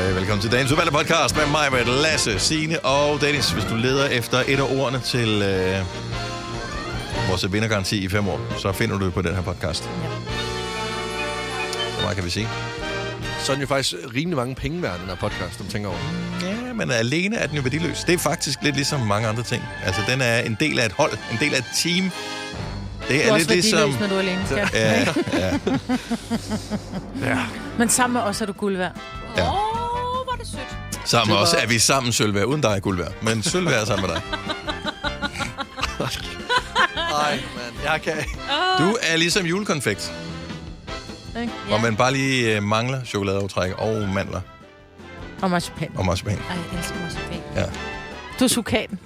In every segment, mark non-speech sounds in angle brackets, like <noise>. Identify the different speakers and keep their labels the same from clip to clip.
Speaker 1: øh, velkommen til dagens udvalgte podcast med mig, med Lasse, Signe og Dennis. Hvis du leder efter et af ordene til øh, vores vindergaranti i fem år, så finder du det på den her podcast. Ja. Så meget kan vi sige.
Speaker 2: Så er den jo faktisk rimelig mange penge værd, den her podcast, om <laughs> tænker over.
Speaker 1: Ja, men alene er den jo værdiløs. Det er faktisk lidt ligesom mange andre ting. Altså, den er en del af et hold, en del af et team. Det
Speaker 3: Du
Speaker 1: er,
Speaker 3: er
Speaker 1: lidt
Speaker 3: også værdiløs,
Speaker 1: ligesom...
Speaker 3: når du er alene. Ja.
Speaker 1: Ja, ja.
Speaker 3: <laughs> Men sammen med os er du guld værd.
Speaker 1: Ja.
Speaker 4: Åh, hvor er det sødt.
Speaker 1: Sammen med os er vi sammen, Sølvær. Uden dig, Guldvær. Men Sølvær er sammen med
Speaker 4: <laughs>
Speaker 1: dig.
Speaker 2: Nej, mand. Jeg kan ikke.
Speaker 1: Du er ligesom julekonfekt,
Speaker 3: Ikke?
Speaker 1: ja. hvor man bare lige øh, mangler chokoladeaftræk og mandler
Speaker 3: Og marcipan.
Speaker 1: og marcipan.
Speaker 4: Ej, jeg elsker marcipan.
Speaker 1: Ja.
Speaker 3: Du er sukaten.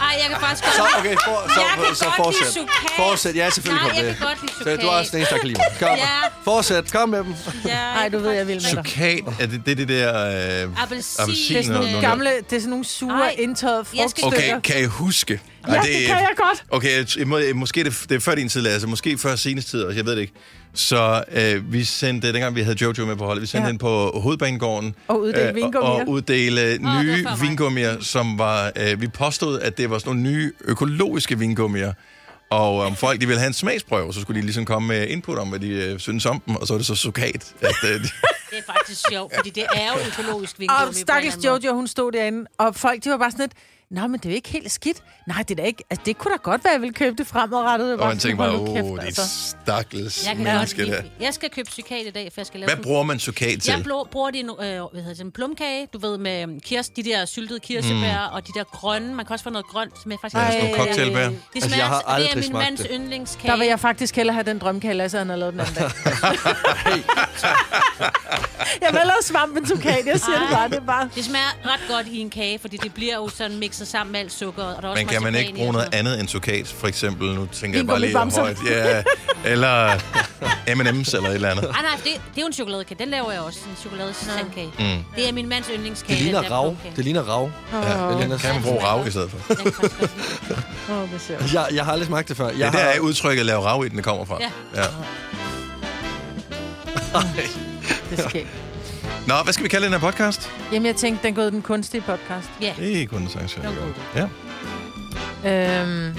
Speaker 4: Ej, jeg kan faktisk godt...
Speaker 2: Så, okay, for, så,
Speaker 4: Jeg kan
Speaker 2: så
Speaker 4: godt lide
Speaker 2: fortsæt.
Speaker 4: chokat.
Speaker 2: Fortsæt, ja, selvfølgelig
Speaker 4: Nej,
Speaker 2: kom
Speaker 4: jeg
Speaker 2: det.
Speaker 4: kan godt lide
Speaker 2: Så du er
Speaker 4: chokat.
Speaker 2: også den eneste, der kan lide mig. Kom.
Speaker 4: Ja.
Speaker 2: Fortsæt, kom med dem.
Speaker 4: Ja,
Speaker 3: <laughs> Nej, du ved, jeg vil med dig.
Speaker 1: Sukat, er det det, er det der... Øh,
Speaker 4: Appelsin.
Speaker 1: appelsin
Speaker 3: Det er sådan
Speaker 1: noget-
Speaker 3: nogle
Speaker 1: noget der?
Speaker 3: gamle, det er sådan nogle sure,
Speaker 4: Ej,
Speaker 3: indtørrede
Speaker 4: jeg skal-
Speaker 3: frugtstykker.
Speaker 1: Okay, kan I huske?
Speaker 3: Ja, det kan jeg godt.
Speaker 1: Okay, jeg t- må, eh, måske det, det er før din tid, Lasse. Måske før senest tid også, jeg ved det ikke. Så øh, vi sendte, dengang vi havde Jojo med på holdet, vi sendte
Speaker 3: Ja.
Speaker 1: ja. den på hovedbanegården.
Speaker 3: Og uddele
Speaker 1: øh,
Speaker 3: vingummier.
Speaker 1: Og uddele
Speaker 4: var
Speaker 1: oh, nye
Speaker 4: for mig.
Speaker 1: vingummier, som var... Øh, vi påstod, at det var sådan nogle nye økologiske vingummier. Og om folk de ville have en smagsprøve, så skulle de ligesom komme med input om, hvad de øh, synes om dem. Og så var det så sukat, at
Speaker 3: <laughs>
Speaker 1: øh, de,
Speaker 4: Det er faktisk sjovt, fordi det er jo økologisk vingummi.
Speaker 3: Og stakkels Jojo, hun stod derinde, og folk, de var bare sådan lidt, nej, men det er jo ikke helt skidt. Nej, det er da ikke, altså, det kunne da godt være, at jeg ville købe det fremadrettet. Det var
Speaker 1: og man
Speaker 3: sådan,
Speaker 1: tænkte bare,
Speaker 3: hold nu
Speaker 1: åh,
Speaker 3: kæft, altså."
Speaker 1: det er et stakkels
Speaker 4: Jeg kan godt
Speaker 1: menneske der.
Speaker 4: lide. Jeg skal købe psykat i dag, for jeg skal lave...
Speaker 1: Hvad
Speaker 4: sådan-
Speaker 1: bruger man sukat til?
Speaker 4: Jeg blå, bruger det i no- øh, hvad hedder det, en plumkage, du ved, med øhm, kirs, de der syltede kirsebær, mm. og de der grønne. Man kan også få noget grønt med faktisk.
Speaker 1: Ja, sådan
Speaker 3: nogle
Speaker 4: Øh,
Speaker 1: cocktailbær.
Speaker 4: Det smager,
Speaker 2: Altså,
Speaker 4: <laughs>
Speaker 2: jeg har
Speaker 4: det
Speaker 2: aldrig
Speaker 4: er min
Speaker 2: smagt
Speaker 4: mands
Speaker 2: det.
Speaker 4: yndlingskage.
Speaker 3: Der vil jeg faktisk hellere have den drømkage, Lasse, han har lavet den anden
Speaker 1: <laughs>
Speaker 3: dag. jeg vil hellere svampen sukat, jeg siger det bare, det er bare...
Speaker 4: Det smager ret godt i en kage, fordi det bliver jo sådan mixet sammen med alt sukkeret. Og der er også
Speaker 1: Men kan man
Speaker 4: marcipan
Speaker 1: ikke
Speaker 4: i og
Speaker 1: bruge noget
Speaker 4: sådan
Speaker 1: andet end sukat? For eksempel, nu tænker jeg bare lige
Speaker 3: Vingummibamser.
Speaker 1: højt. Ja, eller M&M's eller et eller andet.
Speaker 4: Ah, nej, det, det er jo en chokoladekage. Den laver jeg også, en chokoladesandkage. Mm. Det er min mands yndlingskage.
Speaker 2: Det ligner
Speaker 4: den der
Speaker 2: rav.
Speaker 4: plumkage.
Speaker 2: Det ligner rav.
Speaker 1: Ja.
Speaker 2: Det ligner
Speaker 1: Kan man bruge rav i stedet for? Det
Speaker 4: Jeg kan faktisk godt lide det.
Speaker 3: Åh, oh, hvor sjovt.
Speaker 2: <laughs> Jeg, jeg har aldrig smagt det før. Jeg
Speaker 1: er der
Speaker 2: har...
Speaker 1: er udtrykket lave rav i den, det kommer fra.
Speaker 4: Ja.
Speaker 1: Ja.
Speaker 3: det er skægt.
Speaker 1: Nå, hvad skal vi kalde den her podcast?
Speaker 3: Jamen, jeg tænkte, den går den kunstige podcast.
Speaker 4: Ja,
Speaker 1: Det kunne den sagtens være.
Speaker 4: Det var god.
Speaker 1: Ja,
Speaker 3: Øhm,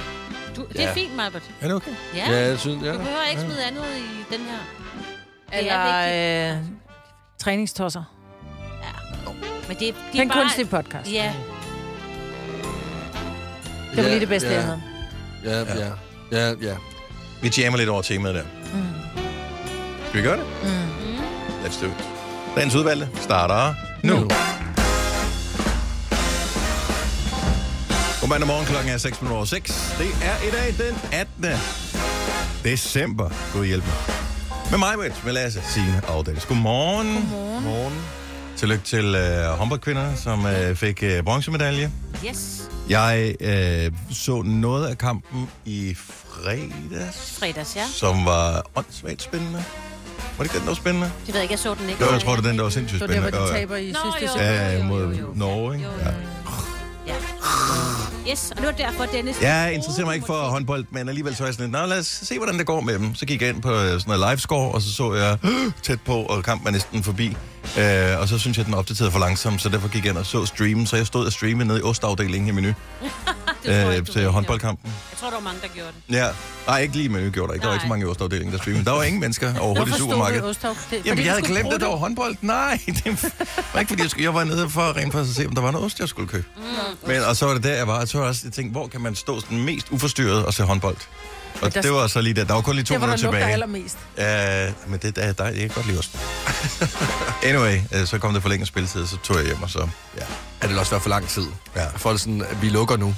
Speaker 4: du, det er
Speaker 2: Ja.
Speaker 4: fint, Marbert.
Speaker 1: er det okay?
Speaker 4: Ja,
Speaker 2: Ja, jeg synes, ja.
Speaker 4: du behøver ikke smide andet i den her. er
Speaker 3: eller øh, træningstosser.
Speaker 4: Men det, det er
Speaker 3: Den
Speaker 4: bare...
Speaker 3: kunstige podcast.
Speaker 4: Ja,
Speaker 3: Det var lige det bedste,
Speaker 2: ja,
Speaker 3: jeg havde.
Speaker 2: Ja, ja. Ja, ja.
Speaker 1: Vi jammer lidt over temaet der. Skal vi gøre det? Let's do it. Dagens udvalgte starter nu. nu. God mandag morgen, klokken er 6 minutter over 6. Det er i dag den 18. december. Gud hjælp mig. Med mig, Britt, med Lasse, Signe og Dennis. Godmorgen. Godmorgen. Tillykke til øh, håndboldkvinderne, som øh, fik øh, bronzemedalje.
Speaker 4: yes.
Speaker 1: Jeg øh, så noget af kampen i fredags,
Speaker 4: Fredags, ja.
Speaker 1: som var åndssvagt spændende. Var det ikke den, der var spændende?
Speaker 4: Det ved jeg ikke, jeg så den ikke.
Speaker 1: Det var, jeg tror, det er den, der var sindssygt
Speaker 3: Så det
Speaker 1: spændende.
Speaker 3: var de
Speaker 1: Og-
Speaker 3: taber i
Speaker 4: Nå,
Speaker 3: sidste
Speaker 4: jo.
Speaker 3: sæson.
Speaker 1: Ja,
Speaker 4: Jo, jo,
Speaker 1: mod
Speaker 4: jo, jo.
Speaker 1: Norge, ikke?
Speaker 4: Jo, jo,
Speaker 1: Ja.
Speaker 4: Ja. Yes, og det var derfor, Dennis...
Speaker 1: Jeg interesserer mig ikke for håndbold, men alligevel så er jeg sådan lidt, "Nå, lad os se, hvordan det går med dem. Så gik jeg ind på øh, sådan noget livescore, og så så jeg "Åh, tæt på, og kampen er næsten forbi. Øh, og så synes jeg, den opdaterede for langsomt, så derfor gik jeg ind og så streamen. Så jeg stod og streamede nede i ostafdelingen i menu
Speaker 4: Det tror jeg,
Speaker 1: øh,
Speaker 4: du
Speaker 1: til
Speaker 4: ved.
Speaker 1: håndboldkampen.
Speaker 4: Jeg tror, der var mange, der gjorde det.
Speaker 1: Ja. Nej, ikke lige i menu gjorde der ikke. Der var ikke så
Speaker 4: Nej.
Speaker 1: mange i ostafdelingen, der streamede. Der var ingen mennesker overhovedet i
Speaker 3: Hvorfor stod det
Speaker 1: supermarkedet.
Speaker 3: Ostov? Det- fordi
Speaker 1: Jamen,
Speaker 3: du
Speaker 1: jeg havde
Speaker 3: skulle
Speaker 1: glemt,
Speaker 3: bruge
Speaker 1: at der var håndbold. Nej, <laughs> det var ikke, fordi jeg, skulle, jeg var nede for rent for at se, om der var noget ost, jeg skulle købe. Mm. Men, og så var det der, jeg var, og så var jeg også, jeg tænkte, hvor kan man stå sådan mest uforstyrret og se håndbold? Og
Speaker 3: der-
Speaker 1: det var så lige der. Der var kun lige to
Speaker 3: Det var
Speaker 1: minutter
Speaker 3: der lugter
Speaker 1: tilbage.
Speaker 3: allermest.
Speaker 1: Ja, men det der er dig, jeg kan godt lide ost. anyway, øh, så kom det forlænget spilletid, så tog jeg hjem, og så... Ja.
Speaker 2: Er det også været for lang tid?
Speaker 1: Ja.
Speaker 2: Folk sådan, vi lukker nu.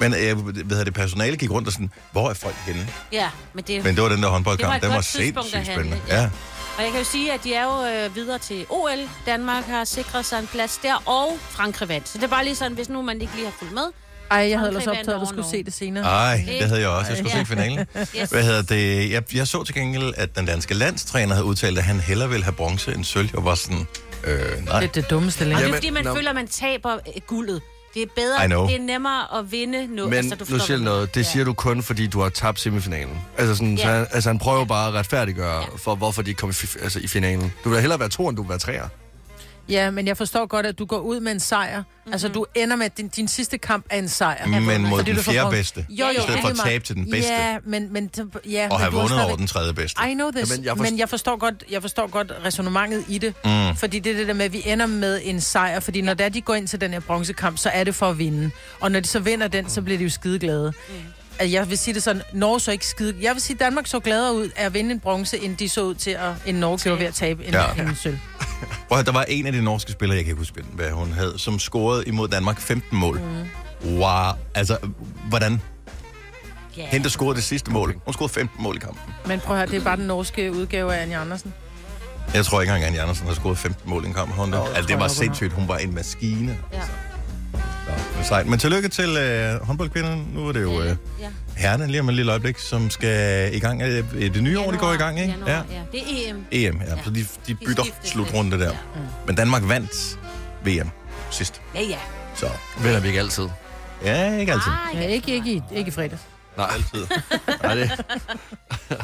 Speaker 1: Men øh, hvad hedder det, personale gik rundt og sådan, hvor er folk henne?
Speaker 4: Ja, men det...
Speaker 1: Men det var den der håndboldkamp,
Speaker 4: et
Speaker 1: den var
Speaker 4: godt tidspunkt
Speaker 1: sindssygt
Speaker 4: at handle,
Speaker 1: spændende.
Speaker 4: ja.
Speaker 1: Ja.
Speaker 4: Og jeg kan jo sige, at de er jo øh, videre til OL. Danmark har sikret sig en plads der, og Frankrig vandt. Så det er bare lige sådan, hvis nu man ikke lige har fulgt med.
Speaker 3: Ej, jeg havde
Speaker 4: Frankrig
Speaker 3: ellers optaget, at du
Speaker 4: vandt
Speaker 3: skulle
Speaker 4: over
Speaker 3: se det senere.
Speaker 1: Ej, det havde jeg også. Jeg skulle
Speaker 4: Ja.
Speaker 1: se finalen.
Speaker 4: Yes.
Speaker 1: Hvad hedder det? Jeg, jeg så til gengæld, at den danske landstræner havde udtalt, at han hellere ville have bronze end sølv. Jeg var sådan, øh, nej.
Speaker 3: Det er det dummeste
Speaker 4: Og
Speaker 3: længe.
Speaker 4: det er
Speaker 2: Jamen,
Speaker 4: fordi, man
Speaker 2: nå.
Speaker 4: føler, at man taber øh, guldet. Det er
Speaker 1: I
Speaker 4: bedre,
Speaker 1: know.
Speaker 4: det er nemmere at vinde nu.
Speaker 2: Men
Speaker 4: altså,
Speaker 2: nu
Speaker 4: du forstår,
Speaker 2: siger jeg
Speaker 4: hvad jeg
Speaker 2: noget. Det
Speaker 4: mener.
Speaker 2: siger du kun, fordi du har tabt semifinalen. Altså, sådan, så
Speaker 4: Ja.
Speaker 2: han, altså han prøver bare at retfærdiggøre, for hvorfor de ikke kom i, fi- altså, i finalen. Du vil hellere være to, end du vil være træer.
Speaker 3: Ja, men jeg forstår godt, at du går ud med en sejr. Mm-hmm. Altså, du ender med, at din, din sidste kamp er en sejr.
Speaker 1: Men mod
Speaker 3: Fordi
Speaker 1: den
Speaker 3: du får
Speaker 1: fjerde
Speaker 3: brugt-
Speaker 1: bedste,
Speaker 3: Jo, jo,
Speaker 1: i stedet
Speaker 3: ja.
Speaker 1: for at tabe til den bedste.
Speaker 3: Ja, men... men t- ja,
Speaker 1: og have vundet
Speaker 3: men du har
Speaker 1: over
Speaker 3: stadigvæk-
Speaker 1: den tredje bedste.
Speaker 3: I know this,
Speaker 2: Jamen,
Speaker 3: Jamen,
Speaker 2: jeg
Speaker 3: jeg
Speaker 2: forst-
Speaker 3: men jeg forstår, godt, jeg forstår godt resonemanget i det. Mm. Fordi det er det der med, at vi ender med en sejr. Fordi når der de går ind til den her bronzekamp, så er det for at vinde. Og når de så vinder den, så bliver de jo skideglade. Mm. Jeg vil sige det sådan, Norge så ikke skide... Jeg vil sige, Danmark så gladere ud af at vinde en bronze, end de så ud til at en Norge gjorde ved at tabe en,
Speaker 1: Ja.
Speaker 3: ja. en sølv.
Speaker 1: <laughs> Prøv, at høre, der var en af de norske spillere, jeg kan ikke huske, hvad hun havde, som scorede imod Danmark 15 mål. Mm. Wow. Altså, hvordan?
Speaker 4: Ja.
Speaker 1: Hende, der scorede det sidste mål. Hun scorede 15 mål i kampen.
Speaker 3: Men prøv at høre, det er bare den norske udgave af Anja Andersen.
Speaker 1: Jeg tror ikke engang, at Anne Andersen har scoret 15 mål i en kamp. Hun,
Speaker 3: Nå, det
Speaker 1: altså,
Speaker 3: tror
Speaker 1: det
Speaker 3: jeg
Speaker 1: var
Speaker 3: nok, hun har.
Speaker 1: sindssygt. Hun var en maskine. altså.
Speaker 4: Ja.
Speaker 1: Nå, det var sejt. Men tillykke til øh, håndboldkvinderne. Nu er det jo øh,
Speaker 4: Ja.
Speaker 1: herrene lige om et lille øjeblik, som skal i gang. Øh, det nye år, det går i gang, ikke?
Speaker 4: Januar, ja. Det er E EM.
Speaker 1: EM, E ja.
Speaker 4: Ja.
Speaker 1: Så de, de
Speaker 4: De
Speaker 1: bytter
Speaker 4: skiftes
Speaker 1: slutrunde
Speaker 4: lidt.
Speaker 1: der. Men Danmark vandt VM sidst.
Speaker 4: Ja, ja.
Speaker 1: Så
Speaker 2: Vinder vi ikke altid. Ah.
Speaker 1: ja, ikke altid.
Speaker 4: Ah,
Speaker 3: Ja, ikke, ikke, i- ikke i fredags.
Speaker 2: Nej,
Speaker 1: altid.
Speaker 2: nej det,
Speaker 4: <clears throat>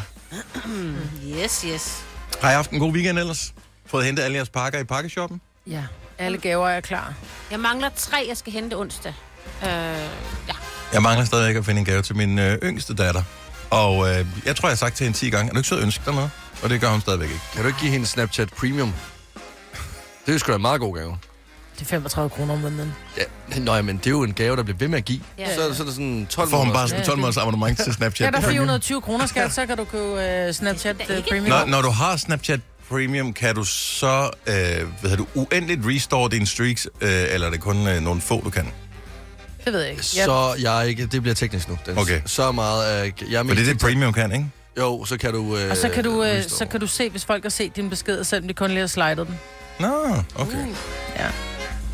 Speaker 4: Yes, yes.
Speaker 1: Har I haft en god weekend ellers? Fået hentet alle jeres pakker i pakkeshoppen?
Speaker 3: Ja, alle gaver er klar.
Speaker 4: Jeg mangler tre, jeg skal hente onsdag. Øh, ja.
Speaker 1: Jeg mangler stadigvæk at finde en gave til min øh, yngste datter. Og øh, jeg tror, jeg har sagt til hende 10 gange, er du ikke sød at ønske dig noget? Og det gør hun stadigvæk ikke.
Speaker 2: kan du ikke give hende Snapchat Premium? Det er sgu da en meget god gave.
Speaker 3: Det er 35 kroner om måneden.
Speaker 2: Ja, nej, men det er jo en gave, der bliver ved med at give.
Speaker 4: Ja.
Speaker 2: Så, så er det sådan 12
Speaker 1: Får hun
Speaker 2: måneder.
Speaker 1: bare sådan 12 måneders abonnement til
Speaker 3: Ja,
Speaker 1: Snapchat?
Speaker 3: der er 420 kroner, skat, så kan du købe uh, Snapchat
Speaker 4: Det er da
Speaker 3: uh,
Speaker 4: ikke-
Speaker 3: Premium.
Speaker 1: Når, når du har Snapchat Premium, kan du så øh, hvad hedder du, uendeligt restore dine streaks, øh, eller er det kun øh, nogle få, du kan?
Speaker 3: Det ved jeg ikke. Jeg,
Speaker 2: Så jeg ikke, det bliver teknisk nu. Dennis.
Speaker 1: Okay.
Speaker 2: Så meget, øh, jeg er
Speaker 1: For
Speaker 2: mest
Speaker 1: det er det,
Speaker 2: TikTok.
Speaker 1: Premium kan, ikke?
Speaker 2: Jo, så kan du... Øh,
Speaker 3: og så kan, du, øh,
Speaker 2: restore.
Speaker 3: så kan du se, hvis folk har set din besked, selvom de kun lige har slidet den.
Speaker 1: Nå, okay.
Speaker 4: Mm.
Speaker 3: Ja.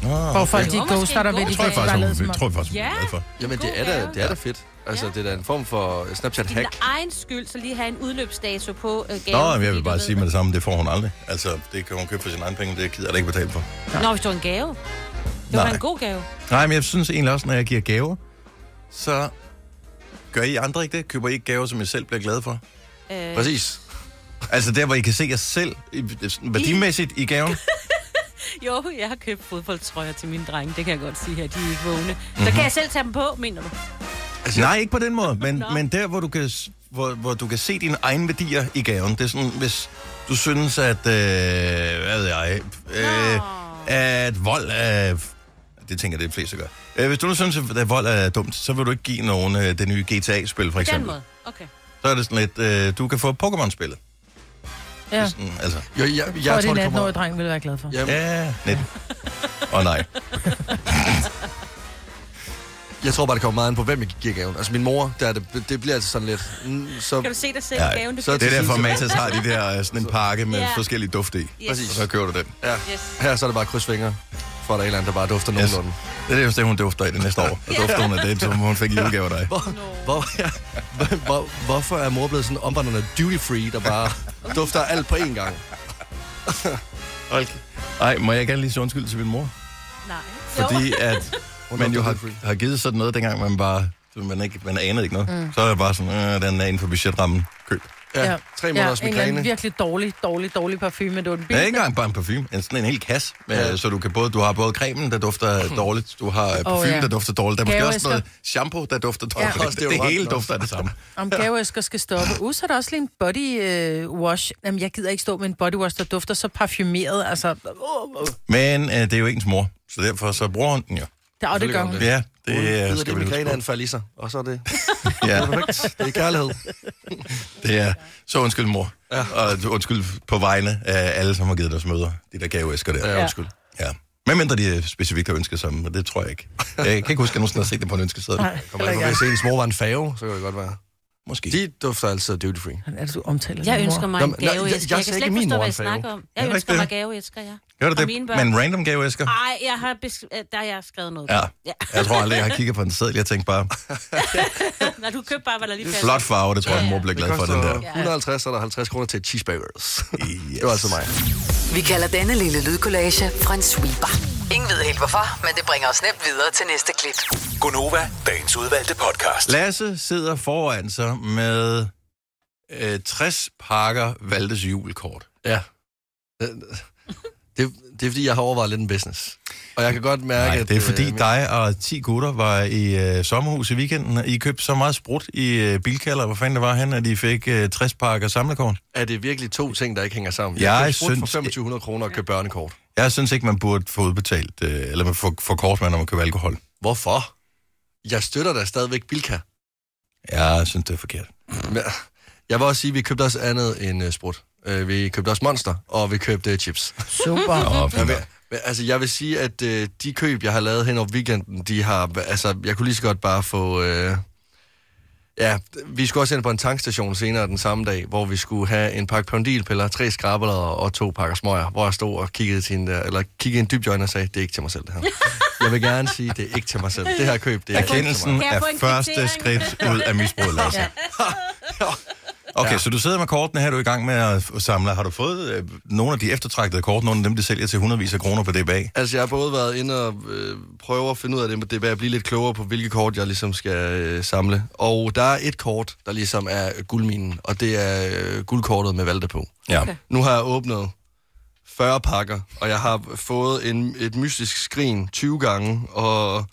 Speaker 1: Nå,
Speaker 3: Hvor
Speaker 1: okay.
Speaker 3: folk
Speaker 4: Det
Speaker 3: de
Speaker 4: var
Speaker 3: go
Speaker 4: måske
Speaker 3: starter
Speaker 4: en
Speaker 3: ved,
Speaker 4: god
Speaker 3: de
Speaker 1: Tror jeg
Speaker 3: kan bare lade
Speaker 1: faktisk,
Speaker 3: som
Speaker 1: hun,
Speaker 3: om.
Speaker 1: tror jeg faktisk, hun
Speaker 4: Ja.
Speaker 1: er glad for.
Speaker 2: Jamen,
Speaker 4: God
Speaker 2: det er, da,
Speaker 4: gave.
Speaker 2: det er da fedt. Altså,
Speaker 4: Ja.
Speaker 2: det er da en form for øh,
Speaker 4: Din
Speaker 2: Snapchat-hack.
Speaker 4: egen skyld, så lige have en udløbsdato på øh,
Speaker 1: Nå,
Speaker 4: gaven.
Speaker 1: men jeg
Speaker 4: fordi
Speaker 1: vil
Speaker 4: du
Speaker 1: bare
Speaker 4: ved-
Speaker 1: sige med det samme, det får hun aldrig. Altså, det kan hun købe for sine egne penge, det gider jeg da ikke betale for.
Speaker 4: Nå, hvis det var en gave. Det var
Speaker 1: Nej.
Speaker 4: en god gave.
Speaker 1: Nej, men jeg synes egentlig også, når jeg giver gaver, så gør I andre ikke det? Køber I ikke gaver, som jeg selv bliver glad for?
Speaker 4: Øh,
Speaker 2: Præcis.
Speaker 1: Altså der, hvor I kan se jer selv i- sådan værdimæssigt i gaven.
Speaker 4: jo, jeg har købt fodboldtrøjer til mine drenge. Det kan jeg godt sige her. De er ikke vågne. Så
Speaker 2: Mhm.
Speaker 4: kan jeg selv tage dem på, mener du?
Speaker 1: Nej, ikke på den måde, men,
Speaker 4: Altså, Nå.
Speaker 1: men der, hvor du, kan, s- hvor, hvor du kan se dine egne værdier i gaven. Det er sådan, hvis du synes, at... Øh, hvad ved jeg? Øh,
Speaker 4: Nå.
Speaker 1: at vold er... Det tænker jeg, det er de fleste, der gør. Øh, Hvis du nu synes, at vold er dumt, så vil du ikke give nogen øh, det nye GTA-spil, for
Speaker 4: På den
Speaker 1: eksempel.
Speaker 4: måde. Okay.
Speaker 1: Så er det sådan lidt, øh, du kan få Pokémon-spillet.
Speaker 3: Ja.
Speaker 1: Sådan, altså,
Speaker 2: Jo, jeg, jeg,
Speaker 3: Jeg
Speaker 2: jeg tror,
Speaker 3: tror, det er
Speaker 2: det
Speaker 3: en 18-årig
Speaker 2: kommer...
Speaker 3: dreng, vil være glad for. Ja.
Speaker 2: Jamen,
Speaker 1: ja, net. Åh oh, nej.
Speaker 2: jeg tror bare, det kommer meget an på, hvem jeg giver gaven. Altså, min mor, der er det, det bliver altså sådan lidt... Mm, så,
Speaker 4: Kan du se dig selv i
Speaker 1: Ja,
Speaker 4: gaven? Du
Speaker 2: så
Speaker 4: købte?
Speaker 1: Det er
Speaker 2: til
Speaker 1: derfor,
Speaker 2: side.
Speaker 1: Matas har de der øh, sådan en pakke med
Speaker 4: Ja.
Speaker 1: forskellige dufte i.
Speaker 2: præcis.
Speaker 1: Og så kører du den.
Speaker 2: ja.
Speaker 4: Yes.
Speaker 2: Her så er det bare krydsfingre for, at der er en eller anden, der bare dufter
Speaker 1: Yes.
Speaker 2: nogenlunde.
Speaker 1: Det er det, det, hun dufter i det næste år. Og dufter hun af det, som hun fik i julegave af dig.
Speaker 2: Hvor, hvor, ja, hvor- hvor, hvorfor er mor blevet sådan omvandrende duty-free, der
Speaker 4: <laughs>
Speaker 2: bare dufter alt på én gang?
Speaker 1: Ej, må jeg gerne lige sige undskyld til min mor?
Speaker 4: Nej.
Speaker 1: Fordi at man
Speaker 2: dufter
Speaker 1: jo har,
Speaker 2: duty-free.
Speaker 1: har givet sådan noget, dengang man bare... Man, ikke, man anede ikke noget. Mm. Så er det bare sådan, øh, den er inden for budgetrammen. Køb.
Speaker 2: Ja, tre måneders
Speaker 3: en eller anden
Speaker 2: migræne.
Speaker 3: virkelig dårlig, dårlig, dårlig parfume. Det var den
Speaker 1: Ja, ikke
Speaker 3: billigste.
Speaker 1: engang bare en parfume. En, sådan en hel kasse. Med,
Speaker 2: Ja.
Speaker 1: Så du, kan både, du har både cremen, der dufter dårligt. Du har øh, parfume, oh, ja.
Speaker 3: ja.
Speaker 1: der dufter dårligt. Der er måske også
Speaker 3: Gaveæsker.
Speaker 1: noget shampoo, der dufter dårligt. Ja,
Speaker 2: Også det er
Speaker 1: det,
Speaker 2: jo
Speaker 1: det
Speaker 2: ret
Speaker 1: hele
Speaker 2: nok.
Speaker 1: dufter af det samme.
Speaker 3: Om gaveæsker skal stoppe. Uh, så er der også lige en body øh, wash. Jamen, jeg gider ikke stå med en body wash, der dufter så parfumeret. Altså, uh, uh.
Speaker 1: Men øh, det er jo ens mor. Så derfor så bruger hun den jo.
Speaker 3: Der, og det gør hun.
Speaker 2: Selvfølgelig
Speaker 1: Ja, det
Speaker 2: Uden-
Speaker 1: øh,
Speaker 2: yder det
Speaker 1: skal vi huske på.
Speaker 2: migræneanfald i sig, og så er det
Speaker 1: Ja.
Speaker 2: perfekt. Det er kærlighed.
Speaker 1: Det er så undskyld, mor. Ja. Og undskyld på vegne af alle, som har givet os møder. De der gaveæsker der.
Speaker 2: Ja, undskyld.
Speaker 1: Ja. Men mindre de øh, specifikt har ønsket sammen, og det tror jeg ikke. Jeg kan ikke huske, at jeg nogensinde har set det på en ønskeseddel.
Speaker 3: Nej,
Speaker 2: Kommer jeg på,
Speaker 3: heller
Speaker 2: hvis ens mor var en fave, så kan det godt være.
Speaker 1: Måske.
Speaker 2: De dufter altid duty-free.
Speaker 3: ikke. Er det, du omtaler
Speaker 4: Jeg
Speaker 3: din mor?
Speaker 4: ønsker mig
Speaker 2: Nå,
Speaker 4: en
Speaker 2: men- nej,
Speaker 4: gave,
Speaker 2: jeg-
Speaker 4: jeg,
Speaker 2: jeg
Speaker 4: jeg,
Speaker 2: sagde
Speaker 4: kan slet
Speaker 2: ikke
Speaker 4: ikke
Speaker 2: min
Speaker 4: forstå,
Speaker 2: mor
Speaker 4: hvad
Speaker 2: en
Speaker 4: jeg snakker
Speaker 2: gave.
Speaker 4: om.
Speaker 1: Heller
Speaker 4: Jeg
Speaker 1: ikke
Speaker 4: ønsker
Speaker 1: det.
Speaker 4: mig gave, elsker jeg.
Speaker 1: Gør du
Speaker 4: Og
Speaker 1: det?
Speaker 4: mine børn.
Speaker 1: Men random gaveæsker?
Speaker 4: Nej, jeg har, besk- øh, der har jeg skrevet noget.
Speaker 1: Ja.
Speaker 4: ja.
Speaker 1: Jeg tror aldrig, jeg har kigget på en seddel. Jeg tænkte bare,
Speaker 4: <laughs> Når du købte bare, hvad der lige passer.
Speaker 1: flot farve, det tror jeg, mor bliver
Speaker 2: Det
Speaker 1: glad for, den der.
Speaker 2: koster 150, så er der 50 kroner til cheeseburgers.
Speaker 1: Yes.
Speaker 2: Det var altså mig.
Speaker 5: Vi kalder denne lille lydkollage Frans sweeper. Ingen ved helt hvorfor, men det bringer os nemt videre til næste klip.
Speaker 6: Gunova, dagens udvalgte podcast.
Speaker 1: Lasse sidder foran sig med øh, 60 pakker Valdes julekort.
Speaker 2: Ja. Det, det er fordi, jeg har overvejet lidt en business. Og jeg kan godt mærke,
Speaker 1: Nej,
Speaker 2: at...
Speaker 1: det er fordi
Speaker 2: øh,
Speaker 1: dig og 10 gutter var i øh, sommerhus i weekenden, og I købte så meget sprut i øh, bilkælder, hvor fanden det var hen, at I fik øh, 60 pakker samlekorn.
Speaker 2: Er det virkelig to ting, der ikke hænger sammen?
Speaker 1: Jeg
Speaker 2: købte sprut
Speaker 1: synes-
Speaker 2: for 2500 kroner og købte børnekort.
Speaker 1: Jeg synes ikke, man burde få udbetalt, øh, eller man får, får kort med, når man køber alkohol.
Speaker 2: Hvorfor? Jeg støtter da stadigvæk Bilka.
Speaker 1: Jeg synes, det er forkert.
Speaker 2: Men, Jeg vil også sige, at vi købte også andet end uh, sprut. Uh, vi købte også Monster, og vi købte uh, chips.
Speaker 3: Super.
Speaker 1: Og,
Speaker 2: Men, men, altså, jeg vil sige, at uh, de køb, jeg har lavet hen over weekenden, de har... Altså, jeg kunne lige så godt bare få... Uh, ja, vi skulle også ind på en tankstation senere den samme dag, hvor vi skulle have en pakke pondilpiller, tre skrabeller og to pakker smøger, hvor jeg stod og kiggede til en der, eller kiggede i en dybjoint og sagde, det er ikke til mig selv, det her. Jeg vil gerne sige, det er ikke til mig selv. Det her køb, det er ikke til mig selv.
Speaker 1: Erkendelsen
Speaker 4: Kan jeg
Speaker 1: er
Speaker 4: få en
Speaker 1: første
Speaker 4: kvittering?
Speaker 1: skridt ud af misbruget, Lasse. Okay, så du sidder med kortene her, du er i gang med at f- samle. Har du fået øh, nogle af de eftertragtede kort, nogle af dem, de sælger til hundredvis af kroner på det bag?
Speaker 2: Altså, jeg har både været inde og øh, prøve at finde ud af det, men det er at blive lidt klogere på, hvilke kort jeg ligesom skal øh, samle. Og der er et kort, der ligesom er guldminen, og det er øh, guldkortet med Valde på.
Speaker 1: Ja.
Speaker 2: Nu har jeg åbnet 40 pakker, og jeg har fået en, et mystisk skrin 20 gange, og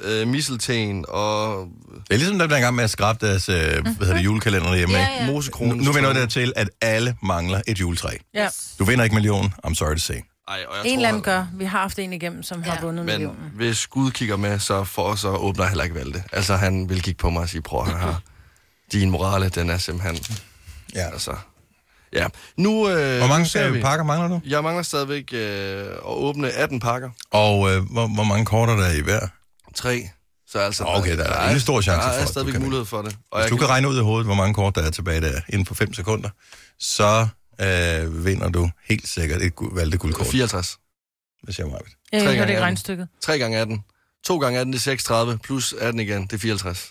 Speaker 2: øh, misselten, og
Speaker 1: Det er ligesom dem, der er i gang med at skrabe deres øh, hvad hedder det, julekalender hjemme.
Speaker 4: Ja,
Speaker 1: ikke?
Speaker 4: ja.
Speaker 1: Nu,
Speaker 2: mosekronen.
Speaker 1: nu vender det til, at alle mangler et juletræ.
Speaker 3: Ja.
Speaker 1: Du vinder ikke millionen, I'm sorry to say.
Speaker 2: Ej, og jeg
Speaker 3: En
Speaker 2: tror,
Speaker 3: eller anden
Speaker 2: at-
Speaker 3: gør. Vi har haft en igennem, som har vundet
Speaker 2: Men
Speaker 3: millionen.
Speaker 2: hvis Gud kigger med, så, for, så åbner jeg heller ikke Valde. Altså, han vil kigge på mig og sige, prøv at høre, din morale, den er simpelthen
Speaker 1: Ja.
Speaker 2: Altså, ja. Nu, øh,
Speaker 1: Hvor
Speaker 2: nu
Speaker 1: mange
Speaker 2: ser
Speaker 1: øh, pakker mangler du?
Speaker 2: Jeg mangler stadigvæk øh, at åbne 18 pakker.
Speaker 1: Og øh, hvor, hvor mange kort er der i hver?
Speaker 2: Tre. Så altså,
Speaker 1: Okay, der er ingen stor chance
Speaker 2: der
Speaker 1: for,
Speaker 2: er
Speaker 1: at du
Speaker 2: stadigvæk
Speaker 1: kan vinde.
Speaker 2: mulighed for det. Og
Speaker 1: Hvis du kan regne ud i hovedet, hvor mange kort der er tilbage der inden for 5 sekunder, så øh, vinder du helt sikkert et gu- valgte guldkort,
Speaker 2: 54.
Speaker 1: hvis jeg er meget.
Speaker 3: Ja, jeg
Speaker 2: tre
Speaker 3: hørte
Speaker 2: gange
Speaker 3: ikke
Speaker 2: atten.
Speaker 3: regnstykket.
Speaker 2: 3 gange 18. 2 gange 18, det er 36. Plus 18 igen, det er 54.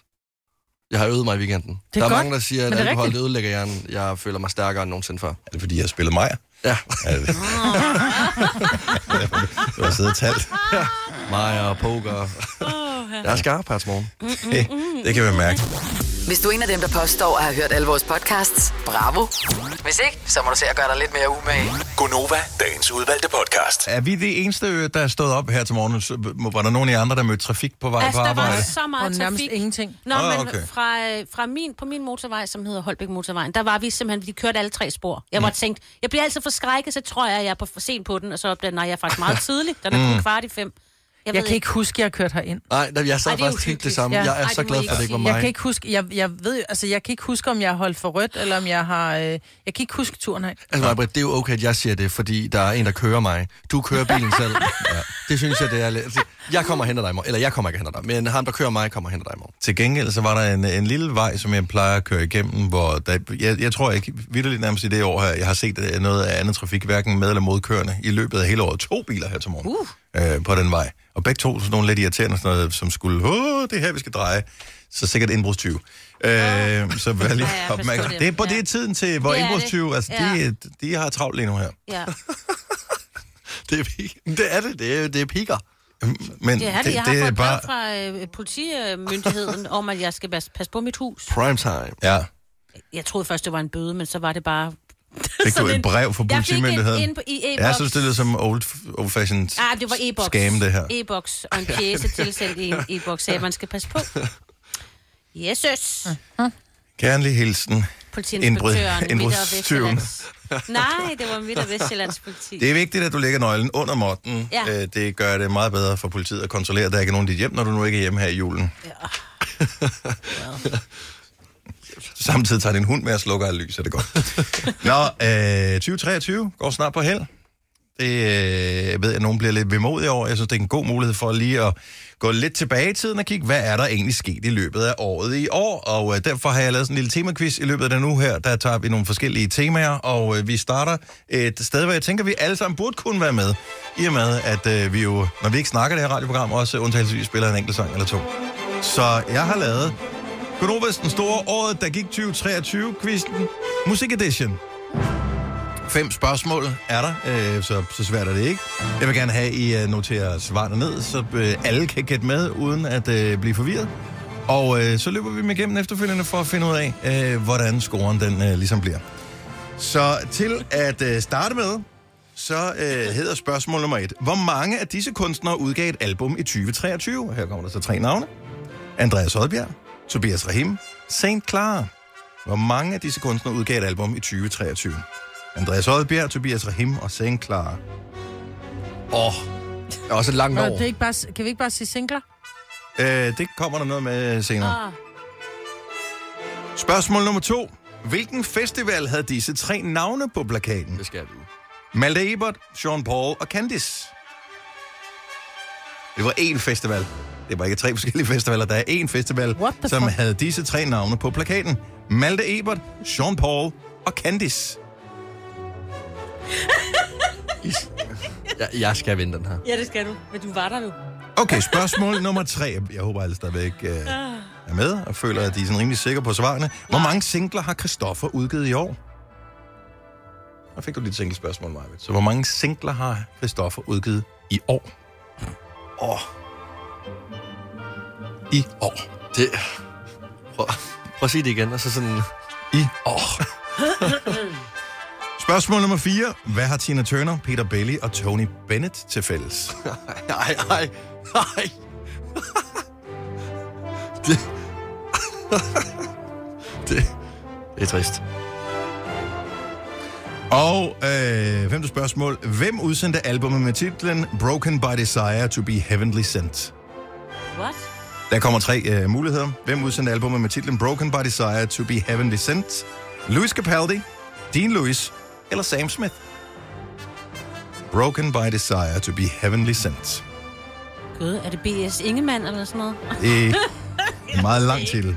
Speaker 2: Jeg har øvet mig i weekenden.
Speaker 3: Det er
Speaker 2: der er
Speaker 3: godt,
Speaker 2: mange, der siger, at
Speaker 3: men det er
Speaker 2: alkohol det
Speaker 3: rigtigt.
Speaker 2: ødelægger hjernen. Jeg føler mig stærkere end nogensinde før.
Speaker 1: Er det fordi, jeg har spillet Maja?
Speaker 2: Ja,
Speaker 1: Er
Speaker 2: <laughs>
Speaker 1: det? du har siddet og talt.
Speaker 2: mig og poker. Jeg er skarp her til morgen.
Speaker 1: Det, <laughs> det kan vi mærke.
Speaker 5: <laughs> Hvis du er en af dem, der påstår at have hørt alle vores podcasts, bravo. Hvis ikke, så må du se at gøre dig lidt mere umage.
Speaker 6: Gunova, dagens udvalgte podcast.
Speaker 1: Er vi det eneste, øh, der er stået op her til morgen? Så må- Var der nogen af jer andre, der mødte trafik på vej
Speaker 4: Altså,
Speaker 1: på
Speaker 4: der var
Speaker 1: arbejde?
Speaker 4: så
Speaker 3: Og
Speaker 4: meget
Speaker 3: nærmest
Speaker 4: trafik.
Speaker 3: ingenting.
Speaker 4: Nå,
Speaker 1: Ah,
Speaker 4: ah, men
Speaker 1: okay.
Speaker 4: fra, øh, fra min, på min motorvej, som hedder Holbæk Motorvejen, der var vi simpelthen, vi kørte alle tre spor. Jeg var
Speaker 1: Mm.
Speaker 4: tænkt, jeg bliver altid forskrækket, så tror jeg, at jeg er på, for sent på den, og så opdager, nej, jeg er faktisk meget
Speaker 1: Mm.
Speaker 4: tidlig. Den er kun kvart i fem. Jeg,
Speaker 3: Jeg kan ikke huske, jeg har kørt herind.
Speaker 2: Nej, der, jeg sad
Speaker 4: Ej, det er
Speaker 2: faktisk helt det
Speaker 4: uhyggeligt.
Speaker 2: samme.
Speaker 3: Ja.
Speaker 2: Jeg er
Speaker 4: Ej,
Speaker 2: så
Speaker 4: det må
Speaker 2: glad
Speaker 4: I
Speaker 2: for, at det
Speaker 4: ikke
Speaker 2: ikke var
Speaker 4: sige.
Speaker 2: mig.
Speaker 3: Jeg kan ikke huske, jeg, jeg ved, jo- altså, jeg kan ikke huske, om jeg har holdt for rødt, eller om jeg har... Øh, jeg kan ikke huske turen herind.
Speaker 2: Altså, Maja, det er jo okay, at jeg siger det, fordi der er en, der kører mig. Du kører bilen
Speaker 4: <laughs>
Speaker 2: selv. ja. Det synes jeg, det er lidt... altså, Jeg kommer og henter dig i morgen. Eller jeg kommer ikke og henter dig, men ham, der kører mig, kommer og henter dig i morgen.
Speaker 1: Til gengæld så var der en, en lille vej, som jeg plejer at køre igennem, hvor der, jeg, jeg tror ikke vidderligt nærmest i det år her, jeg har set øh, noget af andet trafik, hverken med eller modkørende, i løbet af hele året. To biler her til morgen uh. øh, på den vej. Og begge to sådan nogle lidt irriterende, sådan noget, som skulle, åh, det er her, vi skal dreje. Så sikkert indbrudstyve. Øh, så vær lige
Speaker 4: <laughs> Ja, ja, pas på
Speaker 1: opmærksom.
Speaker 4: dem.
Speaker 1: Det er, på,
Speaker 4: Ja.
Speaker 1: det er tiden til, hvor
Speaker 4: Det er det.
Speaker 1: indbrudstyve, altså
Speaker 4: Ja.
Speaker 1: de, de har travlt lige nu her. <laughs>
Speaker 4: Ja.
Speaker 2: Det er, pi- det, er det. Det er, det er piker.
Speaker 1: Men
Speaker 4: Det er det. Jeg har fået bare... fra øh, politimyndigheden <laughs> om, at jeg skal pas- passe på mit hus.
Speaker 2: Prime time.
Speaker 1: Ja,
Speaker 4: Jeg troede først, det var en bøde, men så var det bare...
Speaker 1: Fik du
Speaker 4: <laughs> sådan
Speaker 1: et brev fra
Speaker 4: Jeg fik et
Speaker 1: politimyndigheden?
Speaker 4: ind på- i e-boks.
Speaker 1: Ja, jeg synes, det lyder som old, old fashioned
Speaker 4: Ah, det var e-boks.
Speaker 1: scam, det her.
Speaker 4: E-boks og en pjæse tilsendt
Speaker 1: <laughs>
Speaker 4: i en e-boks, sagde, at man skal passe på. Jesus.
Speaker 1: Kærlig hilsen.
Speaker 4: Politiinspektøren.
Speaker 1: Indbrud-
Speaker 4: Midt- og
Speaker 1: indbrudstyven.
Speaker 4: Vestjyllands. Nej, det var Midt- og Vestjyllands politi.
Speaker 1: Det er vigtigt, at du lægger nøglen under måtten.
Speaker 4: Ja.
Speaker 1: Øh, Det gør det meget bedere for politiet at kontrollere, at der ikke er nogen i dit hjem, når du nu ikke er hjemme her i julen. Ja. Samtidig tager din hund med og slukker af lys, er
Speaker 4: <laughs>
Speaker 1: det godt. Nå, øh, 2023 går snart på held. Det øh, ved jeg, at nogen bliver lidt vemodige over. Jeg synes, det er en god mulighed for lige at gå lidt tilbage i tiden og kigge, hvad er der egentlig sket i løbet af året i år. Og øh, derfor har jeg lavet sådan en lille temaquiz i løbet af den uge her. Der tager vi nogle forskellige temaer, og øh, vi starter et sted, hvor jeg tænker, vi alle sammen burde kunne være med. I og med, at øh, vi jo, når vi ikke snakker det her radioprogram, også undtagelsesvis spiller en enkelt sang eller to. Så jeg har lavet Gunovas den store året, der gik 2023-quizzen Musik Edition. Fem spørgsmål er der, øh, så, så svært er det ikke. Jeg vil gerne have, at I øh, noterer svarene ned, så øh, alle kan gætte med, uden at øh, blive forvirret. Og øh, så løber vi dem igennem efterfølgende for at finde ud af, øh, hvordan scoren den øh, ligesom bliver. Så til at øh, starte med, så øh, hedder spørgsmål nummer et. Hvor mange af disse kunstnere udgav et album i 2023? Her kommer der så tre navne. Andreas Odbjerg, Tobias Rahim, Saint Clara. Hvor mange af disse kunstnere udgav et album i 2023? Andreas Odbjerg, Tobias Rahim og Saint Clara. Åh,
Speaker 2: Det er også et langt
Speaker 3: Nå,
Speaker 2: år.
Speaker 3: det er ikke bare, kan vi ikke bare sige singler?
Speaker 1: øh, det kommer der noget med senere.
Speaker 4: Ah,
Speaker 1: Spørgsmål nummer to. Hvilken festival havde disse tre navne på plakaten?
Speaker 2: Det skal du.
Speaker 1: Malte Ebert, Sean Paul og Candice. Det var én festival. Det var ikke tre forskellige festivaler. Der er én festival,
Speaker 3: What the
Speaker 1: som
Speaker 3: fuck?
Speaker 1: havde disse tre navne på plakaten. Malte Ebert, Sean Paul og Candice.
Speaker 2: <laughs> Jeg, jeg skal vinde den her.
Speaker 4: ja, det skal du. Men du var der nu.
Speaker 1: Okay, spørgsmål nummer tre. Jeg håber alle stadigvæk øh, er med og føler, at de er sådan rimelig sikre på svarene. Hvor mange singler har Christoffer udgivet i år? Der fik du lidt single spørgsmål, Marvitt. Så hvor mange singler har Christoffer udgivet i år? Åh. I år.
Speaker 2: Det... Prøv, prøv at sige det igen, og så sådan...
Speaker 1: I år. Spørgsmål nummer 4. Hvad har Tina Turner, Peter Belli og Tony Bennett til fælles?
Speaker 2: Nej, nej, nej. <laughs> det... det... Det er trist.
Speaker 1: Og øh, femte spørgsmål. Hvem udsendte albumet med titlen Broken by Desire to be Heavenly Sent?
Speaker 4: What?
Speaker 1: Der kommer tre øh, muligheder. Hvem udsendte albumet med titlen Broken by Desire to be Heavenly Sent? Louis Capaldi, Dean Lewis eller Sam Smith? Broken by Desire to be Heavenly Sent.
Speaker 4: Gud, er det B.S. Ingemann eller sådan noget? <laughs>
Speaker 1: Det er en meget lang titel.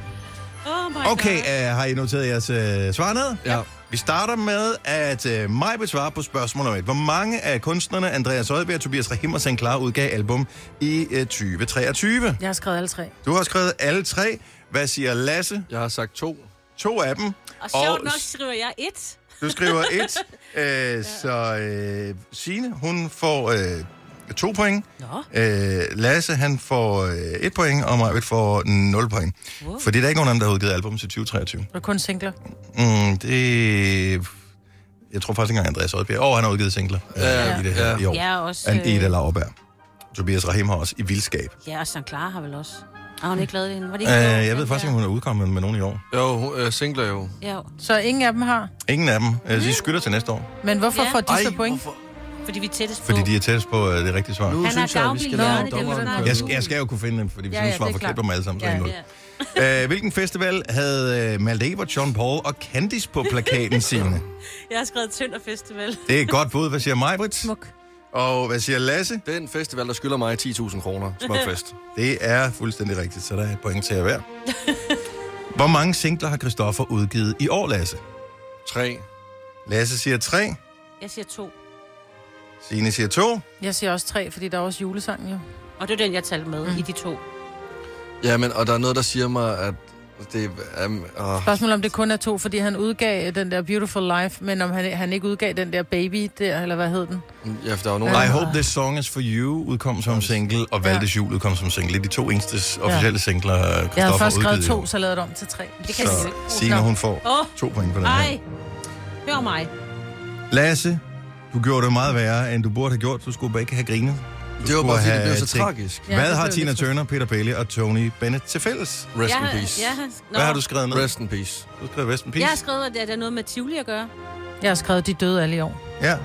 Speaker 4: Oh my
Speaker 1: Okay,
Speaker 4: God.
Speaker 1: øh, har I noteret jeres øh, svar ned?
Speaker 2: Ja.
Speaker 1: Vi starter med, at øh, mig besvarer på spørgsmål nummer et. Hvor mange af kunstnerne Andreas Odbjerg, Tobias Rahim og St. Clara udgav album i øh, 2023?
Speaker 3: Jeg har skrevet alle tre.
Speaker 1: Du har skrevet alle tre. Hvad siger Lasse?
Speaker 2: Jeg har sagt to.
Speaker 1: To af dem.
Speaker 4: Og sjovt nok skriver jeg et.
Speaker 1: Du
Speaker 4: <laughs>
Speaker 1: skriver et. Øh, så øh, Signe, hun får øh, to point.
Speaker 4: Nå.
Speaker 1: Øh, Lasse, han får øh, et point, og Majved får nul point. Wow. For det er der ikke nogen af dem, der har udgivet album til 2023.
Speaker 3: Det er kun singler.
Speaker 1: Mm, det... Jeg tror faktisk ikke engang Andreas Odbjerg. Åh, oh, han har udgivet singler ja, øh, i det her
Speaker 2: ja.
Speaker 1: ja. i år.
Speaker 4: Ja, også,
Speaker 1: An
Speaker 4: øh,
Speaker 1: Ida Lauerberg. Tobias Rahim har også i vildskab.
Speaker 4: Ja, og Sankt Clara har vel også. Har hun ikke lavet det hende? Var det
Speaker 1: Øh,
Speaker 4: ikke sjovt,
Speaker 1: jeg ved
Speaker 4: den
Speaker 1: faktisk ikke,
Speaker 4: der?
Speaker 1: om hun er udkommet med nogen i år.
Speaker 2: Jo, øh, singler jo.
Speaker 4: Ja,
Speaker 3: Så ingen af dem har.
Speaker 1: Ingen af dem. Øh, de skylder til næste år,
Speaker 3: Men hvorfor
Speaker 4: Ja.
Speaker 3: får de så point?
Speaker 2: hvorfor?
Speaker 4: fordi vi er tættest på.
Speaker 1: fordi de er tættest på øh, det rigtige svar.
Speaker 2: Nu
Speaker 4: Han har
Speaker 2: synes jeg, vi
Speaker 4: gavmild
Speaker 2: skal
Speaker 4: hjerne,
Speaker 2: lade
Speaker 4: det er
Speaker 2: dommeren
Speaker 4: sådan.
Speaker 2: køre
Speaker 1: Jeg,
Speaker 2: ud.
Speaker 1: skal, jeg skal jo kunne finde dem, fordi hvis
Speaker 3: Ja,
Speaker 1: ja, ja,
Speaker 3: ja,
Speaker 1: svarer
Speaker 3: det er
Speaker 1: forkert
Speaker 3: klart.
Speaker 1: på dem alle sammen, så er det
Speaker 3: Ja,
Speaker 1: nul.
Speaker 4: ja.
Speaker 1: Øh, hvilken festival havde øh, Malte Ebert, John Paul og Candice på plakaten, Signe?
Speaker 4: Jeg har skrevet Tønder Festival.
Speaker 1: Det er et godt bud. Hvad siger Majbrit?
Speaker 3: Smuk.
Speaker 1: Og hvad siger Lasse?
Speaker 2: Den festival, der skylder mig 10.000 kroner. Smuk fest.
Speaker 1: Det er fuldstændig rigtigt, så der er et point til at være. Hvor mange singler har Christoffer udgivet i år, Lasse?
Speaker 2: Tre.
Speaker 1: Lasse siger tre,
Speaker 4: Jeg siger to.
Speaker 1: Signe siger to.
Speaker 3: Jeg siger også tre, fordi der er også julesangen jo.
Speaker 4: Og det er den, jeg talte med mm. i de to.
Speaker 2: Jamen, og der er noget, der siger mig, at det er... Um, åh,
Speaker 3: Spørgsmålet om det kun er to, fordi han udgav den der Beautiful Life, men om han, han ikke udgav den der Baby der, eller hvad
Speaker 1: Øh,
Speaker 3: hed den?
Speaker 2: ja, for der er jo nogen...
Speaker 1: I Hope This Song Is For You udkom som single, og Valdes Jul udkom som single. Det er de to eneste officielle singler, Christoffer
Speaker 3: Jeg havde først
Speaker 1: har
Speaker 3: skrevet
Speaker 1: udgivet i
Speaker 3: to,
Speaker 1: år.
Speaker 3: så lavede jeg det om til tre. Det
Speaker 4: kan
Speaker 1: Så Signe, hun får
Speaker 4: Åh.
Speaker 1: to point på den
Speaker 4: Ej,
Speaker 1: her.
Speaker 4: hør mig.
Speaker 1: Lasse, du gjorde det meget værre, end du burde have gjort. Du skulle bare ikke have grinet. Du
Speaker 2: Det var
Speaker 1: skulle
Speaker 2: bare, fordi det blev
Speaker 1: have
Speaker 2: så
Speaker 1: tænkt,
Speaker 2: tragisk.
Speaker 3: Ja,
Speaker 1: Hvad
Speaker 3: det
Speaker 1: har
Speaker 3: blev
Speaker 1: Tina
Speaker 3: lidt
Speaker 1: Turner, Peter Bailey og Tony Bennett til fælles?
Speaker 2: Rest
Speaker 4: jeg,
Speaker 2: in
Speaker 4: har-
Speaker 2: peace.
Speaker 4: Jeg, har- nå.
Speaker 1: Hvad har du skrevet ned?
Speaker 2: Rest in peace.
Speaker 1: Du har skrevet West in Peace.
Speaker 4: Jeg har skrevet, at det er noget med Tivoli at gøre.
Speaker 3: Jeg har skrevet, de døde alle i år.
Speaker 1: Ja.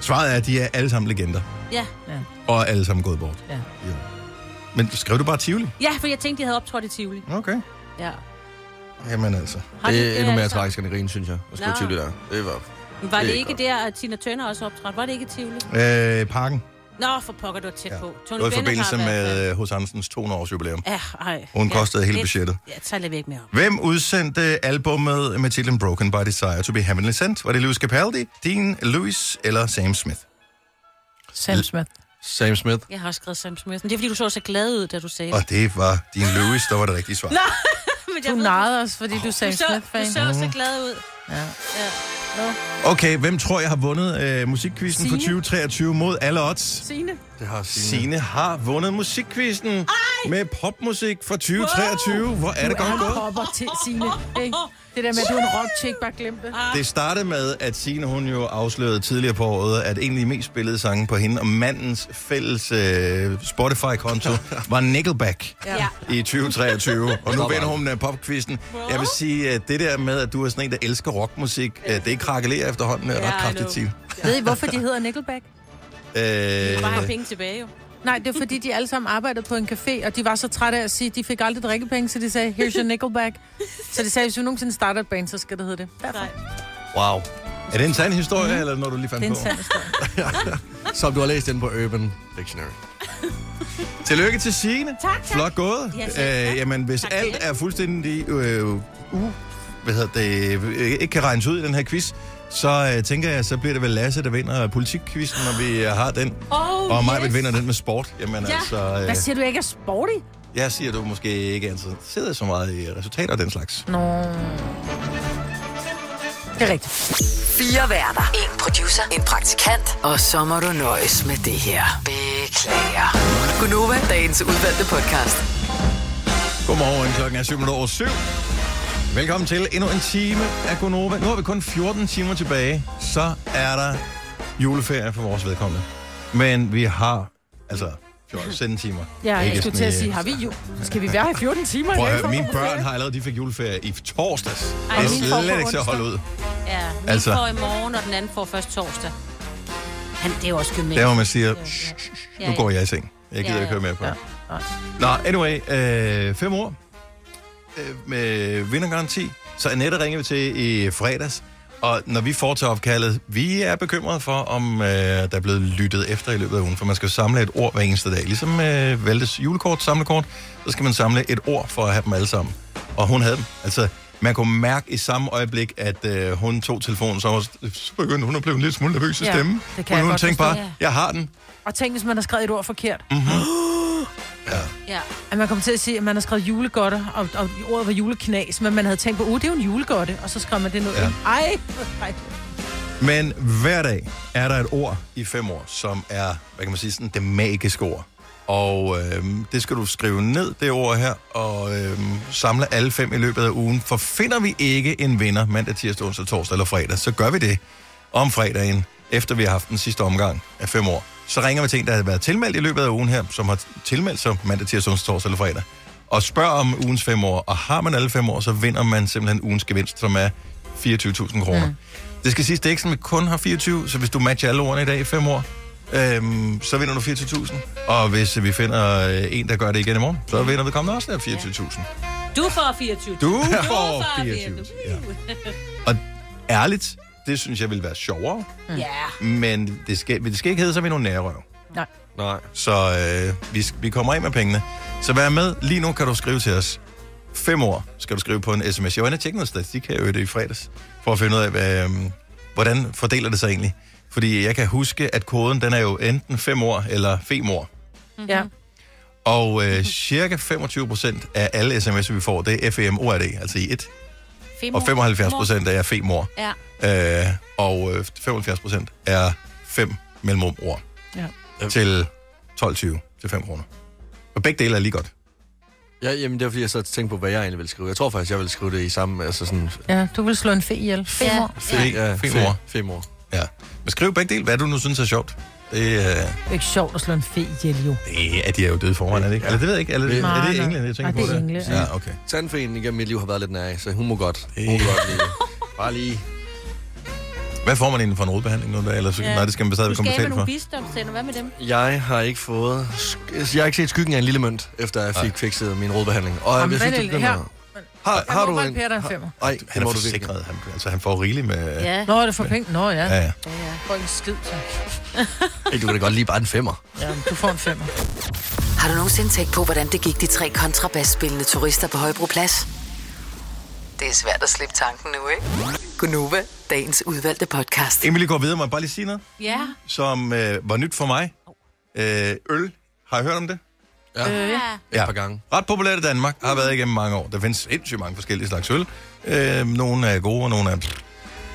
Speaker 1: Svaret er, at de er alle sammen legender.
Speaker 4: Ja.
Speaker 3: Ja.
Speaker 1: Og er alle sammen gået bort.
Speaker 3: Ja.
Speaker 1: Jo. Men skrev du bare Tivoli?
Speaker 4: ja, for jeg tænkte, de havde optrådt i Tivoli.
Speaker 1: Okay.
Speaker 4: Ja.
Speaker 1: Jamen altså.
Speaker 4: Har de
Speaker 2: Det er endnu mere
Speaker 4: altså-
Speaker 2: tragisk end grin, synes jeg. Jeg skulle
Speaker 4: Nå.
Speaker 2: tvivle der. Det var...
Speaker 4: Men Var
Speaker 2: Det
Speaker 4: det,
Speaker 2: er
Speaker 4: ikke
Speaker 2: godt.
Speaker 4: der, at Tina Turner også optrådte? Var det ikke i Tivoli?
Speaker 1: Øh, parken.
Speaker 4: Nå, for pokker, du var tæt
Speaker 1: Ja.
Speaker 4: på.
Speaker 1: Det
Speaker 4: Tony
Speaker 1: var i
Speaker 4: Bennett
Speaker 1: forbindelse
Speaker 4: har været- øh,
Speaker 1: med hos Hansens 200-års jubilæum.
Speaker 4: Ja, ej.
Speaker 1: Hun
Speaker 4: ja,
Speaker 1: kostede hele
Speaker 4: lidt-
Speaker 1: budgettet.
Speaker 4: Ja, så lader vi ikke mere om.
Speaker 1: Hvem udsendte albummet med titlen Broken by Desire to be Heavenly Sent? Var det Louis Capaldi, Dean Lewis eller Sam Smith?
Speaker 3: Sam Smith.
Speaker 2: Sam Smith.
Speaker 4: Jeg har også skrevet Sam Smith. Men det er, fordi du så så glad ud, da du sagde det.
Speaker 1: Og det var Dean Lewis, der var det rigtige svar.
Speaker 4: <laughs> Men jeg
Speaker 3: Du
Speaker 4: ved-
Speaker 3: narrede os, fordi du er Sam
Speaker 4: du så, du
Speaker 3: Smith-fan.
Speaker 4: så så glad ud.
Speaker 3: Ja.
Speaker 4: Ja.
Speaker 1: Okay, hvem tror jeg har vundet øh, musikquizzen for
Speaker 3: Signe.
Speaker 1: 2023 mod alle odds?
Speaker 3: Signe.
Speaker 2: Det har Signe.
Speaker 1: Sine har vundet musikquizzen med popmusik fra 2023. Hvor er det
Speaker 3: Du
Speaker 1: godt
Speaker 3: er
Speaker 1: gået?
Speaker 3: popper til Signe. Ikke? Det der med, at du er en rock chick, bare glem det.
Speaker 4: Ah,
Speaker 1: Det startede med, at Signe hun jo afslørede tidligere på året, at en af de mest spillede sange på hende og mandens fælles øh, Spotify-konto var Nickelback
Speaker 4: Ja.
Speaker 1: i 2023. Og nu vinder hun øh, popquizzen. Jeg vil sige, at det der med, at du er sådan en, der elsker rockmusik, øh, det krakelerer efterhånden øh, ret
Speaker 4: I
Speaker 1: kraftigt
Speaker 4: know.
Speaker 1: til.
Speaker 3: Ved I, hvorfor de hedder Nickelback?
Speaker 1: Øh,
Speaker 4: Bare have penge tilbage, jo.
Speaker 3: Nej, det er fordi, de alle sammen arbejdede på en café, og de var så trætte af at sige, at de fik aldrig drikkepenge, så de sagde, here's your Nickelback. Så de sagde, hvis vi nogensinde starter et band, så skal det hedde det. Derfor.
Speaker 4: Nej.
Speaker 2: Wow.
Speaker 1: er det en sand historie,
Speaker 4: Mm.
Speaker 1: eller når du lige fandt
Speaker 3: Det er en
Speaker 1: på?
Speaker 3: sand historie.
Speaker 2: Som du har læst den på Urban Dictionary.
Speaker 1: Tillykke til Signe.
Speaker 4: Tak, tak.
Speaker 1: Flot gået.
Speaker 4: Ja, selv tak.
Speaker 1: øh, jamen, hvis
Speaker 4: Tak
Speaker 1: tak,
Speaker 4: for
Speaker 1: alt
Speaker 4: det.
Speaker 1: er fuldstændig... Øh, uh, hvad hedder det? øh, Ikke kan regnes ud i den her quiz, så øh, tænker jeg, så bliver det vel Lasse, der vinder politikquizzen, når vi øh, har den.
Speaker 4: Oh,
Speaker 1: Og mig vil vinder den med sport. Jamen ja.
Speaker 4: Ja.
Speaker 1: altså, øh,
Speaker 3: Hvad siger du, jeg ikke er sporty?
Speaker 1: jeg siger, du måske ikke altid sidder så meget i resultater og den slags.
Speaker 3: Nå. Det er rigtigt.
Speaker 5: Fire værter. En producer. En praktikant. Og så må du nøjes med det her. Beklager. Gunova, dagens udvalgte podcast.
Speaker 1: Godmorgen, klokken er 7 over 7. Velkommen til endnu en time af Gonova. Nu har vi kun 14 timer tilbage, så er der juleferie for vores vedkommende. Men vi har, altså, 14 timer.
Speaker 3: Ja, jeg
Speaker 1: Ikke sådan
Speaker 3: skulle til at
Speaker 1: i-
Speaker 3: sige, har vi jul? Skal vi være her i 14 timer?
Speaker 1: Prøv at
Speaker 3: Jeg er
Speaker 1: høre, mine
Speaker 3: ikke for-
Speaker 1: børn har allerede, de fik juleferie i torsdags. Ej,
Speaker 4: mine
Speaker 1: det er
Speaker 3: får på
Speaker 1: slet ikke til at
Speaker 3: onsdag.
Speaker 1: holde ud.
Speaker 4: Ja, den
Speaker 1: Altså.
Speaker 4: altså. får i morgen, og den anden får først torsdag. Han, det er jo også
Speaker 1: Der
Speaker 4: gymnasiet.
Speaker 1: hvor man siger, "Shh, shh, shh,
Speaker 4: Ja,
Speaker 1: nu går
Speaker 4: ja.
Speaker 1: jeg i seng. Jeg gider
Speaker 4: Ja,
Speaker 1: ikke
Speaker 4: ja.
Speaker 1: høre mere på
Speaker 3: Ja,
Speaker 1: det. Nå, anyway, øh, fem år øh, med vindergaranti. Så Annette ringer vi til i fredags, og når vi foretager opkaldet, vi er bekymrede for, om øh, der er blevet lyttet efter i løbet af ugen, for man skal jo samle et ord hver eneste dag. Ligesom øh, Valdes julekort, samlekort, så skal man samle et ord for at have dem alle sammen. Og hun havde dem. Altså, man kunne mærke i samme øjeblik, at øh, hun tog telefonen, så, var- så begyndte hun at blive en lille smule nervøs i
Speaker 3: Ja,
Speaker 1: stemmen.
Speaker 3: det kan jeg
Speaker 1: hun
Speaker 3: godt
Speaker 1: tænkte bare,
Speaker 4: forstå. Ja.
Speaker 1: jeg har den.
Speaker 3: Og tænk, hvis man har skrevet et ord forkert. <gasps>
Speaker 4: Ja.
Speaker 3: At man kom til at sige, at man har skrevet julegodte, og, og ordet var juleknas, men man havde tænkt på, uh, det er jo en julegodte, og så skrev man det ned.
Speaker 1: Ja.
Speaker 3: Ja. Ej, ej.
Speaker 1: Men hver dag er der et ord i fem år, som er, hvad kan man sige, sådan det magiske ord. Og øhm, det skal du skrive ned, det ord her, og øhm, samle alle fem i løbet af ugen. For finder vi ikke en vinder mandag, tirsdag, onsdag, torsdag eller fredag, så gør vi det om fredagen, efter vi har haft den sidste omgang af fem år. Så ringer vi til en, der har været tilmeldt i løbet af ugen her, som har tilmeldt sig mandag, tirsdag, onsdag, torsdag eller fredag, og spørger om ugens fem år. Og har man alle fem år, så vinder man simpelthen ugens gevinst, som er 24.000 kroner. Mm. Det skal siges, det er ikke sådan, at vi kun har 24, så hvis du matcher alle ordene i dag i fem år, øhm, så vinder du 24.000. Og hvis øh, vi finder øh, en, der gør det igen i morgen, så vinder vi kommende også der 24.000.
Speaker 4: Du får 24. <laughs>
Speaker 1: Du
Speaker 4: får
Speaker 1: får 24.000. Ja. Og ærligt, det synes jeg ville være sjovere,
Speaker 3: Mm.
Speaker 4: Ja.
Speaker 1: men det skal, det skal ikke hedde, så er vi nogle nærrøv.
Speaker 3: Nej.
Speaker 2: Nej.
Speaker 1: Så øh, vi, vi kommer ind med pengene. Så vær med. Lige nu kan du skrive til os. Fem år skal du skrive på en sms. Jeg var inde og tjekke noget statistik her i øvrigt i fredags, for at finde ud af, hvad, øh, hvordan fordeler det sig egentlig. Fordi jeg kan huske, at koden den er jo enten fem år eller fem år.
Speaker 3: Ja.
Speaker 1: Og øh, cirka 25 procent af alle sms'er, vi får, det er FEMORD, altså i et. Og 75 procent er E femor.
Speaker 4: Ja.
Speaker 1: Øh, og øh, 75 procent er fem mellemrum-ord
Speaker 3: Ja.
Speaker 1: til 12,20 til 5 kroner. Og begge dele er lige godt.
Speaker 2: Ja, jamen det er fordi, jeg så tænkte på, hvad jeg egentlig ville skrive. Jeg tror faktisk, jeg ville skrive det i samme, altså sådan...
Speaker 3: ja, du vil slå en fe ihjel. Fe
Speaker 4: Ja.
Speaker 3: ja.
Speaker 1: Fe- femor.
Speaker 2: Fem år.
Speaker 1: Ja. Men skriv begge dele, hvad du nu synes er sjovt. Det, øh,
Speaker 3: Det er ikke sjovt at slå en fe ihjel, jo.
Speaker 1: det er de er jo døde forhånd, er det ikke? Eller det ved jeg ikke. Eller, er
Speaker 3: Nej,
Speaker 1: det
Speaker 3: nej.
Speaker 1: England, jeg tænker
Speaker 3: Nej, det
Speaker 1: på?
Speaker 3: er England.
Speaker 1: Ja, okay.
Speaker 2: Tandfeen igennem mit liv har været lidt nær af, så hun må godt. Hun må godt lige. Bare lige.
Speaker 1: Hvad får man egentlig for en rodbehandling nu? da? Eller så, ja. Nej, Altså, det skal man
Speaker 4: Du
Speaker 1: stadigvæk
Speaker 4: skal
Speaker 1: komme
Speaker 4: af med
Speaker 1: betalt for.
Speaker 4: nogle visdomstænder. Hvad med dem?
Speaker 2: Jeg har ikke fået... sk- Jeg har ikke set skyggen af en lille mønt, efter jeg fik fikset min rodbehandling. Og
Speaker 3: Jamen,
Speaker 2: jeg
Speaker 3: hvad
Speaker 2: synes, det
Speaker 3: er det
Speaker 2: begynder...
Speaker 3: her?
Speaker 2: Har, har du en...
Speaker 3: en... Per, der er en femmer.
Speaker 2: Nej,
Speaker 1: Han er forsikret. Han, altså, han får rigeligt med...
Speaker 4: Ja.
Speaker 3: Nå, er det for penge? Nå, ja.
Speaker 1: Ja, ja.
Speaker 3: Får ikke en skid, så.
Speaker 2: Hey, du kan da godt lige bare en femmer.
Speaker 3: Ja, men du får en femmer.
Speaker 5: Har du nogensinde tænkt på, hvordan det gik de tre kontrabasspillende turister på Højbroplads? Det er svært at slippe tanken nu, ikke? Gunova, dagens udvalgte podcast.
Speaker 1: Emilie går videre. Må jeg bare lige sige noget,
Speaker 4: Ja.
Speaker 1: som øh, var nyt for mig? Øh, øl. Har I hørt om det?
Speaker 2: Ja.
Speaker 4: Øh, ja.
Speaker 2: Et par gange.
Speaker 1: Ret populært i Danmark. Har været igennem mange år. Der findes sindssygt mange forskellige slags øl. Øh, nogle er gode, og nogle er...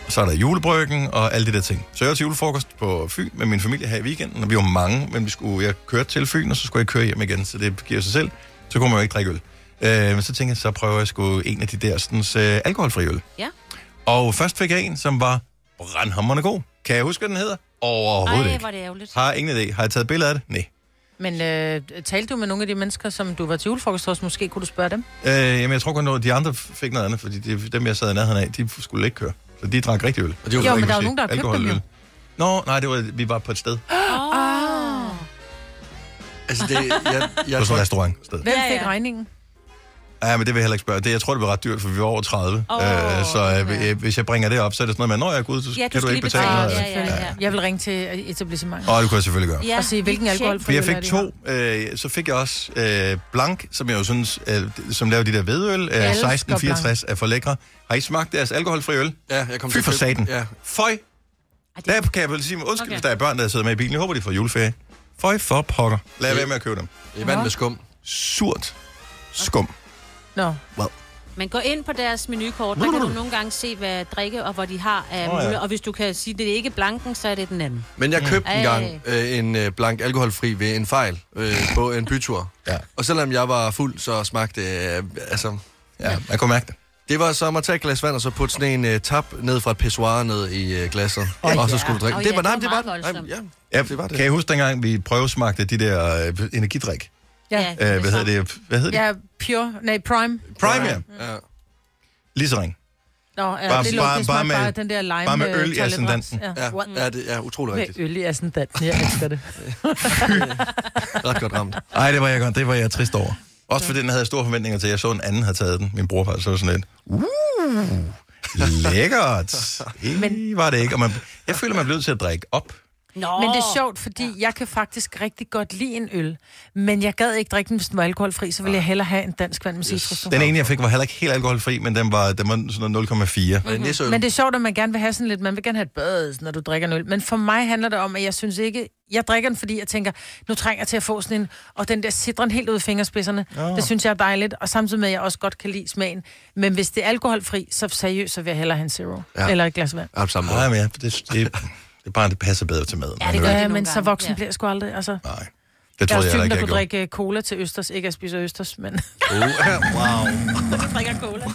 Speaker 1: Og så er der julebryggen og alle de der ting. Så jeg var til julefrokost på Fyn med min familie her i weekenden, og vi var mange, men vi skulle, jeg kørte til Fyn, og så skulle jeg køre hjem igen, så det giver sig selv. Så kunne man jo ikke drikke øl. Øh, men så tænkte jeg, så prøver jeg sgu en af de der sådan, øh, alkoholfri øl.
Speaker 4: Ja.
Speaker 1: Og først fik jeg en, som var brandhammerne god. Kan jeg huske, hvad den hedder? Overhovedet
Speaker 4: Ej,
Speaker 1: ikke.
Speaker 4: hvor er det ærgerligt.
Speaker 1: Har ingen idé. Har jeg taget billeder af det? Nej.
Speaker 3: Men øh, talte du med nogle af de mennesker, som du var til julefrokost hos? Måske kunne du spørge dem?
Speaker 1: Øh, jamen, jeg tror kun, at de andre fik noget andet, fordi de, dem, jeg sad i nærheden af, de skulle ikke køre. Så de drak rigtig øl. Og det
Speaker 3: Jo, men der er jo nogen, der har købt dem,
Speaker 1: alkoholøl.
Speaker 3: jo.
Speaker 1: Nå, nej, det var, vi var på et sted. Det
Speaker 2: Altså, det, jeg,
Speaker 1: var
Speaker 2: jeg
Speaker 1: sådan
Speaker 2: tror,
Speaker 1: et restaurant sted.
Speaker 3: Hvem
Speaker 4: Ja,
Speaker 3: ja, ja. fik
Speaker 4: ja.
Speaker 3: regningen?
Speaker 1: Ja, men det vil jeg heller ikke spørge. Det, jeg tror, det var ret dyrt, for vi var over 30. Oh, øh, så øh, øh, hvis jeg bringer det op, så er det sådan noget med, når jeg er gud, så
Speaker 4: Ja,
Speaker 1: ja,
Speaker 4: du
Speaker 1: kan du
Speaker 4: skal
Speaker 1: ikke
Speaker 4: lige
Speaker 1: betale
Speaker 4: betale.
Speaker 1: noget.
Speaker 4: Ja, ja, ja.
Speaker 3: Jeg vil ringe til etablissementet
Speaker 1: Og det kunne jeg selvfølgelig gøre.
Speaker 4: Ja,
Speaker 3: og se, hvilken
Speaker 4: lige
Speaker 3: alkohol
Speaker 4: tjek.
Speaker 1: For jeg fik to, øh, så fik jeg også øh, Blank, som jeg jo synes, øh, som laver de der vedøl, øh,
Speaker 3: elsker
Speaker 1: 1664 er for lækre. Har I smagt deres alkoholfri øl?
Speaker 2: Ja, jeg kom
Speaker 1: Fy
Speaker 2: til
Speaker 1: for
Speaker 2: at købe-
Speaker 1: satan.
Speaker 2: Ja.
Speaker 1: Føj,
Speaker 4: Ej, det
Speaker 1: der kan jeg vel sige, undskyld, okay.
Speaker 4: Okay.
Speaker 1: hvis der er børn, der sidder med i bilen. Jeg håber, de får juleferie. Føj for pokker. Lad være med at købe dem.
Speaker 2: Det er vand med skum.
Speaker 1: Surt skum.
Speaker 3: Nå,
Speaker 4: Men gå ind på deres menukort, der kan du nogle gange se, hvad drikke og hvor de har af
Speaker 1: Åh,
Speaker 4: oh,
Speaker 1: ja.
Speaker 4: ja. Og hvis du kan sige, at det ikke er blanken, så er det den anden.
Speaker 2: Men jeg købte
Speaker 4: Ej.
Speaker 2: mm. engang øh, en øh, blank alkoholfri ved en fejl øh, på en bytur.
Speaker 1: Ja.
Speaker 2: Og selvom jeg var fuld, så smagte øh, altså,
Speaker 1: Ja, man kunne mærke det.
Speaker 2: det var som at tage et glas vand, og så putte sådan en øh, tap ned fra et pissoir ned i øh, glasset.
Speaker 4: Åh,
Speaker 2: og
Speaker 4: ja.
Speaker 2: så skulle du drikke.
Speaker 4: Åh,
Speaker 2: det
Speaker 4: ja,
Speaker 2: var, nej,
Speaker 4: det
Speaker 2: det
Speaker 4: var
Speaker 2: var,
Speaker 4: meget
Speaker 2: nej,
Speaker 4: voldsomt.
Speaker 2: ja,
Speaker 1: Ja,
Speaker 2: det var det.
Speaker 1: Kan I huske dengang, vi prøvesmagte de der øh, energidrik?
Speaker 3: Ja.
Speaker 1: Øh, hvad hedder det? Hvad hedder det?
Speaker 3: ja, pure, nej, prime.
Speaker 1: Prime, ja.
Speaker 2: Ja.
Speaker 1: Lige så ring.
Speaker 3: Nå, ja,
Speaker 1: Bare-
Speaker 3: det lugter
Speaker 1: bare-
Speaker 3: bare,
Speaker 1: bare
Speaker 3: bare,
Speaker 1: med-
Speaker 3: bare, den der lime
Speaker 1: bare med øl i
Speaker 3: øh, toiletrens.
Speaker 1: ascendanten.
Speaker 3: Ja.
Speaker 2: Ja, ja, det er utrolig
Speaker 3: Med
Speaker 2: rigtigt.
Speaker 3: øl i ascendanten, jeg elsker det.
Speaker 2: Ret godt ramt.
Speaker 1: Ej, det var jeg godt. Det var jeg trist over. Også fordi den havde jeg store forventninger til. Jeg så en anden havde taget den. Min bror faktisk så sådan lidt. Uh, lækkert. Men var det ikke. Og man, jeg føler, man bliver nødt til at drikke op.
Speaker 4: Nå,
Speaker 3: Men det er sjovt, fordi ja. jeg kan faktisk rigtig godt lide en øl, men jeg gad ikke drikke den, hvis den var alkoholfri, så ville jeg hellere have en dansk vand med citrus.
Speaker 1: Den ene, jeg fik, var heller ikke helt alkoholfri, men den var, den var sådan noget 0,4.
Speaker 2: Og det er nisseøl.
Speaker 3: Mm. Men det er sjovt, at man gerne vil have sådan lidt, man vil gerne have et bad, når du drikker en øl. Men for mig handler det om, at jeg synes ikke, jeg drikker den, fordi jeg tænker, nu trænger jeg til at få sådan en, og den der sidren helt ud i fingerspidserne. Det synes jeg er dejligt, og samtidig med, at jeg også godt kan lide smagen. Men hvis det er alkoholfri, så seriøst, så vil jeg hellere have en zero. Ja. Eller et glas vand.
Speaker 2: Ja, på samme måde.
Speaker 1: Nej, men jeg- det, det, det, er bare, det passer bedre til maden.
Speaker 4: Ja, det gør
Speaker 1: Nej,
Speaker 3: Ja,
Speaker 4: nogle
Speaker 3: men så
Speaker 4: gange,
Speaker 3: voksen
Speaker 4: ja.
Speaker 3: bliver jeg sgu aldrig. Altså, jeg
Speaker 1: Nej, det
Speaker 3: er
Speaker 1: troede
Speaker 3: også
Speaker 1: jeg heller
Speaker 3: typen,
Speaker 1: ikke,
Speaker 3: der
Speaker 1: jeg
Speaker 3: kunne
Speaker 1: gjorde.
Speaker 3: drikke øh, cola til østers. Ikke at jeg spiser østers, men...
Speaker 1: Oh, wow.
Speaker 4: drikker cola.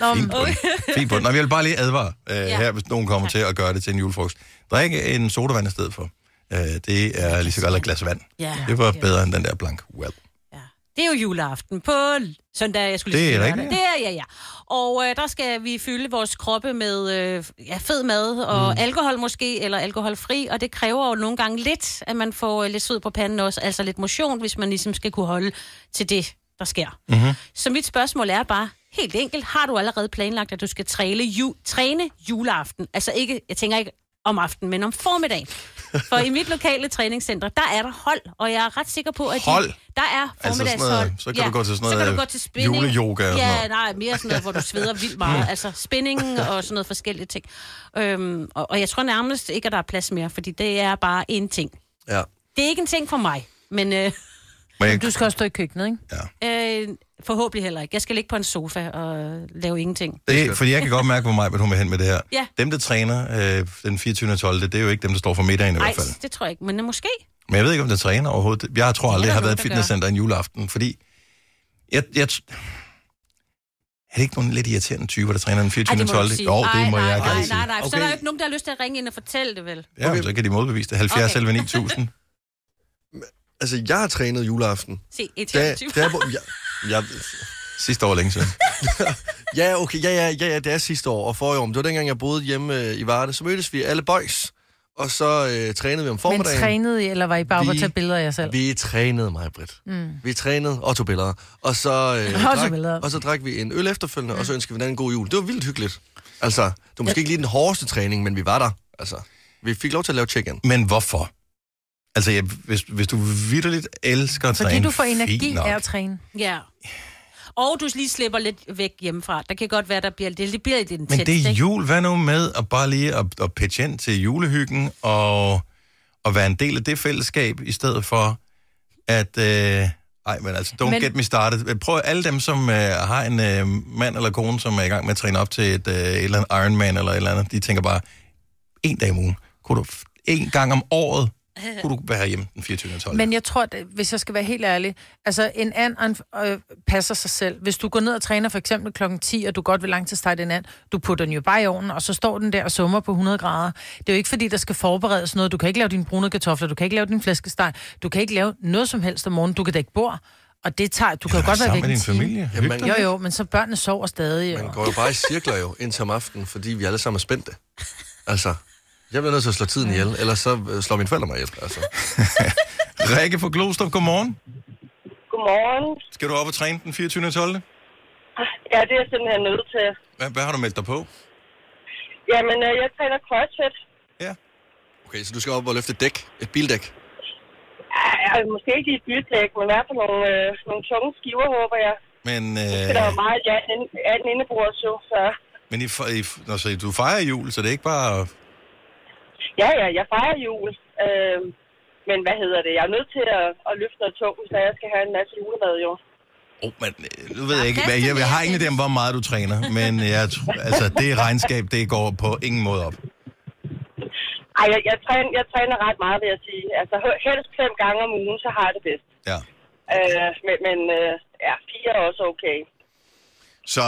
Speaker 1: Nå, fint på den. Fint på den. Nå, vi vil bare lige advare øh, ja. her, hvis nogen kommer til at gøre det til en julefrokost. Drik en sodavand i stedet for. Øh, det er lige så godt et glas vand.
Speaker 4: Ja.
Speaker 1: Det var bedre end den der blank. Well.
Speaker 4: Ja. Det er jo juleaften på l- søndag, jeg skulle
Speaker 1: Det
Speaker 4: lige
Speaker 1: er
Speaker 4: sige
Speaker 1: rigtigt,
Speaker 4: Det er ja, ja. Og øh, der skal vi fylde vores kroppe med øh, ja, fed mad og mm. alkohol måske, eller alkoholfri, og det kræver jo nogle gange lidt, at man får øh, lidt sved på panden også, altså lidt motion, hvis man ligesom skal kunne holde til det, der sker. Mm-hmm. Så mit spørgsmål er bare, helt enkelt, har du allerede planlagt, at du skal træne, ju- træne juleaften? Altså ikke, jeg tænker ikke om aftenen, men om formiddagen. For i mit lokale træningscenter, der er der hold, og jeg er ret sikker på, at
Speaker 1: Hold?
Speaker 4: De, der er
Speaker 1: Altså sådan noget-
Speaker 4: formiddagshold. Altså
Speaker 1: så kan du gå til sådan
Speaker 4: så kan
Speaker 1: noget øh,
Speaker 4: du gå til spinning.
Speaker 1: juleyoga og
Speaker 4: Ja,
Speaker 1: sådan noget. Mm.
Speaker 4: nej, mere sådan noget, hvor du sveder vildt meget. Altså spinningen og sådan noget forskellige ting. Øhm, og, og jeg tror nærmest ikke, at der er plads mere, fordi det er bare en ting.
Speaker 2: Ja.
Speaker 4: Det er ikke en ting for mig, men øh,
Speaker 1: Men jeg,
Speaker 3: Du skal også stå i køkkenet, ikke?
Speaker 4: øh, forhåbentlig heller ikke. Jeg skal ligge på en sofa og lave ingenting.
Speaker 1: det, fordi jeg kan godt mærke, hvor meget hun vil hen med det her.
Speaker 4: Ja.
Speaker 1: Dem, der træner øh, den 24. 12., det er jo ikke dem, der står for middagen i
Speaker 4: Nej,
Speaker 1: hvert fald.
Speaker 4: det tror jeg ikke, men øh, måske.
Speaker 1: Men jeg ved ikke, om der træner overhovedet. Jeg tror aldrig, jeg
Speaker 4: der
Speaker 1: har været i et
Speaker 4: nogen, der gør.
Speaker 1: fitnesscenter en juleaften, fordi... Jeg, jeg, er det ikke nogen lidt irriterende typer, der træner den 24.
Speaker 4: Ej, det må du
Speaker 1: 12.?
Speaker 4: ikke sige.
Speaker 1: Jo, det må
Speaker 4: nej,
Speaker 1: jeg
Speaker 4: nej,
Speaker 1: gerne
Speaker 4: nej,
Speaker 1: sige.
Speaker 4: nej, nej, for så er
Speaker 2: Okay.
Speaker 4: der jo ikke nogen, der har lyst til at ringe ind og fortælle det, vel?
Speaker 1: Ja, men så kan de modbevise det. 70
Speaker 4: Okay.
Speaker 1: okay.
Speaker 2: <laughs>
Speaker 1: 9000.
Speaker 2: Altså, jeg har trænet juleaften.
Speaker 4: Se, et
Speaker 2: Da,
Speaker 4: type.
Speaker 2: da, hvor, jeg, jeg,
Speaker 1: Sidste år længe siden.
Speaker 2: ja, okay, ja, ja, ja, ja, det er sidste år og forrige år. Men det var dengang, jeg boede hjemme øh, i Varde. Så mødtes vi alle boys, og så øh, trænede vi om
Speaker 3: Men
Speaker 2: formiddagen.
Speaker 3: trænede I, eller var I bare oppe og
Speaker 2: Vi-
Speaker 3: tage billeder af jer selv?
Speaker 2: Vi trænede mig, Britt. Mm. Vi trænede og tog billeder. Og så, øh,
Speaker 3: Og tog
Speaker 2: drak,
Speaker 3: billeder.
Speaker 2: og så drak vi en øl efterfølgende, og så ønskede vi hinanden en god jul. Det var vildt hyggeligt. Altså, det var måske ikke lige den hårdeste træning, men vi var der. Altså, vi fik lov til at lave check-in.
Speaker 1: Men hvorfor? Altså, jeg, hvis, hvis du vidderligt elsker at
Speaker 3: Fordi
Speaker 1: træne,
Speaker 3: du får
Speaker 1: fint
Speaker 3: energi
Speaker 1: nok.
Speaker 3: af at træne.
Speaker 4: Ja. Og du lige slipper lidt væk hjemmefra. Der kan godt være, der bliver, det, det bliver lidt intenst,
Speaker 1: Men det er
Speaker 4: ikke? <laughs>
Speaker 1: jul. Hvad nu med at bare lige at, at pitche ind til julehyggen og, og være en del af det fællesskab, i stedet for at... Øh, Nej, men altså, don't men...
Speaker 3: Men-
Speaker 1: get me started. Prøv alle dem, som øh, har en øh, mand eller kone, som er i gang med at træne op til et, øh, et eller andet Ironman eller et eller andet, de tænker bare, en dag om ugen, kunne du f- en gang om året, kunne du være hjemme den 24. og 12.
Speaker 3: Men jeg tror, at, hvis jeg skal være helt ærlig, altså en and og en, f- øh, passer sig selv. Hvis du går ned og træner for eksempel klokken 10, og du godt vil langtidsstarte en and, du putter den jo bare i ovnen, og så står den der og summer på 100 grader. Det er jo ikke fordi, der skal forberedes noget. Du kan ikke lave dine brune kartofler, du kan ikke lave din flæskesteg, du kan ikke lave noget som helst om morgenen, du kan dække bord. Og det tager, du kan jo godt være
Speaker 1: sammen
Speaker 3: væk
Speaker 1: med
Speaker 3: en
Speaker 1: din
Speaker 3: time.
Speaker 1: familie.
Speaker 2: Jamen,
Speaker 1: Jamen,
Speaker 3: Jo, jo, men så børnene sover stadig.
Speaker 2: Man
Speaker 3: Og...
Speaker 2: går jo bare i cirkler jo, indtil om aftenen, fordi vi alle sammen er spændte. Altså, jeg bliver nødt til at slå tiden ihjel, ellers så øh, slår mine forældre mig ihjel. Altså.
Speaker 1: Rikke fra Glostrup, godmorgen.
Speaker 7: Godmorgen. Ah,
Speaker 1: Skal du op og træne den 24. og 12.
Speaker 7: Ja, det er jeg simpelthen nødt til.
Speaker 1: Hvad, hvad har du meldt dig på?
Speaker 7: Jamen, øh, jeg træner CrossFit.
Speaker 1: Ja.
Speaker 2: Okay, så du skal op og løfte et dæk, et bildæk.
Speaker 7: Ej, ej, måske ikke i et bydæk, men i hvert fald nogle, øh, nogle tunge skiver, håber jeg.
Speaker 1: Men,
Speaker 7: Det er
Speaker 1: øh,
Speaker 7: jo meget ja, anden, anden indebror, så, så...
Speaker 1: men I, fe- I, f- nå, så du fejrer jul, så det er ikke bare...
Speaker 7: Ja, ja, jeg fejrer jul. Øh, men hvad hedder det? Jeg er nødt til at, at løfte noget tungt, så jeg skal have en masse julemad, jo.
Speaker 1: Oh, men, øh, nu ved jeg ikke, hvad, jeg, jeg har ingen idé om, hvor meget du træner, men jeg, tr- altså, det regnskab, det går på ingen måde op.
Speaker 7: Ej, jeg, jeg, træner, jeg træner ret meget, vil jeg sige. Altså, h- helst fem gange om ugen, så har jeg det bedst.
Speaker 1: Ja.
Speaker 7: Øh, men men øh, ja, fire er også okay.
Speaker 1: Så,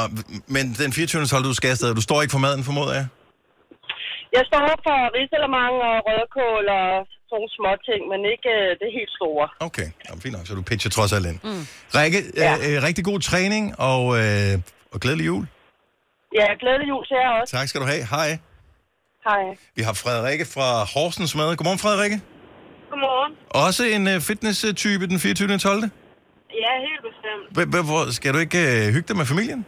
Speaker 1: men den 24. holder du skal afsted. Du står ikke for maden, formoder jeg?
Speaker 7: Jeg står op for risalemang og rødkål og sådan nogle små ting, men ikke øh, det helt store.
Speaker 1: Okay, Jamen, fint nok, så du pitcher trods alt ind. Mm. Rikke, ja. øh, øh, rigtig god træning, og, øh, og glædelig jul.
Speaker 7: Ja, glædelig jul til jer også.
Speaker 1: Tak skal du have. Hej.
Speaker 7: Hej.
Speaker 1: Vi har Frederikke fra Horsens med. Godmorgen, Frederikke.
Speaker 7: Godmorgen.
Speaker 1: Også en øh, fitness-type den 24. 12.
Speaker 7: Ja, helt bestemt.
Speaker 1: H- h- hvor, skal du ikke øh, hygge dig med familien?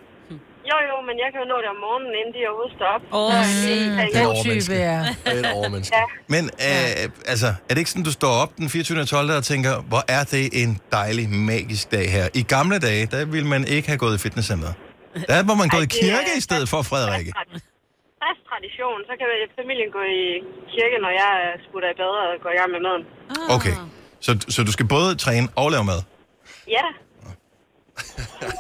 Speaker 7: Jo, jo, men jeg kan jo nå det om morgenen, inden de er ude stå op.
Speaker 4: Åh, se.
Speaker 7: Ja,
Speaker 3: Den
Speaker 2: overmenneske.
Speaker 3: type er...
Speaker 2: Det er et overmenneske.
Speaker 7: Ja.
Speaker 1: Men øh, altså, er det ikke sådan, du står op den 24. 12. og tænker, hvor er det en dejlig, magisk dag her? I gamle dage, der ville man ikke have gået i fitnesscenteret. Der var man gået i
Speaker 7: det er-
Speaker 1: kirke i stedet for, Frederikke.
Speaker 7: Fast tradition, så kan familien gå i kirke, når jeg sputter i bad og går i gang med maden.
Speaker 3: Ah.
Speaker 1: Okay, så, så du skal både træne og lave mad.
Speaker 7: Ja,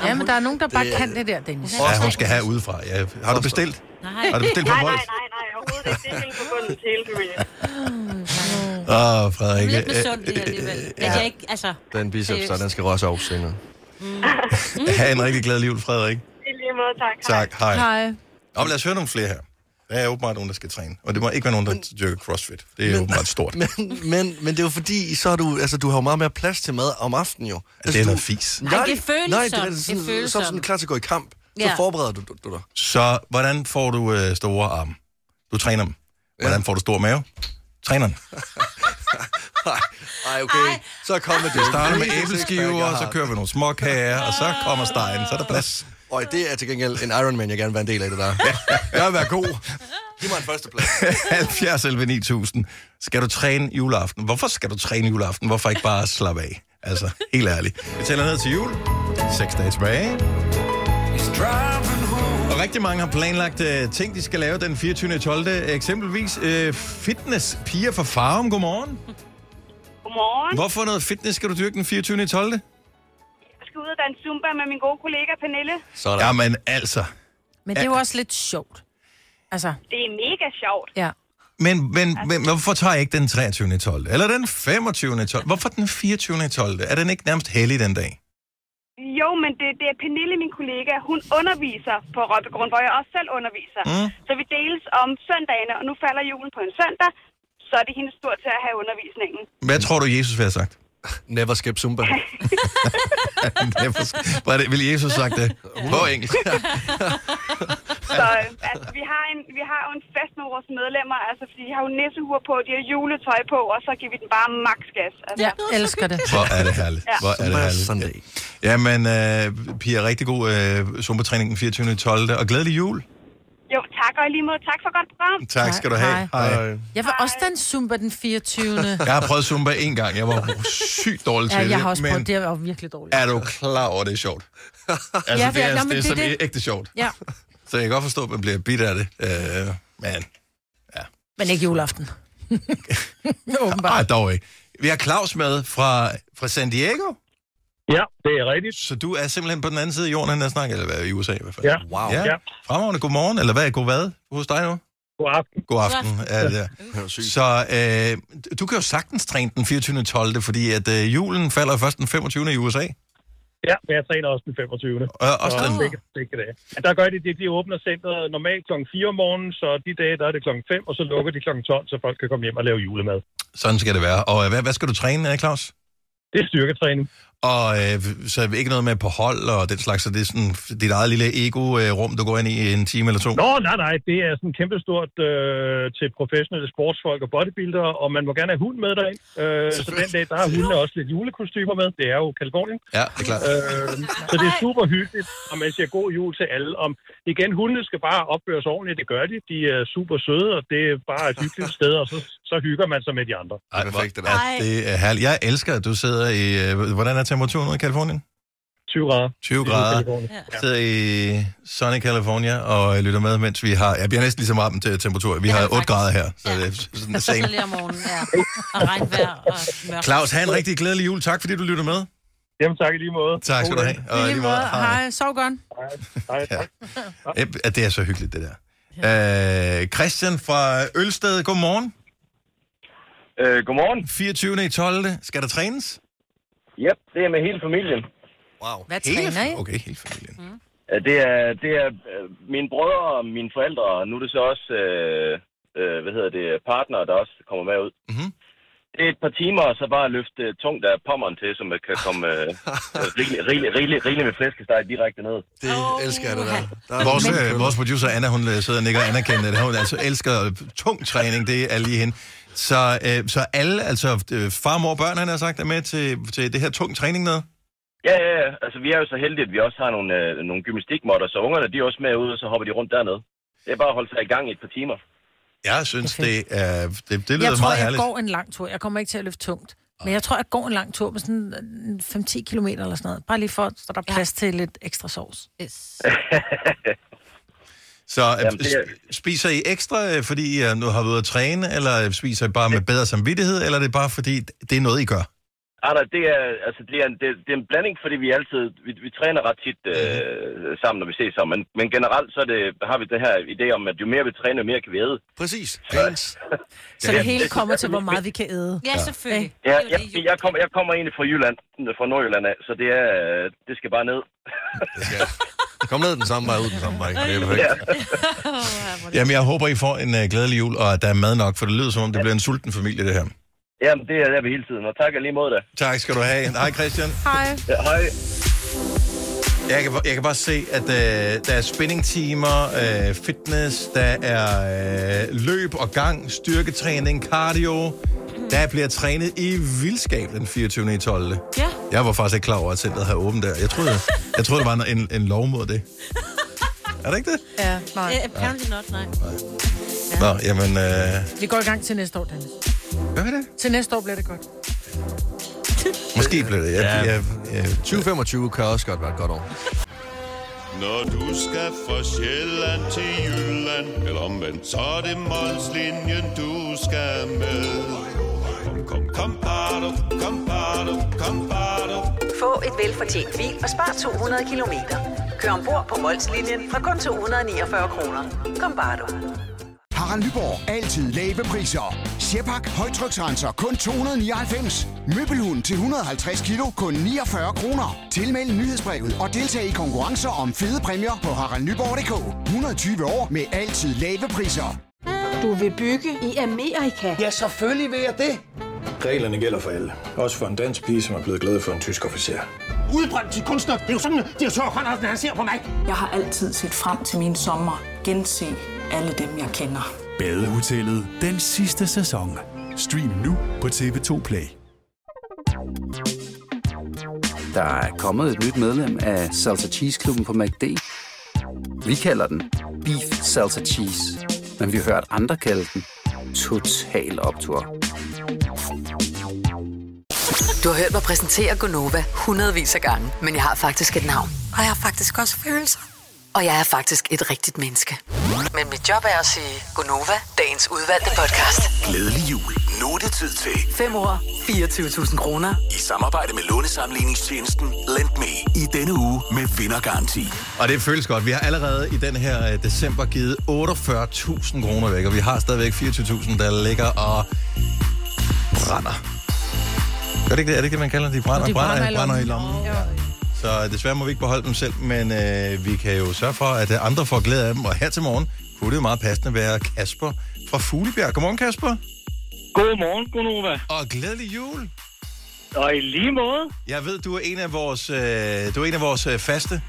Speaker 3: Ja, men der er nogen, der bare kan det der, Dennis.
Speaker 1: Ja, hun skal have udefra. Ja. Har du bestilt?
Speaker 4: Nej.
Speaker 1: Har du bestilt
Speaker 7: nej,
Speaker 1: for
Speaker 7: nej,
Speaker 1: Wolf?
Speaker 7: nej, nej, overhovedet ikke. Det er helt forbundet til hele familien.
Speaker 1: Åh,
Speaker 4: Jeg er
Speaker 1: Frederikke.
Speaker 4: lidt misundelig
Speaker 2: Øh,
Speaker 4: alligevel. Men jeg ikke, altså...
Speaker 2: Den biceps, der, den skal røre sig over senere.
Speaker 1: øh, <laughs> Ha' en rigtig glad liv, Frederik.
Speaker 7: I lige måde, tak. Hej.
Speaker 1: Tak, hej. hej.
Speaker 3: Hej.
Speaker 1: Og lad os høre nogle flere her. Der er åbenbart nogen, der skal træne. Og det må ikke være nogen, der dyrker crossfit. Det er åbenbart stort.
Speaker 2: Men, men, men det er jo fordi, så har du, altså, du har jo meget mere plads til mad om aftenen jo. Altså,
Speaker 1: det er
Speaker 2: du,
Speaker 1: noget fis.
Speaker 2: Nej,
Speaker 4: det er følsomt.
Speaker 2: Nej, det er,
Speaker 4: Det er
Speaker 2: sådan, så er du
Speaker 4: følsomt.
Speaker 2: sådan klar til at gå i kamp. Så
Speaker 4: Ja.
Speaker 2: forbereder <laughs> du, du, du dig.
Speaker 1: Så hvordan får du øh, store arme? Du træner dem. Hvordan får du stor mave? Træner
Speaker 2: <laughs>
Speaker 1: den.
Speaker 2: Nej, okay.
Speaker 4: Ej.
Speaker 2: Så kommer det.
Speaker 1: Vi starter med æbleskiver, og så kører vi nogle småkager, og så kommer stegen. Så er der plads.
Speaker 2: Og det er til gengæld en Ironman, jeg gerne vil være en del af det der. Jeg vil være god. Giv mig en
Speaker 1: <laughs>
Speaker 2: førsteplads.
Speaker 1: 70 11 9000. Skal du træne juleaften? Hvorfor skal du træne juleaften? Hvorfor ikke bare slappe af? Altså, helt ærligt. Vi tæller ned til jul. 6 dage tilbage. Og rigtig mange har planlagt øh, ting, de skal lave den 24. 12. Eksempelvis øh, fitness. Piger fra Farum, godmorgen.
Speaker 7: Godmorgen.
Speaker 1: Hvorfor noget fitness skal du dyrke den 24. 12.?
Speaker 7: Jeg skal ud og danse Zumba med min gode kollega Pernille.
Speaker 2: Sådan.
Speaker 1: Jamen altså.
Speaker 3: Men det er jo også lidt sjovt. Altså,
Speaker 7: Det er mega sjovt.
Speaker 3: ja.
Speaker 1: Men, men, men hvorfor tager jeg ikke den 23. 12. Eller den 25. 12. Hvorfor den 24. 12. Er den ikke nærmest hellig den dag?
Speaker 7: Jo, men det, det er Pernille, min kollega. Hun underviser på Rødbegrund, hvor jeg også selv underviser.
Speaker 1: Mm.
Speaker 7: Mm. Så vi deles om søndagene, og nu falder julen på en søndag. Så er det hendes tur til at have
Speaker 1: <laughs>
Speaker 7: undervisningen.
Speaker 1: Hvad tror du, Jesus vil have sagt?
Speaker 2: Never skip Zumba.
Speaker 1: Hvor er det, vil Jesus have sagt det? På engelsk.
Speaker 7: Så øh, altså, vi, har en, vi har jo en fest med vores medlemmer, altså, fordi de har jo nissehuer på, de har juletøj på, og så giver vi den bare maks gas. Altså.
Speaker 3: Ja, elsker det.
Speaker 1: Hvor er det herligt. Hvor er det
Speaker 7: <laughs>
Speaker 1: herligt.
Speaker 2: Sunday.
Speaker 1: Jamen, øh, Pia, rigtig god øh, zumba-træning den 24. 12. Og glædelig jul.
Speaker 7: Jo, tak, og i lige måde tak for godt program.
Speaker 1: Tak skal du have.
Speaker 3: Hej.
Speaker 1: Hej.
Speaker 3: Jeg var også den Zumba den 24.
Speaker 1: <laughs> Jeg har prøvet Zumba en gang. Jeg var sygt dårlig til
Speaker 3: Ja, jeg
Speaker 1: det.
Speaker 3: har også
Speaker 1: men
Speaker 3: prøvet, det var virkelig dårligt.
Speaker 1: er du klar over, at det er sjovt? Altså,
Speaker 3: Ja,
Speaker 1: ja, det
Speaker 3: for-
Speaker 1: er,
Speaker 3: nå,
Speaker 1: det
Speaker 3: men
Speaker 1: er
Speaker 3: det er
Speaker 1: som
Speaker 3: det.
Speaker 1: ægte sjovt.
Speaker 3: Ja,
Speaker 1: Så jeg kan godt forstå, at man bliver bidt af det. Øh, men
Speaker 3: men ikke
Speaker 1: <laughs>
Speaker 3: juleaften. Åbenbart.
Speaker 1: Ej, dog ikke. Vi har Claus med fra, fra San Diego.
Speaker 6: Ja, det er rigtigt.
Speaker 1: Så du er simpelthen på den anden side af jorden, end jeg snakker, eller hvad, i USA i hvert fald?
Speaker 6: Ja.
Speaker 2: Wow.
Speaker 1: Ja. ja.
Speaker 6: Ja.
Speaker 1: Fremragende godmorgen, eller hvad? God hvad hos dig nu?
Speaker 6: God aften.
Speaker 1: God aften.
Speaker 8: God
Speaker 1: Ja, ja.
Speaker 2: Det var sygt.
Speaker 1: Så øh, du kan jo sagtens træne den 24. 12., fordi at øh, julen falder først den 25. i USA.
Speaker 6: Ja, men jeg træner også den 25.
Speaker 1: Og også
Speaker 6: Så
Speaker 1: den.
Speaker 6: begge, begge dage. Men der gør de det, de åbner centret normalt kl. 4 om morgenen, så de dage, der er det kl. 5, og så lukker de kl. 12, så folk kan komme hjem og lave julemad.
Speaker 1: Sådan skal det være. Og øh, hvad, hvad skal du træne, øh, Claus?
Speaker 6: Det er styrketræning.
Speaker 1: Og øh, så ikke noget med på hold og den slags, så det er sådan dit eget lille ego-rum, du går ind i en time eller to.
Speaker 6: Nå, nej, nej, det er sådan kæmpestort øh, til professionelle sportsfolk og bodybuildere, og man må gerne have hund med derind. Øh, så den dag, der har hundene også lidt julekostymer med. Det er jo Kalifornien.
Speaker 1: Ja, det er klart.
Speaker 6: Øh, så det er super hyggeligt, og man siger god jul til alle. Om, igen, hundene skal bare opføres ordentligt, det gør de. De er super søde, og det er bare et hyggeligt sted, og så, så hygger man sig med de andre.
Speaker 1: Ej, hvor
Speaker 2: perfekt, det der.
Speaker 1: er det er herligt. Jeg elsker, at du sidder i... Øh, hvordan er temperaturen ude i Kalifornien?
Speaker 6: 20 grader.
Speaker 1: 20
Speaker 6: Det er
Speaker 1: grader.
Speaker 6: Kalifornien.
Speaker 1: Jeg sidder i Sunny California og lytter med, mens vi har... Jeg bliver næsten lige så meget til temperatur. Vi
Speaker 8: Ja,
Speaker 1: har 8
Speaker 8: faktisk.
Speaker 1: grader her, så
Speaker 8: Ja.
Speaker 1: det er sådan
Speaker 3: Altså
Speaker 8: Så
Speaker 1: same.
Speaker 8: lige om morgenen, ja. Og regnvejr og mørkt.
Speaker 1: Claus, have en rigtig glædelig jul. Tak, fordi du lytter med.
Speaker 6: Jamen tak i lige måde.
Speaker 1: Tak skal du
Speaker 6: God
Speaker 1: have.
Speaker 3: I
Speaker 1: i
Speaker 3: lige måde. Hej, sov godt.
Speaker 6: Hej. Hej.
Speaker 1: Ja. Eb- at Det er så hyggeligt, det der. Øh, Christian fra Ølsted, godmorgen.
Speaker 6: Øh, godmorgen.
Speaker 1: 24. i 12. Skal der trænes?
Speaker 6: Yep, det er med hele familien.
Speaker 2: Wow.
Speaker 3: Hvad træner I?
Speaker 1: fa- Okay, hele familien. Mm.
Speaker 6: Ja, Det er, det er øh, mine brødre og mine forældre, og nu er det så også, øh, øh, hvad hedder det, partner, der også kommer med ud.
Speaker 1: Mhm.
Speaker 6: Det er et par timer, og så bare løfte øh, tungt af pommeren til, så man kan komme
Speaker 2: <laughs>
Speaker 6: øh, rigeligt rigelig, rigelig, rigelig med flæskesteg direkte ned.
Speaker 2: Det
Speaker 8: Åh,
Speaker 2: elsker jeg, det der. der er
Speaker 1: Vores,
Speaker 2: Men-
Speaker 1: øh, vores producer Anna, hun øh, sidder og nikker og anerkender det. Hun altså elsker øh, tung træning, det er lige hende. Så, øh, så alle, altså øh, far, mor og børn, han har sagt, er med til, til det her tung træning noget?
Speaker 6: Ja, ja, ja. altså vi er jo så heldige, at vi også har nogle, øh, nogle gymnastikmåtter, så ungerne de er også med ud, og så hopper de rundt dernede. Det er bare at holde sig i gang i et par timer.
Speaker 1: Jeg synes, det, er, det, det lyder
Speaker 3: Jeg tror,
Speaker 1: meget
Speaker 3: jeg
Speaker 1: herligt.
Speaker 3: går en lang tur. Jeg kommer ikke til at løfte tungt. Men jeg tror, jeg går en lang tur med sådan øh, 5-10 km eller sådan noget. Bare lige for, så der er plads til lidt ekstra sovs.
Speaker 8: Yes.
Speaker 1: Så øh,
Speaker 6: Jamen, det er-
Speaker 1: sp- spiser I ekstra, øh, fordi I øh, nu har været ude at træne, eller øh, spiser I bare med bedre samvittighed, eller er det bare fordi, det er noget, I gør?
Speaker 6: Ej, nej, det er, altså, det, er en, det, det er en blanding, fordi vi altid vi, vi træner ret tit
Speaker 2: Mhm.
Speaker 6: øh, sammen, når vi ses sammen. Men, men generelt så er det, har vi det her idé om, at jo mere vi træner, jo mere kan vi æde.
Speaker 2: Præcis.
Speaker 6: <laughs>
Speaker 2: Balance.
Speaker 3: Så det hele kommer til, hvor meget vi kan æde.
Speaker 8: Ja, selvfølgelig. Det
Speaker 6: Ja,
Speaker 8: er jo
Speaker 6: jeg,
Speaker 8: det, jul-
Speaker 6: jeg, kommer, jeg kommer egentlig fra Jylland, fra Nordjylland af, så det, er, øh, det skal bare ned.
Speaker 2: Det skal jeg. <laughs> Kom ned den samme vej, ud den samme vej. Det er
Speaker 6: <laughs>
Speaker 2: perfekt.
Speaker 1: Jamen, jeg håber, I får en øh, glædelig jul, og at der er mad nok, for det lyder, som om det bliver en sulten familie, det her.
Speaker 6: Jamen, det er der ved hele tiden, og tak lige mod dig.
Speaker 1: Tak skal du have. Hej, Christian.
Speaker 3: Hej.
Speaker 6: Ja, hej.
Speaker 1: Jeg kan, jeg kan bare se, at øh, der er spinningtimer, øh, fitness, der er øh, løb og gang, styrketræning, cardio. Der bliver trænet i vildskab den 24. i 12.
Speaker 8: Ja.
Speaker 1: Jeg var faktisk ikke klar over, at centret havde åbent der. Jeg troede, jeg troede der var en, en lov mod det. Er det ikke det?
Speaker 3: Ja, nej.
Speaker 8: Eh, Apparently not, nej.
Speaker 1: Nå, jamen... Øh,
Speaker 3: Vi går i gang til næste år, Dennis.
Speaker 1: gør vi det?
Speaker 3: Til næste år bliver det godt.
Speaker 1: Måske bliver det. Jeg, jeg,
Speaker 2: Ja.
Speaker 1: jeg, jeg,
Speaker 2: 2025 kan også godt være et godt år.
Speaker 9: Når du skal fra Sjælland til Jylland Eller omvendt, så er det Molslinjen, du skal med Kom, kom, kom, bado, kom, bado, kom, bado.
Speaker 10: Få et velfortjent bil og spar 200 kilometer. Kør ombord på Molslinjen fra kun 249 kroner. Kom bare du.
Speaker 11: Harald Nyborg. Altid lave priser. Sjehpak. Højtryksrenser. Kun 299. Møbelhund til 150 kilo. Kun 49 kroner. Tilmeld nyhedsbrevet og deltag i konkurrencer om fede præmier på haraldnyborg.dk. 120 år med altid lave priser.
Speaker 10: Du vil bygge i Amerika?
Speaker 11: Ja, selvfølgelig vil jeg det.
Speaker 12: Reglerne gælder for alle. Også for en dansk pige, som er blevet glad for en tysk officer.
Speaker 11: Udbrændt til kunstner. Det er jo sådan, at de har tørt, han ser på mig.
Speaker 10: Jeg har altid set frem til min sommer. Gense alle dem, jeg kender.
Speaker 12: Badehotellet. Den sidste sæson. Stream nu på TV2 Play.
Speaker 11: Der er kommet et nyt medlem af Salsa Cheese Klubben på MACD. Vi kalder den Beef Salsa Cheese. Men vi har hørt andre kalde den Total Optor.
Speaker 5: Du har hørt mig præsentere Gonova hundredvis af gange, men jeg har faktisk et navn. Og jeg har faktisk også følelser. Og jeg er faktisk et rigtigt menneske. Men mit job er at sige Gunova, dagens udvalgte podcast.
Speaker 6: Glædelig jul. Nu er det tid til
Speaker 5: 5 år, 24.000 kroner.
Speaker 6: i samarbejde med lånesamligningstjenesten Lend Me i denne uge med vindergaranti.
Speaker 1: Og det føles godt. Vi har allerede i den her øh, december givet 48.000 kroner væk, og vi har stadigvæk 24.000, der ligger og brænder. Gør det ikke det? Er det ikke det, man kalder det? De brænder,
Speaker 13: De brænder
Speaker 1: brænder,
Speaker 13: i
Speaker 1: brænder i
Speaker 13: lommen.
Speaker 1: lommen. Så desværre må vi ikke beholde dem selv, men øh, vi kan jo sørge for, at øh, andre får glæde af dem. Og her til morgen kunne det jo meget passende være Kasper fra Fuglebjerg. Godmorgen, Kasper.
Speaker 14: Godmorgen, Gunova.
Speaker 1: Og glædelig jul.
Speaker 14: Og i lige måde.
Speaker 1: Jeg ved, du er en af vores, øh, du er en af vores øh, faste,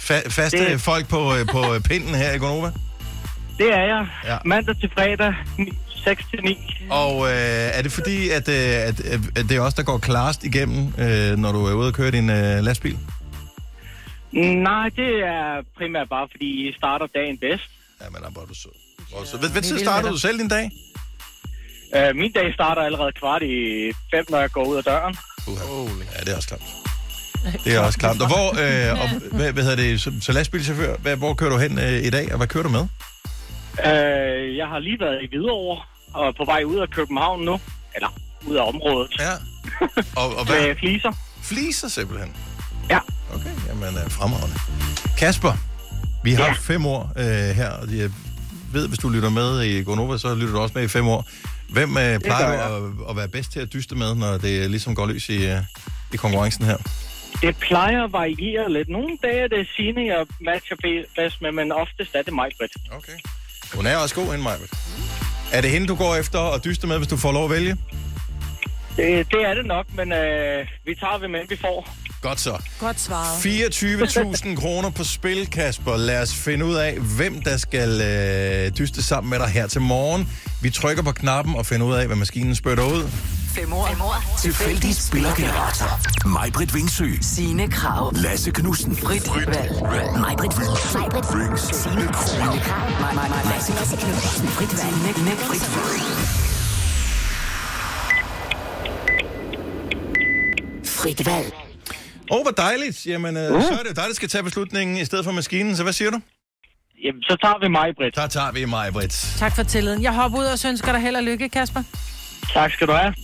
Speaker 1: fa- faste
Speaker 14: Det-
Speaker 1: folk på, øh, på øh, pinden her i Gonova.
Speaker 14: Det er jeg.
Speaker 1: Ja.
Speaker 14: Mandag til fredag, 6-9.
Speaker 1: Og øh, er det fordi, at, øh, at, øh, at det er os, der går klarest igennem, øh, når du er ude og køre din øh, lastbil?
Speaker 14: Nej, det er primært bare, fordi I starter dagen bedst.
Speaker 1: Ja, men hvor er du sød. Og så, hvad hvad tid startede du selv din dag?
Speaker 14: Øh, min dag starter allerede kvart i fem, når jeg går ud af døren.
Speaker 1: Uh, ja, det er også klamt. Det er også klamt. Og hvor, øh, og, hvad, hvad hedder det, så, så lastbilchauffør, hvad, hvor kører du hen øh, i dag, og hvad kører du med?
Speaker 14: Øh, jeg har lige været i Hvidovre og er på vej ud af København nu. Eller ud af området. <laughs>
Speaker 1: Ja. Og, og
Speaker 14: Med fliser.
Speaker 1: Fliser simpelthen?
Speaker 14: Ja.
Speaker 1: Okay, jamen øh, fremragende. Kasper, vi har ja. fem år øh, her, og jeg ved, hvis du lytter med i Gonova, så lytter du også med i fem år. Hvem øh, plejer
Speaker 14: gør
Speaker 1: du at, at være bedst til at dyste med, når det ligesom går løs i, øh, i konkurrencen her?
Speaker 14: Det plejer at variere lidt. Nogle dage er det Signe, jeg matcher be- bedst med, men oftest er det mig, Britt.
Speaker 1: Okay. Hun er også god hende, Maja. Er det hende, du går efter og dyster med, hvis du får lov at vælge?
Speaker 14: Det, det er det nok, men øh, vi tager, hvem end vi får.
Speaker 1: Godt så.
Speaker 3: Godt
Speaker 14: <laughs>
Speaker 3: svaret.
Speaker 1: 24.000 kroner på spil, Kasper. Lad os finde ud af, hvem der skal øh, dyste sammen med dig her til morgen. Vi trykker på knappen og finder ud af, hvad maskinen spytter ud.
Speaker 5: 5 år, 5 år.
Speaker 6: Tilfældig spillergenerator. Majbrit Vingsø.
Speaker 5: Signe Krav.
Speaker 6: Lasse Knudsen. Britt Valg. Majbrit Vingsø. Signe Krone. Lasse Knudsen. Britt Valg.
Speaker 5: Frit valg. Uh.
Speaker 1: Åh, oh, hvor dejligt. Jamen, øh,
Speaker 14: Mm.
Speaker 1: så er det jo dig, der skal tage beslutningen i stedet for maskinen. Så hvad siger du?
Speaker 14: Jamen, så tager vi mig, Britt.
Speaker 1: Så tager vi mig, Britt.
Speaker 3: Tak for tilliden. Jeg hopper ud og så ønsker dig held og lykke, Kasper.
Speaker 14: Tak skal du have.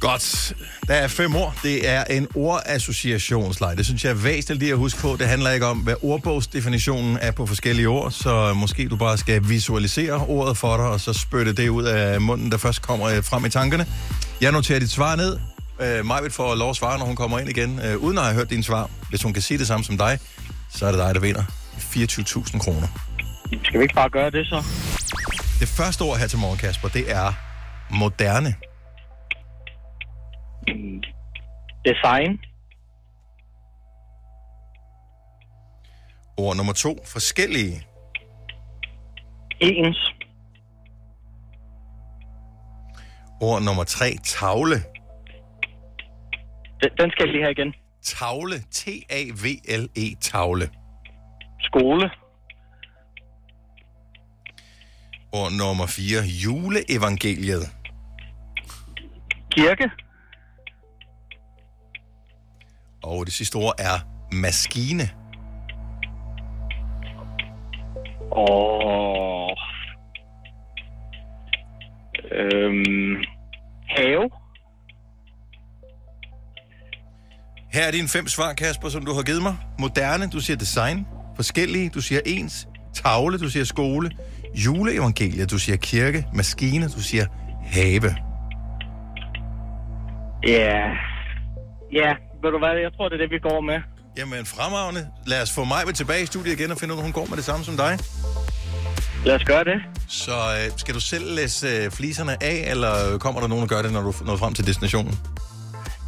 Speaker 1: Godt. Der er fem ord. Det er en ordassociationsleg. Det synes jeg er væsentligt lige at huske på. Det handler ikke om, hvad ordbogsdefinitionen er på forskellige ord, så måske du bare skal visualisere ordet for dig, og så spytte det ud af munden, der først kommer øh, frem i tankerne. Jeg noterer dit svar ned. Øh, Majved får lov at svare, når hun kommer ind igen, øh, uden at have hørt dine svar. Hvis hun kan sige det samme som dig, så er det dig, der vinder 24.000 kroner.
Speaker 14: Skal vi ikke bare gøre det så?
Speaker 1: Det første ord her til morgen, Kasper, det er moderne.
Speaker 14: Design.
Speaker 1: Ord nummer to, forskellige.
Speaker 14: Ens.
Speaker 1: Ord nummer tre, tavle.
Speaker 14: Den, den skal jeg lige have igen.
Speaker 1: Tavle. T-A-V-L-E, E, tavle.
Speaker 14: Skole.
Speaker 1: Ord nummer fire, juleevangeliet.
Speaker 14: Kirke.
Speaker 1: Og det sidste ord er maskine.
Speaker 14: Og... Øhm... Have.
Speaker 1: Her er dine fem svar, Kasper, som du har givet mig. Moderne, du siger design. Forskellige, du siger ens. Tavle, du siger skole. Juleevangeliet, du siger kirke. Maskine, du siger have.
Speaker 14: Ja. Ja, ved du hvad, jeg tror, det er det, vi går med.
Speaker 1: Jamen, fremragende. Lad os få mig tilbage i studiet igen og finde ud af, om hun går med det samme som dig.
Speaker 14: Lad os gøre det.
Speaker 1: Så øh, skal du selv læse øh, fliserne af, eller kommer der nogen, der gør det, når du når frem til destinationen?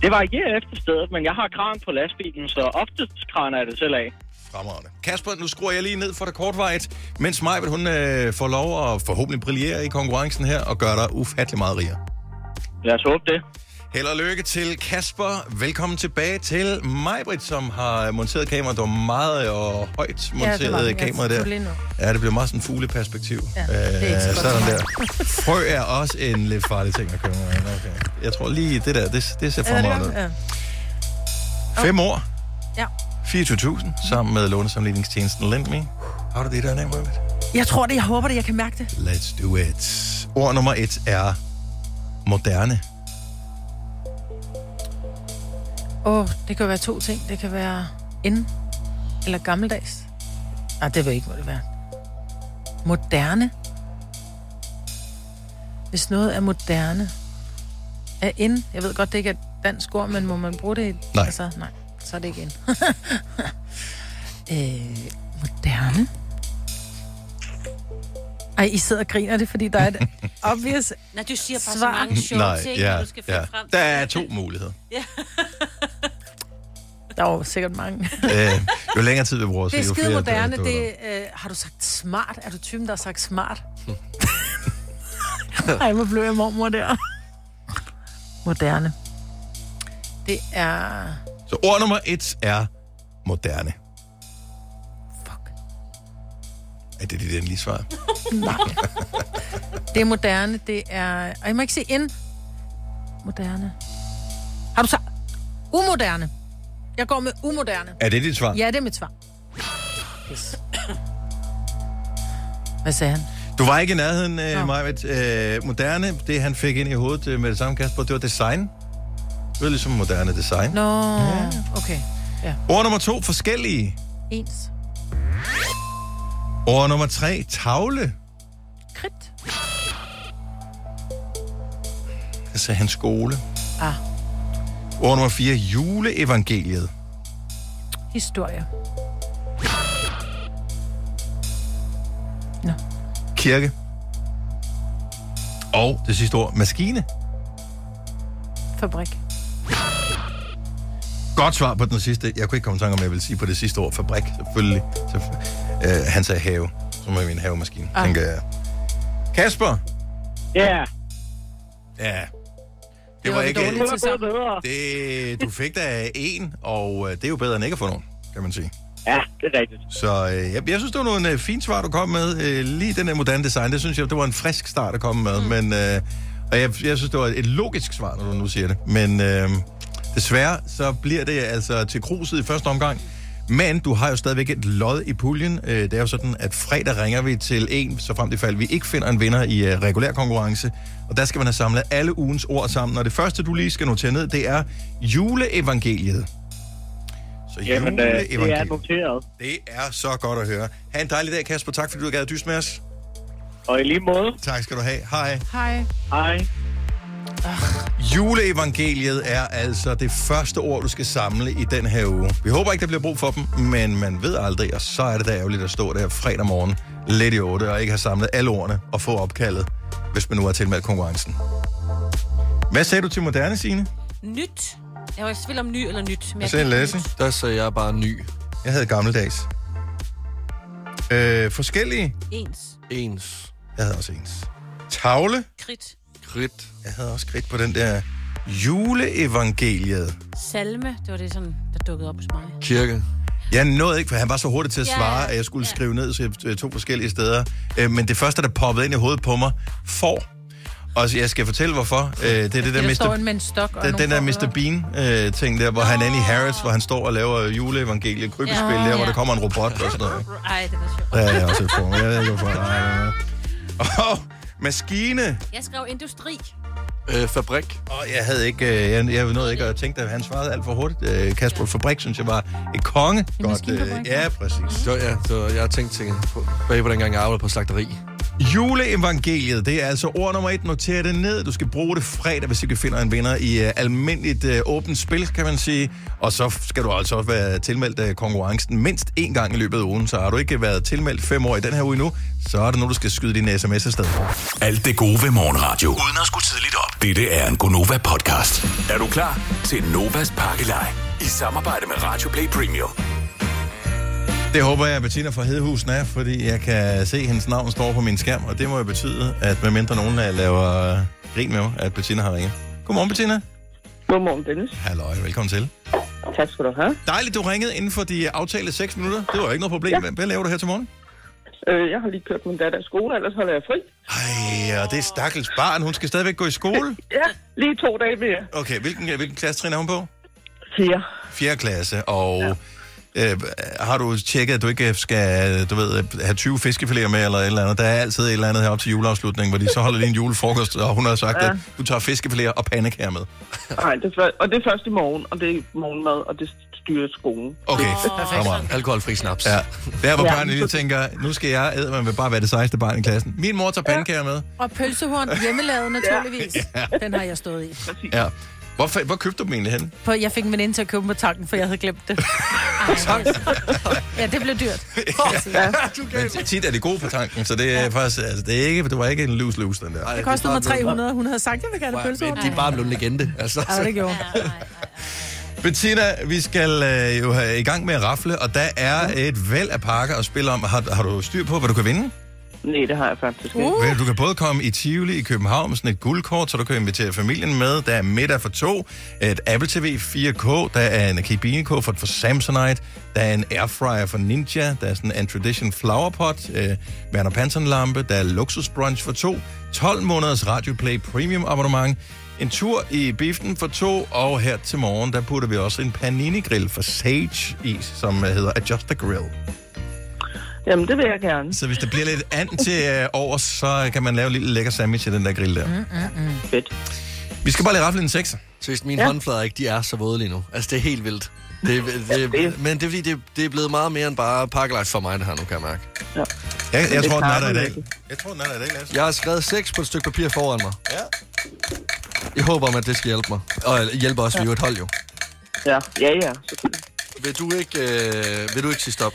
Speaker 14: Det varierer efter stedet, men jeg har kran på lastbilen, så oftest kraner jeg det selv af.
Speaker 1: Fremragende. Kasper, nu skruer jeg lige ned for dig kortvejet, mens Majbet, hun øh, får lov at forhåbentlig brillere i konkurrencen her og gøre dig ufattelig meget rigere.
Speaker 14: Lad os håbe det.
Speaker 1: Held og lykke til Kasper. Velkommen tilbage til Majbrit, som har monteret kameraet. Det var meget og højt
Speaker 3: Ja, det var
Speaker 1: monteret
Speaker 3: den.
Speaker 1: ja,
Speaker 3: Jeg
Speaker 1: kamera
Speaker 3: tog lige
Speaker 1: der.
Speaker 3: nu.
Speaker 1: Ja, det blev meget sådan fugleperspektiv. Øh,
Speaker 3: Ja,
Speaker 2: Øh,
Speaker 3: det er ikke så godt
Speaker 1: sådan
Speaker 3: for
Speaker 1: der. Frø er også en lidt farlig ting at køre med. Okay. Jeg tror lige, det der, det, det ser
Speaker 3: Ja, det
Speaker 1: fremragende ud.
Speaker 3: gør- ja.
Speaker 1: Fem år,
Speaker 3: Ja.
Speaker 1: 24.000, sammen med lånesamledningstjenesten LendMe, Tror du, det er der, Nemo?
Speaker 3: Jeg tror det, jeg håber det, jeg kan mærke det.
Speaker 1: Let's do it. Ord nummer et er moderne.
Speaker 3: Åh, oh, det kan være to ting. Det kan være ind eller gammeldags. Nej, det vil ikke, hvor det være. Moderne. Hvis noget er moderne, er ind. Jeg ved godt, det ikke er et dansk ord, men må man bruge det? i-
Speaker 1: Nej.
Speaker 3: Altså, nej, så er det ikke ind. <laughs> øh, moderne. Ej, I sidder og griner det, er, fordi der
Speaker 1: <laughs>
Speaker 3: er et obvious
Speaker 4: Nej, du siger bare
Speaker 3: Svar.
Speaker 4: så mange sjove
Speaker 1: Nej,
Speaker 4: ting,
Speaker 1: ja,
Speaker 4: når du skal finde
Speaker 1: ja.
Speaker 4: frem.
Speaker 1: Der er to muligheder.
Speaker 3: Der er jo sikkert mange.
Speaker 1: øh, jo længere tid vi bruger, så
Speaker 3: Det er
Speaker 1: jo
Speaker 3: skide
Speaker 1: flere...
Speaker 3: moderne.
Speaker 1: dukker
Speaker 3: Det, øh, har du sagt smart? Er du typen, der har sagt
Speaker 1: <laughs>
Speaker 3: smart? Ej, hvor blev jeg mormor der. Moderne. Det er...
Speaker 1: Så ord nummer et er moderne. Fuck. Er det dit endelige svar?
Speaker 3: Nej. Det er moderne. Det er... Og jeg må ikke sige ind. Moderne. Har du sagt... Umoderne. Jeg går med umoderne.
Speaker 1: Er det dit svar?
Speaker 3: Ja, det er mit svar. Pis. Hvad sagde han?
Speaker 1: Du var ikke i nærheden, øh, Majved. Øh, moderne, det han fik ind i hovedet øh, med det samme, Kasper, det var design. Det var ligesom moderne design.
Speaker 3: Nå, okay. Ja.
Speaker 1: Ord nummer to, forskellige.
Speaker 3: Ens.
Speaker 1: Ord nummer tre, tavle.
Speaker 3: Kridt.
Speaker 1: Altså hans skole.
Speaker 3: Ah.
Speaker 1: Ord nummer fire, juleevangeliet.
Speaker 3: Historie.
Speaker 1: Kirke. Og det sidste ord, maskine.
Speaker 3: Fabrik.
Speaker 1: Godt svar på den sidste. Jeg kunne ikke komme i tanke om, jeg ville sige på det sidste ord. Fabrik, selvfølgelig. Så, øh, han sagde have. Så må jeg mene havemaskine, ah.
Speaker 6: Ah.
Speaker 1: tænker jeg. Kasper?
Speaker 14: Ja.
Speaker 1: Ja. Det,
Speaker 6: var
Speaker 1: var
Speaker 6: det
Speaker 1: ikke...
Speaker 6: dårlige til sammen.
Speaker 1: det, du fik da en, og øh, det er jo bedre end ikke at få nogen, kan man sige.
Speaker 14: Ja, det er rigtigt.
Speaker 1: Så øh, jeg, jeg synes, det var nogle øh, fine svar, du kom med. Øh, lige den der moderne design, det synes jeg, det var en frisk start at komme med. Mm. Men, øh, og jeg, jeg synes, det var et logisk svar, når du nu siger det. Men øh, desværre, så bliver det altså til kruset i første omgang. Men du har jo stadigvæk et lod i puljen. Øh, det er jo sådan, at fredag ringer vi til en, så frem til fald vi ikke finder en vinder i øh, regulær konkurrence. Og der skal man have samlet alle ugens ord sammen. Og det første, du lige skal notere ned, det er juleevangeliet. Så
Speaker 14: Jamen, øh, det er
Speaker 1: juleevangeliet.
Speaker 14: noteret.
Speaker 1: Det er så godt at høre. Ha' en dejlig dag, Kasper. Tak, fordi du gad at dyst med os.
Speaker 14: Og i lige måde.
Speaker 1: Tak skal du have. Hej.
Speaker 3: Hej.
Speaker 14: Hej.
Speaker 1: Juleevangeliet er altså det første ord, du skal samle i den her uge. Vi håber ikke, der bliver brug for dem, men man ved aldrig, og så er det da ærgerligt at stå der fredag morgen lidt i 8 og ikke have samlet alle ordene og få opkaldet, hvis man nu har tilmeldt konkurrencen. Hvad sagde du til moderne, Signe?
Speaker 4: Nyt. Jeg var i tvivl om ny eller nyt. Men
Speaker 1: Hvad
Speaker 4: jeg
Speaker 1: sagde
Speaker 4: kan ikke
Speaker 1: Lasse?
Speaker 4: nyt.
Speaker 1: Der sagde jeg bare ny. Jeg havde gammeldags. Øh, forskellige?
Speaker 4: Ens.
Speaker 1: Ens. Jeg havde også ens. Tavle?
Speaker 4: Kridt.
Speaker 1: Kridt. Jeg havde også kridt på den der juleevangeliet.
Speaker 4: Salme. Det var det, sådan, der dukkede op hos mig.
Speaker 1: Kirke. Jeg nåede ikke, for han var så hurtig til at
Speaker 4: Ja,
Speaker 1: svare,
Speaker 4: ja.
Speaker 1: at jeg skulle skrive ned så jeg- to forskellige steder. Øh, Men det første, der poppede ind i hovedet på mig, får. Og så- jeg skal fortælle, hvorfor. Øh, Det er det der
Speaker 3: Der, der står
Speaker 1: Mr.
Speaker 3: en med en stok og
Speaker 1: Den,
Speaker 3: nogle Ah.
Speaker 1: den der
Speaker 3: forhører.
Speaker 1: Mr. Bean-ting der, hvor han er inde i Harris, hvor han står og laver juleevangeliet, krybespil
Speaker 4: Ja.
Speaker 1: der, hvor
Speaker 4: Ja.
Speaker 1: der kommer en robot og sådan noget.
Speaker 4: Ej, det var sjovt.
Speaker 1: Der er jeg også et form. Jeg ved ikke, hvorfor. Nej, nej, nej. Og maskine.
Speaker 4: Jeg skrev industri.
Speaker 1: Øh, fabrik. Og jeg havde ikke, øh, jeg, jeg nåede ikke at tænke, at han svarede alt for hurtigt. Øh, Kasper Fabrik, synes jeg var et konge. Godt, øh, ja, præcis.
Speaker 2: Så, ja, så jeg har tænkt ting på, bag på dengang, jeg arbejdede på slagteri.
Speaker 1: Juleevangeliet, det er altså ord nummer et. Noter det ned. Du skal bruge det fredag, hvis du finder en vinder i uh, almindeligt uh, åbent spil, kan man sige. Og så skal du altså også være tilmeldt uh, konkurrencen mindst én gang i løbet af ugen. Så har du ikke været tilmeldt fem år i den her uge endnu, så er det nu, du skal skyde din sms afsted.
Speaker 12: Alt det gode ved morgenradio. Uden at skulle tidligt op. Dette er en Gonova-podcast. Er du klar til Novas pakkelej? I samarbejde med Radio Play Premium.
Speaker 1: Det håber jeg, Bettina fra Hedehusen er, fordi jeg kan se, at hendes navn står på min skærm, og det må jo betyde, at medmindre nogen af jer laver øh, grin med mig, at Bettina har ringet. Godmorgen, Bettina.
Speaker 13: Godmorgen, Dennis.
Speaker 1: Halløj, velkommen til.
Speaker 13: Tak skal du have.
Speaker 1: Dejligt, du ringede inden for de aftalte 6 minutter. Det var jo ikke noget problem. Ja. Hvad laver du her til morgen?
Speaker 13: Øh, jeg har lige kørt min datter i skole, ellers holder jeg fri.
Speaker 1: Ej, og det er stakkels barn. Hun skal stadigvæk gå i skole.
Speaker 13: Ja, lige to dage mere.
Speaker 1: Okay, hvilken, hvilken klassetrin er hun på?
Speaker 13: Fire.
Speaker 1: 4. klasse, og øh, har du tjekket, at du ikke skal du ved, have 20 fiskefiléer med, eller et eller andet? Der er altid et eller andet herop til juleafslutningen, hvor de så holder lige en julefrokost, og hun har sagt, ja.
Speaker 13: Ja.
Speaker 1: at du tager fiskefiléer og pandekager med.
Speaker 13: Nej, det er, før- og det er først i morgen, og det er morgenmad, og det styrer skolen.
Speaker 1: Okay, oh,
Speaker 2: Alkoholfri snaps.
Speaker 1: Ja. Der, hvor
Speaker 13: Ja.
Speaker 1: børnene lige tænker, nu skal jeg æde, man vil bare være det sejeste barn i klassen. Min mor tager pandekager med.
Speaker 3: Og pølsehorn
Speaker 1: <laughs>
Speaker 3: hjemmelavet naturligvis. ja. Den har jeg stået i.
Speaker 1: Ja. Hvor, fa- hvor købte du dem egentlig hen?
Speaker 3: På, jeg fik min ind til at købe dem på tanken, for jeg havde
Speaker 1: <laughs>
Speaker 3: glemt det. ja, det blev dyrt.
Speaker 1: <laughs> Ja. Men tit er det gode for tanken, så det er faktisk, altså, det er ikke, det var ikke en løs løs, den der.
Speaker 3: Det kostede mig 300, hun havde sagt, jeg vil gerne have pølsehorn.
Speaker 1: bare blevet legende. Altså.
Speaker 3: Ja, det gjorde.
Speaker 1: Bettina, vi skal øh, jo have i gang med at rafle, og der er et væld af pakker at spille om. Har, har du styr på, hvad du kan vinde?
Speaker 13: Nej, det har jeg faktisk ikke.
Speaker 1: Uh. Du kan både komme i Tivoli i København med sådan et guldkort, så du kan invitere familien med. Der er middag for to, et Apple TV 4K, der er en kabinekog for, for Samsonite, der er en airfryer for Ninja, der er sådan en Tradition Flower Pot, øh, Werner Panton lampe, der er luksusbrunch for to, 12 måneders Radio Play Premium abonnement, en tur i biften for to, og her til morgen, der putter vi også en panini-grill for Sage i, som øh, hedder Adjust the Grill.
Speaker 13: Jamen, det vil jeg gerne.
Speaker 1: Så hvis der bliver lidt and til øh, over, så kan man lave en lille lækker sandwich i den der grill der. Mm.
Speaker 13: Fedt.
Speaker 1: Vi skal bare lige rafle en sekser.
Speaker 2: Seriøst, mine
Speaker 1: Ja.
Speaker 2: ja. håndflader ikke, de er så våde lige nu. Altså, det er helt vildt. Det, det, det, men det er fordi, det, det er blevet meget mere end bare parklife for mig, det her nu, kan jeg mærke.
Speaker 13: Ja.
Speaker 1: Jeg, jeg tror, den er der i dag.
Speaker 2: Jeg
Speaker 1: tror, den er der i dag, Lasse.
Speaker 2: Jeg har skrevet 6 på et stykke papir foran mig.
Speaker 1: Ja.
Speaker 2: Jeg håber, om, at det skal hjælpe mig. Og hjælper også, ja. vi er jo et hold jo.
Speaker 13: Ja, ja, ja.
Speaker 2: Vil du ikke, øh, vil du ikke sige stop?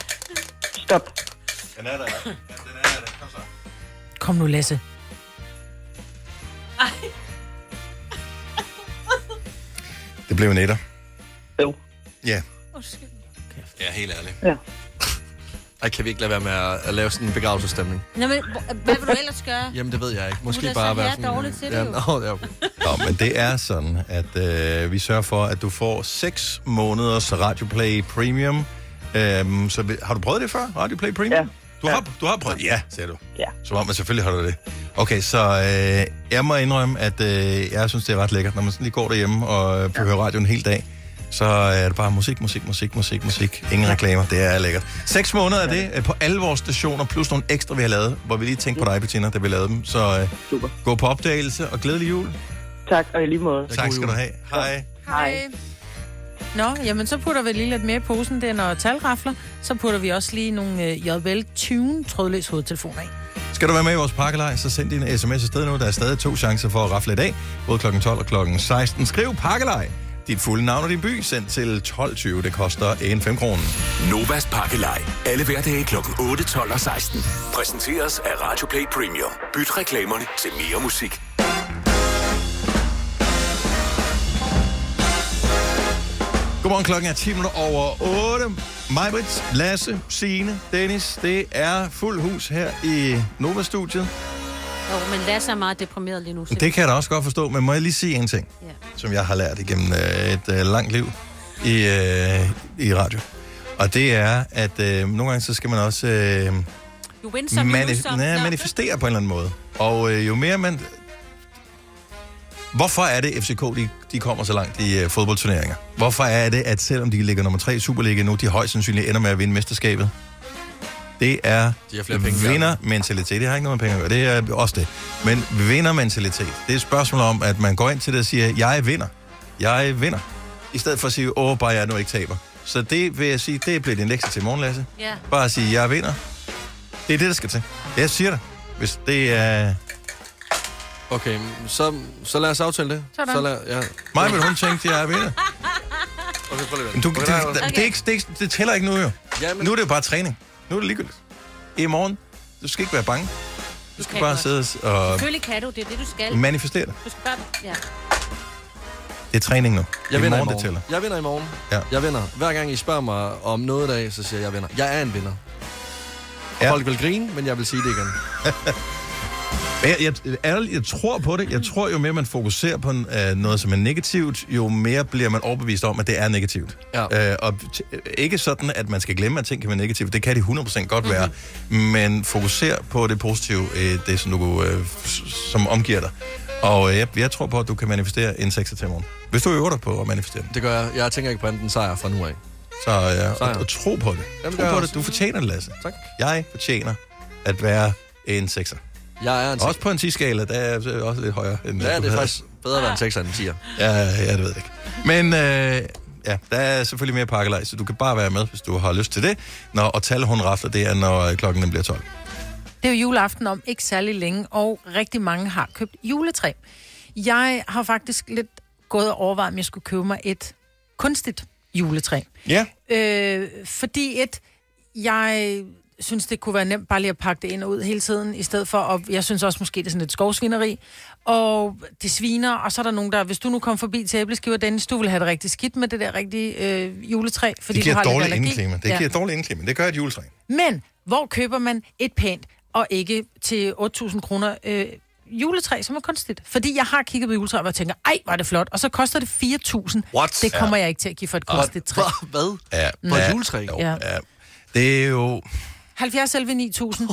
Speaker 13: Stop.
Speaker 1: Den er der.
Speaker 3: Kom nu, Lasse.
Speaker 1: Det blev en etter.
Speaker 13: Jo.
Speaker 1: Ja.
Speaker 2: Ja, helt ærligt.
Speaker 13: Ja.
Speaker 2: Ej, kan vi ikke lade være med at, at lave sådan en begravelsesstemning?
Speaker 4: Nå, men, hvor- hvad vil du ellers gøre?
Speaker 2: Jamen, det ved jeg ikke. Måske
Speaker 4: Hun er
Speaker 2: bare
Speaker 4: så
Speaker 2: være
Speaker 4: her
Speaker 2: sådan...
Speaker 4: dårlig til det
Speaker 2: ja,
Speaker 4: jo.
Speaker 2: nå, ja, okay.
Speaker 1: Nå, men det er sådan, at øh, vi sørger for, at du får 6 måneders Radioplay Premium. Øhm, så vi, har du prøvet det før, Radioplay Premium? Ja. Du har, du har prøvet? Ja, siger du.
Speaker 13: Ja.
Speaker 1: Som om, at selvfølgelig har du det. Okay, så øh, jeg må indrømme, at øh, jeg synes, det er ret lækkert, når man sådan lige går derhjemme og øh, ja. hører radio en hel dag. Så er det bare musik, musik, musik, musik, musik. Ingen reklamer. Det er lækkert. Seks måneder er det øh, på alle vores stationer, plus nogle ekstra, vi har lavet, hvor vi lige tænkte på dig, Bettina, da vi lavede dem. Så øh, Super. gå på opdagelse, og glædelig jul.
Speaker 13: Tak, og i lige måde.
Speaker 1: Tak skal du have. Hej.
Speaker 3: Hej. Nå, jamen så putter vi lige lidt mere i posen, det er når talrafler. Så putter vi også lige nogle øh, JBL Tune trådløs hovedtelefoner i.
Speaker 1: Skal du være med i vores pakkelej, så send din sms afsted nu. Der er stadig to chancer for at rafle i dag, både kl. 12 og kl. 16. Skriv pakkelej, dit fulde navn og din by, send til 12.20. Det koster en 5 kroner.
Speaker 12: Novas Pakkelej. Alle hverdage kl. 8, 12 og 16. Præsenteres af Radio Play Premium. Byt reklamerne til mere musik.
Speaker 1: Godmorgen, klokken er 10 minutter over 8. Majbrits, Lasse, Signe, Dennis, det er fuld hus her i Nova-studiet.
Speaker 4: Jo, men Lasse er meget deprimeret lige nu.
Speaker 1: Det kan jeg da også godt forstå, men må jeg lige sige en ting, ja. som jeg har lært igennem øh, et øh, langt liv i, øh, i radio. Og det er, at øh, nogle gange så skal man også... Øh,
Speaker 4: Du win some, you lose some.
Speaker 1: nej,
Speaker 4: Nå.
Speaker 1: manifestere på en eller anden måde. Og øh, jo mere man... Hvorfor er det, FCK de, de kommer så langt i øh, fodboldturneringer? Hvorfor er det, at selvom de ligger nummer 3 i Superligaen nu, de højst sandsynligt ender med at vinde mesterskabet? Det er
Speaker 2: De har flere penge, ja.
Speaker 1: vindermentalitet. Det har ikke noget med penge at gøre. Det er også det. Men vindermentalitet, det er et spørgsmål om, at man går ind til det og siger, jeg vinder. Jeg vinder. I stedet for at sige, åh, bare jeg nu ikke taber. Så det vil jeg sige, det bliver din lektie til i morgen, Lasse.
Speaker 4: Ja.
Speaker 1: Bare at sige, jeg vinder. Det er det, der skal til. Jeg siger det. Hvis det er...
Speaker 2: Okay, så, så lad os aftale det.
Speaker 1: Sådan.
Speaker 2: Så lad, ja.
Speaker 1: Mig vil hun tænke,
Speaker 2: <laughs>
Speaker 1: jeg vinder.
Speaker 2: Okay, prøv lige at
Speaker 1: Men
Speaker 2: vente.
Speaker 1: du,
Speaker 2: Okay,
Speaker 1: det,
Speaker 2: der er-
Speaker 1: det, det, er ikke, det, er ikke, det tæller ikke nu, jo.
Speaker 2: Jamen.
Speaker 1: Nu er det jo bare træning. Nu er det ligegyldigt. I morgen, du skal ikke være bange. Du skal
Speaker 4: kan
Speaker 1: bare
Speaker 4: godt.
Speaker 1: sidde og
Speaker 4: Selvfølgelig kan du, det er det, du skal.
Speaker 1: manifestere det.
Speaker 4: Du skal bare... Ja.
Speaker 1: Det er træning nu.
Speaker 2: Jeg
Speaker 1: I
Speaker 2: vinder
Speaker 1: morgen, det tæller.
Speaker 2: Jeg vinder i morgen.
Speaker 1: Ja.
Speaker 2: Jeg vinder. Hver gang I spørger mig om noget i dag, så siger jeg, jeg vinder. Jeg er en vinder.
Speaker 1: Ja.
Speaker 2: Ja. Folk vil grine, men jeg vil sige det igen.
Speaker 1: <laughs> Men Jeg, jeg, ærligt, jeg tror på det. Jeg tror, jo mere man fokuserer på en, øh, noget, som er negativt, jo mere bliver man overbevist om, at det er negativt. Ja. Øh, og t- øh, ikke sådan, at man skal glemme, at ting kan være negativt. Det kan de 100% godt være.
Speaker 2: Mhm.
Speaker 1: Men fokuser på det positive, øh, det som, du, øh, s- som omgiver dig. Og øh, jeg, jeg tror på, at du kan manifestere en sekser til i morgen. Hvis du øver dig på at manifestere den.
Speaker 2: Det gør jeg. Jeg tænker ikke på andet end sejr fra nu af.
Speaker 1: Så ja, og, og tro på det. Jamen, tro på det. Du fortjener det, Lasse. Tak. Jeg fortjener at være en sekser.
Speaker 2: Jeg er en
Speaker 1: Også på en 10-skala, der er jeg også lidt højere. End
Speaker 2: Ja, det
Speaker 1: du
Speaker 2: er
Speaker 1: havde.
Speaker 2: faktisk bedre at være en sekser end en tier.
Speaker 1: Ja, ja, det ved jeg ikke. Men øh, ja, der er selvfølgelig mere pakkelej, så du kan bare være med, hvis du har lyst til det. Når, og tal hun rafler, det er, når øh, klokken den bliver 12.
Speaker 3: Det er jo juleaften om ikke særlig længe, og rigtig mange har købt juletræ. Jeg har faktisk lidt gået og overvejet, om jeg skulle købe mig et kunstigt juletræ.
Speaker 1: Ja.
Speaker 3: Øh, fordi et, jeg synes, det kunne være nemt bare lige at pakke det ind og ud hele tiden, i stedet for, og jeg synes også måske, det er sådan et skovsvineri, og det sviner, og så er der nogen, der, hvis du nu kom forbi til æbleskiver, Dennis, du vil have det rigtig skidt med det der rigtige øh, juletræ, fordi
Speaker 1: det giver
Speaker 3: du har
Speaker 1: et dårligt
Speaker 3: lidt allergi.
Speaker 1: indeklima. Det giver et dårligt indeklima. Det gør et juletræ.
Speaker 3: Men hvor køber man et pænt og ikke til 8.000 kroner øh, juletræ, som er kunstigt? Fordi jeg har kigget på juletræ, og jeg tænker, ej, var det flot, og så koster det 4.000.
Speaker 1: What?
Speaker 3: Det kommer
Speaker 1: Ja.
Speaker 3: jeg ikke til at give for et kunstigt træ.
Speaker 2: Hvad?
Speaker 1: Ja.
Speaker 3: På et
Speaker 1: ja,
Speaker 2: juletræ?
Speaker 1: Jo,
Speaker 3: Ja.
Speaker 1: ja. ja. Det er jo...
Speaker 3: 70
Speaker 1: <laughs>
Speaker 3: 11 9000.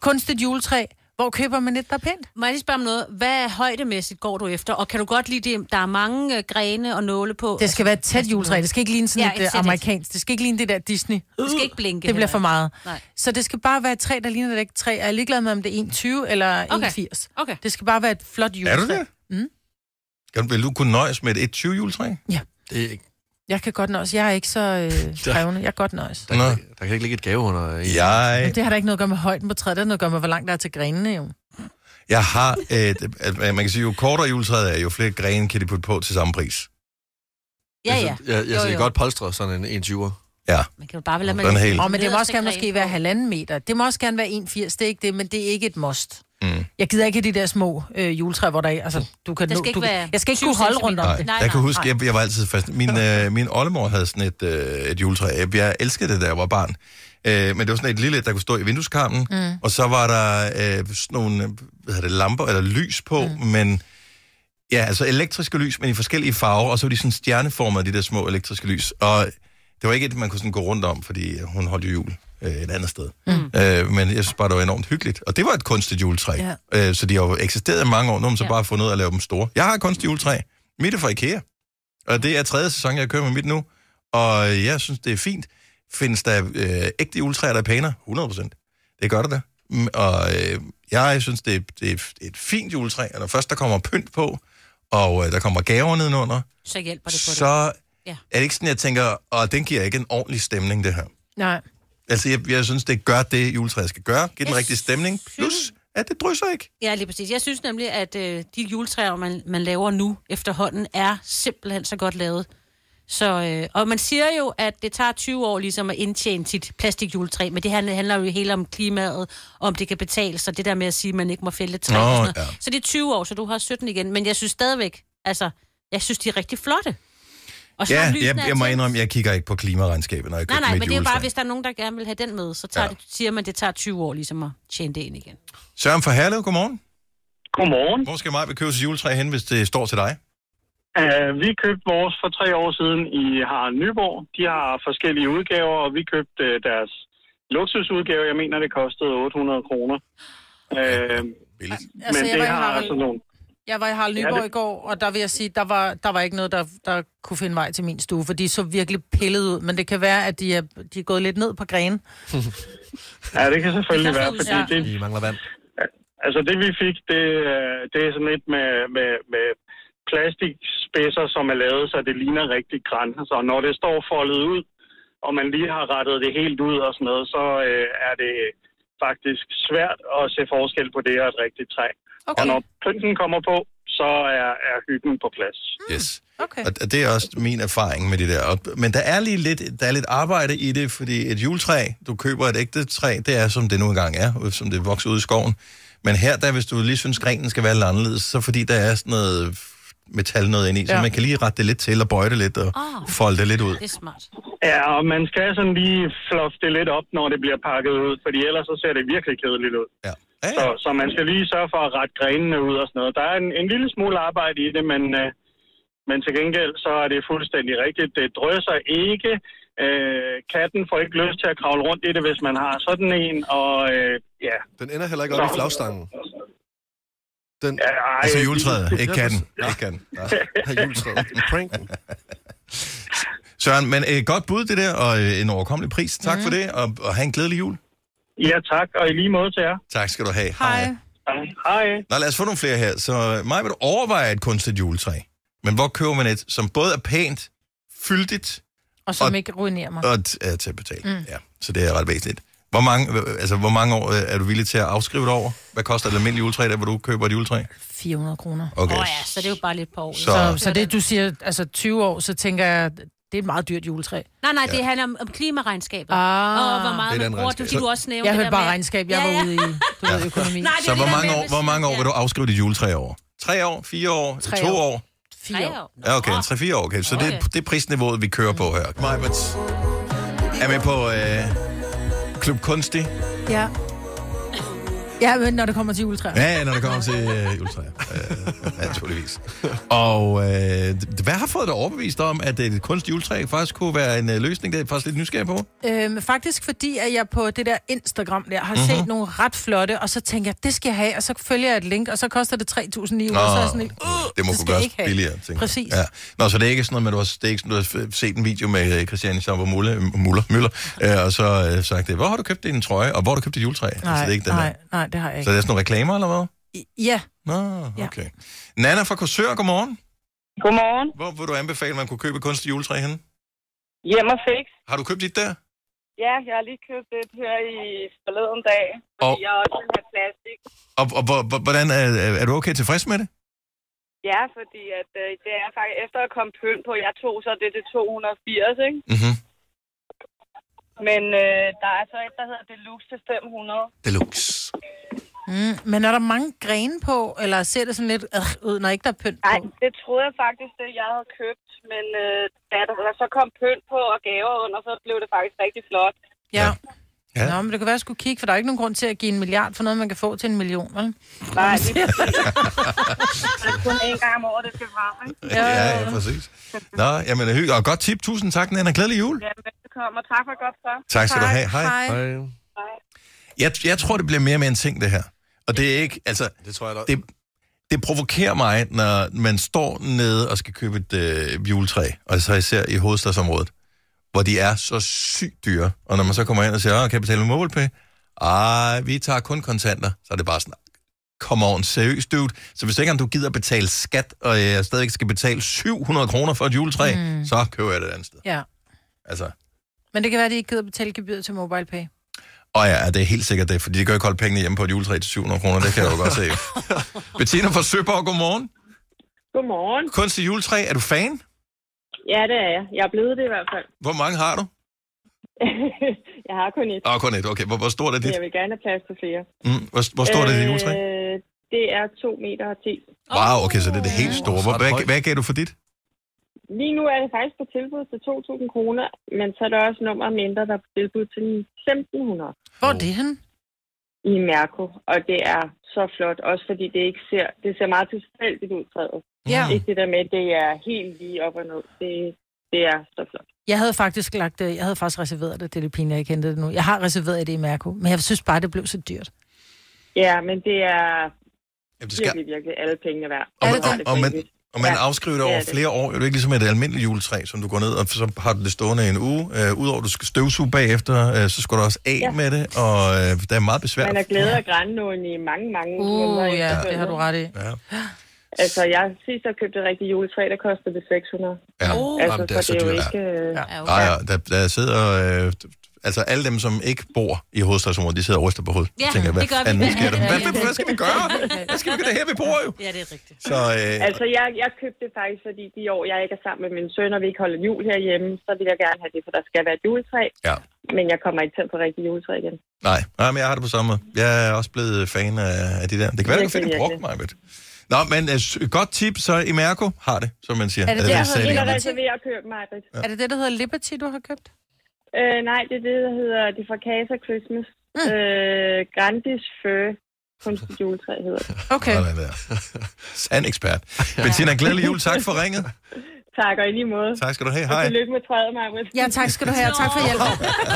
Speaker 3: kunstigt juletræ. Hvor køber man et, der er pænt?
Speaker 4: Må jeg lige spørge om noget? Hvad højdemæssigt går du efter? Og kan du godt lide det? Der er mange øh, grene og nåle på. Altså,
Speaker 3: Det skal være et tæt juletræ. Det skal ikke ligne sådan ja, et, et amerikansk. Det skal ikke ligne det der Disney.
Speaker 4: Det skal ikke blinke
Speaker 3: Det bliver
Speaker 4: heller
Speaker 3: for meget.
Speaker 4: ikke.
Speaker 3: Nej.
Speaker 4: Nej.
Speaker 3: Så det skal bare være et træ, der ligner det ikke træ. Og Jeg er ligeglad med, om det er 1,20 eller
Speaker 4: Okay.
Speaker 3: 1,80. Okay. Det skal bare være et flot juletræ. Mm.
Speaker 1: det? Kan, vil du kunne nøjes med et 1,20 juletræ?
Speaker 3: Ja.
Speaker 2: Det er ikke...
Speaker 3: Jeg kan godt nøjes. Jeg er ikke så øh,
Speaker 1: <laughs>
Speaker 3: krævende. Jeg kan godt nøjes.
Speaker 2: Der, kan, der kan ikke ligge et gave under.
Speaker 1: Jeg,
Speaker 3: Men det har da ikke noget at gøre med højden på træet. Det har noget at gøre med, hvor langt der er til grenene, jo.
Speaker 1: jeg har et... At, man kan sige, jo kortere juletræet er, jo flere grene kan de putte på til samme pris.
Speaker 3: Ja, ja.
Speaker 2: Jeg, jeg, jeg
Speaker 3: Jo,
Speaker 2: ser
Speaker 3: jo.
Speaker 2: godt polstre sådan en 21'er.
Speaker 1: Ja.
Speaker 4: Man kan jo bare vel lade
Speaker 1: Den er helt-
Speaker 3: Åh, men det må også gerne måske være halvanden meter. Det må også gerne være 1,80. Det er ikke det, men det er ikke et must.
Speaker 1: Mm.
Speaker 3: Jeg gider ikke have de der små øh, juletræer, hvor der er... Altså, du kan
Speaker 4: Der skal
Speaker 3: nå,
Speaker 4: ikke
Speaker 3: du,
Speaker 4: være
Speaker 3: jeg skal ikke
Speaker 4: 20
Speaker 3: kunne holde rundt om
Speaker 1: Nej.
Speaker 3: det.
Speaker 1: Nej, jeg kan huske, jeg, jeg var altid fast. Min, øh, min oldemor havde sådan et, øh, et juletræ. Jeg, jeg elskede det, da jeg var barn. Øh, men det var sådan et lille, der kunne stå i vindueskarmen. Mm. Og så var der øh, sådan nogle øh, hvad hedder det, lamper eller lys på, mm. men... Ja, altså elektriske lys, men i forskellige farver, og så var de sådan stjerneformede, de der små elektriske lys. Og det var ikke et, man kunne sådan gå rundt om, fordi hun holdt jo jul øh, et andet sted. Mm. Øh, men jeg synes bare, det var enormt hyggeligt. Og det var et kunstigt juletræ. Ja. Øh, så de har jo eksisteret i mange år. Nu har man så ja. bare fundet ud af at lave dem store. Jeg har et kunstigt juletræ. Mit er fra Ikea. Og det er tredje sæson, jeg kører med mit nu. Og jeg synes, det er fint. Findes der øh, ægte juletræer, der er pænere? 100 procent. Det gør der da. Mm, Og øh, jeg synes, det er, det er et fint juletræ. Og når først der kommer pynt på, og øh, der kommer gaver nedenunder,
Speaker 4: Så hjælper det på det.
Speaker 1: så
Speaker 4: Ja.
Speaker 1: er det ikke sådan, jeg tænker, og den giver ikke en ordentlig stemning, det her.
Speaker 3: Nej.
Speaker 1: Altså, jeg, jeg synes, det gør det, juletræet skal gøre. Giv den rigtige stemning. Plus, at det drysser ikke.
Speaker 4: Ja, lige præcis. Jeg synes nemlig, at øh, de juletræer, man, man laver nu efterhånden, er simpelthen så godt lavet. Så, øh, og man siger jo, at det tager 20 år ligesom at indtjene sit plastikjuletræ, men det her handler jo hele om klimaet, og om det kan betale sig, det der med at sige, at man ikke må fælde et træ.
Speaker 1: Nå,
Speaker 4: og sådan noget.
Speaker 1: ja.
Speaker 4: Så det er 20 år, så du har 17 igen. Men jeg synes stadigvæk, altså, jeg synes, de er rigtig flotte. Og så er
Speaker 1: Ja,
Speaker 4: lysene
Speaker 1: jeg, jeg må
Speaker 4: tændt.
Speaker 1: indrømme, jeg kigger ikke på klimaregnskabet, når jeg
Speaker 4: Nej,
Speaker 1: køber
Speaker 4: nej,
Speaker 1: mit
Speaker 4: men det er jo
Speaker 1: juletræ.
Speaker 4: bare, hvis der er nogen, der gerne vil have den med, så tager
Speaker 1: Ja.
Speaker 4: ja. det, siger man, at det tager 20 år ligesom at tjene det ind igen.
Speaker 1: Søren fra Herlev, godmorgen.
Speaker 15: Godmorgen.
Speaker 1: Hvor skal mig vil købe sit juletræ hen, hvis det står til dig?
Speaker 15: Uh, vi købte vores for tre år siden i Harald Nyborg. De har forskellige udgaver, og vi købte uh, deres luksusudgave. Jeg mener, det kostede 800 kroner. Uh, men
Speaker 3: jeg
Speaker 15: det
Speaker 3: var i
Speaker 15: har
Speaker 3: Harald-
Speaker 15: altså nogle...
Speaker 3: <laughs> Jeg var i Harald
Speaker 15: Ja,
Speaker 3: Nyborg ja,
Speaker 15: det-
Speaker 3: i går, og der vil jeg sige, der var, der var ikke noget, der, der kunne finde vej til min stue, for de så virkelig pillet ud. Men det kan være, at de er, de er gået lidt ned på grenen.
Speaker 15: Ja, det kan selvfølgelig
Speaker 3: Det kan
Speaker 15: være,
Speaker 3: også
Speaker 15: fordi
Speaker 3: være
Speaker 15: det,
Speaker 2: I mangler vand.
Speaker 15: altså det vi fik, det, øh, det er sådan lidt med, med, med plastikspidser, som er lavet, så det ligner rigtig græn. Så når det står foldet ud, og man lige har rettet det helt ud og sådan noget, så øh, er det faktisk svært at se forskel på det og et rigtigt træ.
Speaker 3: Okay.
Speaker 15: Og når pynten kommer på, så er, er hyggen på plads.
Speaker 1: Yes. Okay. Og det er også min erfaring med det der. Og- Men der er lige lidt, der er lidt arbejde i det, fordi et juletræ, du køber et ægte træ, det er som det nu engang er, som det vokser ud i skoven. Men her, der hvis du lige synes, grenen skal være lidt anderledes, så fordi der er sådan noget metal noget ind i, ja. så
Speaker 15: Ja.
Speaker 1: man kan lige rette det lidt til og bøje det lidt og oh. folde det lidt ud.
Speaker 4: Ah. Det er smart.
Speaker 15: Ja, og man skal sådan lige fluffe det lidt op, når det bliver pakket ud, fordi ellers så ser det virkelig kedeligt ud.
Speaker 1: Ja.
Speaker 15: Så, så man skal lige sørge for at rette grenene ud og sådan noget. Der er en, en lille smule arbejde i det, men, øh, men til gengæld så er det fuldstændig rigtigt. Det drøser ikke. Øh, katten får ikke lyst til at kravle rundt i det, hvis man har sådan en, og øh, ja.
Speaker 2: Den ender heller ikke op i flagstangen. Den... Ja,
Speaker 15: ej,
Speaker 1: Altså
Speaker 2: <laughs>
Speaker 1: juletræet, ikke katten. Ikke katten.
Speaker 2: Ja, juletræet. Pranken.
Speaker 1: Søren, men øh, godt bud det der, og øh, en overkommelig pris. Tak mm. for det, og, og have en glædelig jul.
Speaker 15: Mhm. Ja, tak, og i lige måde til jer.
Speaker 1: Tak skal du have.
Speaker 3: Hej.
Speaker 15: Hej.
Speaker 1: Nå, lad os få nogle flere her. Så øh, mig vil du overveje et kunstigt juletræ. Men hvor køber man et, som både er pænt, fyldigt
Speaker 3: Og som ikke ruinerer mig.
Speaker 1: og t- er til at betale?
Speaker 3: Mm.
Speaker 1: Ja, så det er ret væsentligt. Hvor mange, øh, altså, hvor mange år øh, er du villig til at afskrive det over? Hvad koster et almindeligt juletræ, der hvor du køber et juletræ?
Speaker 3: 400 kroner.
Speaker 1: Okay.
Speaker 4: Ja, så det er jo bare lidt på år.
Speaker 1: Så-
Speaker 3: Så, så det, du siger, altså 20 år, så tænker jeg, det er et meget dyrt juletræ.
Speaker 4: Nej, nej, det handler om, om klimaregnskabet.
Speaker 3: Ah.
Speaker 4: Og hvor meget
Speaker 1: Det er
Speaker 4: man
Speaker 1: et andet
Speaker 4: bruger. Du, fordi
Speaker 1: regnskab.
Speaker 4: du også nævnte
Speaker 3: Jeg
Speaker 4: det
Speaker 3: hørte
Speaker 4: der
Speaker 3: bare
Speaker 4: med-
Speaker 3: regnskab, jeg
Speaker 4: Ja, ja.
Speaker 3: var ude i du ved, økonomi.
Speaker 4: Nej, det
Speaker 1: så
Speaker 4: er
Speaker 1: hvor
Speaker 4: det der
Speaker 1: mange,
Speaker 4: med,
Speaker 1: år,
Speaker 4: hvis-
Speaker 1: hvor mange år vil du afskrive dit juletræ over? Tre år? Fire år?
Speaker 3: Tre
Speaker 1: to
Speaker 3: år.
Speaker 1: år?
Speaker 3: Fire år.
Speaker 1: Ja, okay, 3-4 år, okay. Så det, det er prisniveauet, vi kører på her. Majbert er med på øh, Klub Kunstig.
Speaker 3: Ja. Ja, men når det kommer til juletræer.
Speaker 1: Ja, ja, når det kommer til øh, juletræer. Øh, naturligvis. Og øh, d- hvad har fået dig overbevist om, at et kunstigt juletræ faktisk kunne være en øh, løsning? Det er jeg faktisk lidt nysgerrig på.
Speaker 3: Øhm, faktisk fordi, at jeg på det der Instagram der har
Speaker 1: Mhm.
Speaker 3: mm-hmm. set nogle ret flotte, og så tænker jeg, det skal jeg have, og så følger jeg et link, og så koster det 3.900, og så er jeg sådan lidt, uh,
Speaker 1: det må
Speaker 3: det
Speaker 1: kunne
Speaker 3: skal jeg
Speaker 1: gøres
Speaker 3: ikke have.
Speaker 1: billigere. tænker jeg.
Speaker 3: Præcis.
Speaker 1: Ja. Nå, så det er ikke sådan noget, men du har, det er ikke sådan, du har f- set en video med øh, Christiane Schaumburg Muller, Muller, Møller, øh, og så øh, sagt, det, hvor har du købt din trøje, og hvor har du købt dit juletræ? Nej, altså, det er ikke den der.
Speaker 3: nej, nej, det har jeg
Speaker 1: Så
Speaker 3: ikke.
Speaker 1: det er sådan nogle reklamer, eller hvad?
Speaker 3: Ja,
Speaker 1: Nå, okay. Nana fra Korsør, godmorgen.
Speaker 10: Godmorgen.
Speaker 1: Hvor vil du anbefale, at man kunne købe et kunstigt juletræ henne?
Speaker 10: Hjem og fix.
Speaker 1: Har du købt dit der?
Speaker 10: Ja, jeg har lige købt et her i forleden dag, fordi
Speaker 1: Og-
Speaker 10: jeg også vil have plastik.
Speaker 1: Og, og, hvor- hvor- hvordan er, er- er du okay tilfreds med det?
Speaker 10: Ja, fordi at, øh, det er faktisk, efter at komme pøl på, jeg tog så det til 280, ikke?
Speaker 1: Mhm.
Speaker 10: Men øh, der er så et, der hedder Deluxe til 500.
Speaker 1: Deluxe.
Speaker 3: Mm, men er der mange grene på, eller ser det sådan lidt øh, ud, når ikke der er pynt på? Nej.
Speaker 10: Det troede jeg faktisk, det jeg havde købt, men øh, da der så kom pynt på og gaver under, så blev det faktisk rigtig flot.
Speaker 3: Ja. ja. Nå, men det kan være, at jeg skulle kigge, for der er ikke nogen grund til at give en milliard for noget, man kan få til en million, vel?
Speaker 10: Nej, det er kun en gang om året, det skal frem, ikke?
Speaker 1: Ja, ja, ja præcis. Nå, jamen, hy- og godt tip. Tusind tak, Nana. Glædelig jul.
Speaker 10: Ja, velkommen, og tak for et godt så.
Speaker 1: Tak skal du have. Hej. Jeg, jeg tror, det bliver mere med en ting, det her. Og det er ikke, altså... Det tror jeg det, det provokerer mig, når man står nede og skal købe et øh, juletræ, og så især i hovedstadsområdet, hvor de er så sygt dyre. Og når man så kommer ind og siger, "Åh, kan jeg betale med MobilePay? Ej, vi tager kun kontanter. Så er det bare sådan, come on, seriøst, dude. Så hvis ikke om du gider betale skat, og jeg stadigvæk skal betale 700 kroner for et juletræ, mm.
Speaker 3: Mm.
Speaker 1: så køber jeg det et andet sted.
Speaker 3: <laughs> Ja.
Speaker 1: Altså,
Speaker 3: Men det kan være, at de ikke gider betale gebyret til MobilePay.
Speaker 1: og ja, det er helt sikkert det, fordi de kan ikke holde pengene hjemme på et juletræ til 700 kroner, det kan jeg jo godt <laughs> se. Bettina fra Søborg, godmorgen.
Speaker 10: Godmorgen.
Speaker 1: Kunstig juletræ, er du fan?
Speaker 10: Ja, det er jeg. Jeg er blevet det i hvert fald. <laughs>
Speaker 1: Hvor mange har du?
Speaker 10: jeg har kun et.
Speaker 1: Åh, oh, kun et, okay. Hvor, hvor stort er
Speaker 10: Men
Speaker 1: dit?
Speaker 10: Jeg vil gerne have plads til flere.
Speaker 1: Mm, hvor, hvor stort er dit juletræ?
Speaker 10: Øh, det er 2 meter og 10.
Speaker 1: Wow, okay, så det er det helt store. Hvor, hvad, hvad gav du for dit?
Speaker 10: Lige nu er det faktisk på tilbud til 2.000 kroner, men så er der også nummer mindre, der er på tilbud til 1.500
Speaker 3: Hvor er det henne?
Speaker 10: i Mærko. Og det er så flot, også fordi det ikke ser, det ser meget tilfældigt ud træet.
Speaker 3: Ja.
Speaker 10: Ikke det der med, at det er helt lige op og ned. Det, det er så flot.
Speaker 3: Jeg havde faktisk lagt det, jeg havde faktisk reserveret det, det er det pinligt, jeg ikke hentede det nu. Jeg har reserveret det i Mærko, men jeg synes bare, det blev så dyrt.
Speaker 10: Ja, men det er
Speaker 1: Jamen,
Speaker 10: det skal... virkelig, virkelig alle pengene værd.
Speaker 1: Og man,
Speaker 10: Og har
Speaker 1: og,
Speaker 10: det
Speaker 1: og man,
Speaker 10: frivilligt.
Speaker 1: og man
Speaker 10: Ja,
Speaker 1: afskriver det
Speaker 10: det
Speaker 1: over
Speaker 10: er det.
Speaker 1: flere år. Det er jo ikke ligesom et almindeligt juletræ, som du går ned, og så har du det stående i en uge. Øh, Udover at du skal støvsuge bagefter, øh, så skal du også af
Speaker 10: Ja.
Speaker 1: med det, og øh, der er meget besvær.
Speaker 10: Man er glædet af grænlån i mange, mange
Speaker 3: Uh, ja, det har du ret i.
Speaker 1: Ja.
Speaker 10: Altså, jeg sidst jeg købte et rigtigt juletræ, der kostede det 600.
Speaker 1: Ja,
Speaker 10: altså,
Speaker 1: jamen, det
Speaker 10: det
Speaker 1: er
Speaker 10: er
Speaker 1: så
Speaker 10: det er jo
Speaker 1: dyrt.
Speaker 10: ikke... øh, Ja.
Speaker 1: Nej, ja, der, der sidder... Øh, altså alle dem, som ikke bor i hovedstadsområdet, de sidder og ryster på hovedet.
Speaker 10: Ja,
Speaker 1: Så tænker jeg, hvad
Speaker 10: det gør vi.
Speaker 1: fanden <laughs> sker der?
Speaker 10: Ja, ja,
Speaker 1: Hvad,
Speaker 10: ja.
Speaker 1: hvad, hvad skal vi gøre? Hvad skal vi gøre? Det er her, vi bor jo.
Speaker 4: Ja, det er rigtigt.
Speaker 1: Så, øh,
Speaker 10: Altså, jeg, jeg købte det faktisk, fordi de år, jeg ikke er sammen med min søn, og vi ikke holder jul herhjemme, så vil jeg gerne have det, for der skal være et juletræ.
Speaker 1: Ja.
Speaker 10: Men jeg kommer ikke til at få rigtig juletræ igen.
Speaker 1: nej, nej, men jeg har det på samme måde. Jeg er også blevet fan af, af de der. Det kan være, du kan finde en brugt mig, ved Nå, men øh, godt tip, så i Mærko har det, som man siger.
Speaker 3: Er det det,
Speaker 1: Eller
Speaker 3: der
Speaker 1: sagde
Speaker 3: hedder
Speaker 1: det
Speaker 10: Jeg
Speaker 1: engang.
Speaker 10: reserverer og køber mig,
Speaker 3: Ja. Er det det, der hedder Liberty, du har købt?
Speaker 10: øh, Nej, det er det, der hedder, det er fra Casa Christmas. Mm. Øh, Grandis Fur, kunstigt juletræ hedder det.
Speaker 3: <laughs> Okay.
Speaker 1: Sådan der. <laughs> Sand ekspert. Bettina, glædelig jul. Tak for ringet.
Speaker 10: Tak, og i lige måde.
Speaker 1: Tak skal du have.
Speaker 10: Og
Speaker 1: Hej.
Speaker 10: tillykke med træet, Marvind.
Speaker 3: Ja, tak skal du have, og tak for
Speaker 10: <laughs>
Speaker 3: hjælpen.
Speaker 1: <laughs>
Speaker 4: Nå,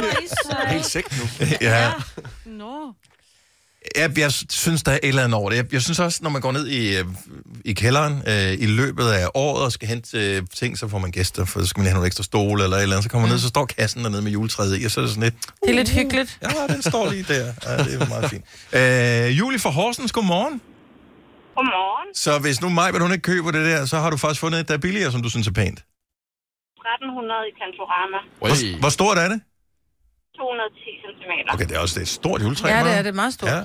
Speaker 4: hvor er I søde.
Speaker 1: Ja.
Speaker 4: Nå.
Speaker 1: jeg, jeg synes, der er et eller andet over det. Jeg, jeg synes også, når man går ned i, øh, i kælderen øh, i løbet af året og skal hente øh, ting, så får man gæster, for så skal man lige have nogle ekstra stole eller et eller andet. Så kommer man ned, så står kassen dernede med juletræet i, og så er det sådan lidt...
Speaker 3: Mm.
Speaker 1: "Uh-huh."
Speaker 3: Det er lidt hyggeligt.
Speaker 1: Ja, den står lige der. Ja, det er meget fint. Øh, Julie fra Horsens, godmorgen.
Speaker 7: Godmorgen.
Speaker 1: Så hvis nu mig, hun ikke køber det der, så har du faktisk fundet et, der er billigere, som du synes er pænt.
Speaker 7: 1300 i Kantorama.
Speaker 1: Hvor, hvor stort er det?
Speaker 7: 210 cm.
Speaker 1: Okay, det er også det er et stort juletræ.
Speaker 3: Ja, det
Speaker 1: Maja.
Speaker 3: er det meget stort.
Speaker 1: Ja.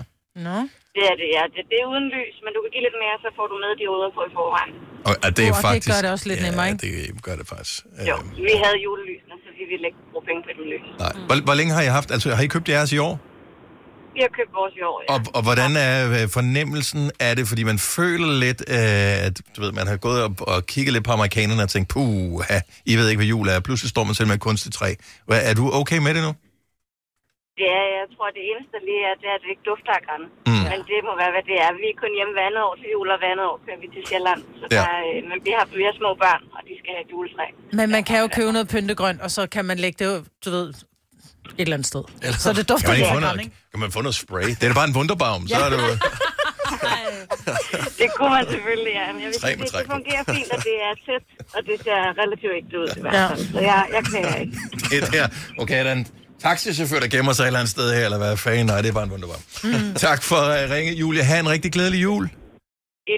Speaker 3: Nå.
Speaker 7: Det er det, ja. Det, det er uden lys, men du kan give lidt mere, så får du med de ruder på i forvejen.
Speaker 1: Og, og det er
Speaker 3: Uh, og det
Speaker 1: faktisk...
Speaker 3: gør det også lidt
Speaker 1: ja,
Speaker 3: nemmere, ikke?
Speaker 1: det gør det faktisk. Øh,
Speaker 7: Jo, vi havde julelysene, så vi ville ikke bruge penge på dem lys.
Speaker 1: Nej. Hvor, hvor længe har I haft? Altså, har I købt jeres i år?
Speaker 7: Vi har købt vores i år, ja.
Speaker 1: Og, og hvordan er øh, fornemmelsen af det? Fordi man føler lidt, øh, at du ved, man har gået op og kigget lidt på amerikanerne og tænkt, puh, I ved ikke, hvad jul er. Pludselig står man selv med et kunstigt træ. Hvad, er du okay med det nu?
Speaker 7: Ja, jeg tror, det eneste lige er, det er, at det ikke dufter af græn.
Speaker 1: Mm.
Speaker 7: Men det må være, hvad det er. Vi er kun hjemme hver andet år til jul, og hver andet år kører vi til Sjælland. Så
Speaker 1: Ja.
Speaker 7: der, øh, men vi har, vi har små børn, og de skal have et
Speaker 1: <laughs>
Speaker 7: juletræ.
Speaker 3: Men man kan jo købe noget pyntegrønt, og så kan man lægge det, du ved, et eller andet sted.
Speaker 1: Eller,
Speaker 3: Så det dufter
Speaker 1: kan man ikke
Speaker 3: lidt
Speaker 1: få
Speaker 3: af
Speaker 1: noget,
Speaker 3: græn, ikke?
Speaker 1: Kan man få noget spray? Det er da bare en wunderbaum, så
Speaker 3: Ja.
Speaker 1: er det jo...
Speaker 7: Det kunne man selvfølgelig, ja. Men jeg vil
Speaker 1: Tre
Speaker 7: sige,
Speaker 1: med
Speaker 7: det,
Speaker 1: tre
Speaker 7: det
Speaker 1: på.
Speaker 7: fungerer fint, og det er tæt, og det ser relativt ikke ud i hvert
Speaker 1: Ja.
Speaker 7: fald. Så jeg, jeg kan ikke.
Speaker 1: Det der. Okay, er der en taxichauffør, der gemmer sig et eller andet sted her, eller hvad fanden? Nej, det er bare en wunderbaum. Mm. Tak for at ringe, Julie. Ha' en rigtig glædelig jul.
Speaker 7: I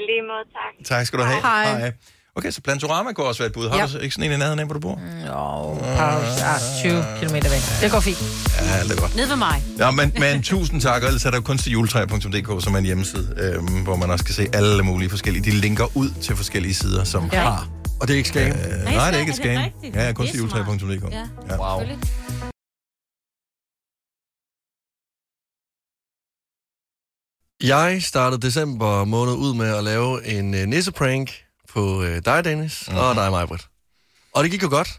Speaker 7: lige måde, tak.
Speaker 1: Tak skal du have.
Speaker 7: Hej.
Speaker 1: Okay, så Plantorama kunne også være et bud. Har
Speaker 3: Ja.
Speaker 1: ja. du så ikke sådan en i nærheden af, hvor du bor?
Speaker 3: Jo, par, ah, 20 km væk. Det går fint.
Speaker 1: Ja, det er godt.
Speaker 4: Ned ved mig.
Speaker 1: Ja, men, men tusind tak, og ellers er der jo kunstjuletræ.dk, som er en hjemmeside, øhm, hvor man også kan se alle mulige forskellige. De linker ud til forskellige sider, som
Speaker 2: Ja.
Speaker 1: ja. har.
Speaker 2: Og det er ikke scam?
Speaker 1: Øh,
Speaker 2: Nej,
Speaker 1: nej, det
Speaker 2: så
Speaker 1: er
Speaker 2: er
Speaker 1: ikke et
Speaker 2: det
Speaker 1: scam.
Speaker 2: rigtigt.
Speaker 1: Ja,
Speaker 2: Det er
Speaker 1: kunstjuletræ.dk.
Speaker 2: smart.
Speaker 1: Ja. Wow.
Speaker 2: Jeg startede december måned ud med at lave en øh, nisseprank på øh, dig, Dennis,
Speaker 1: Mhm.
Speaker 2: mm-hmm. og dig, Majbrit. Og det gik jo godt.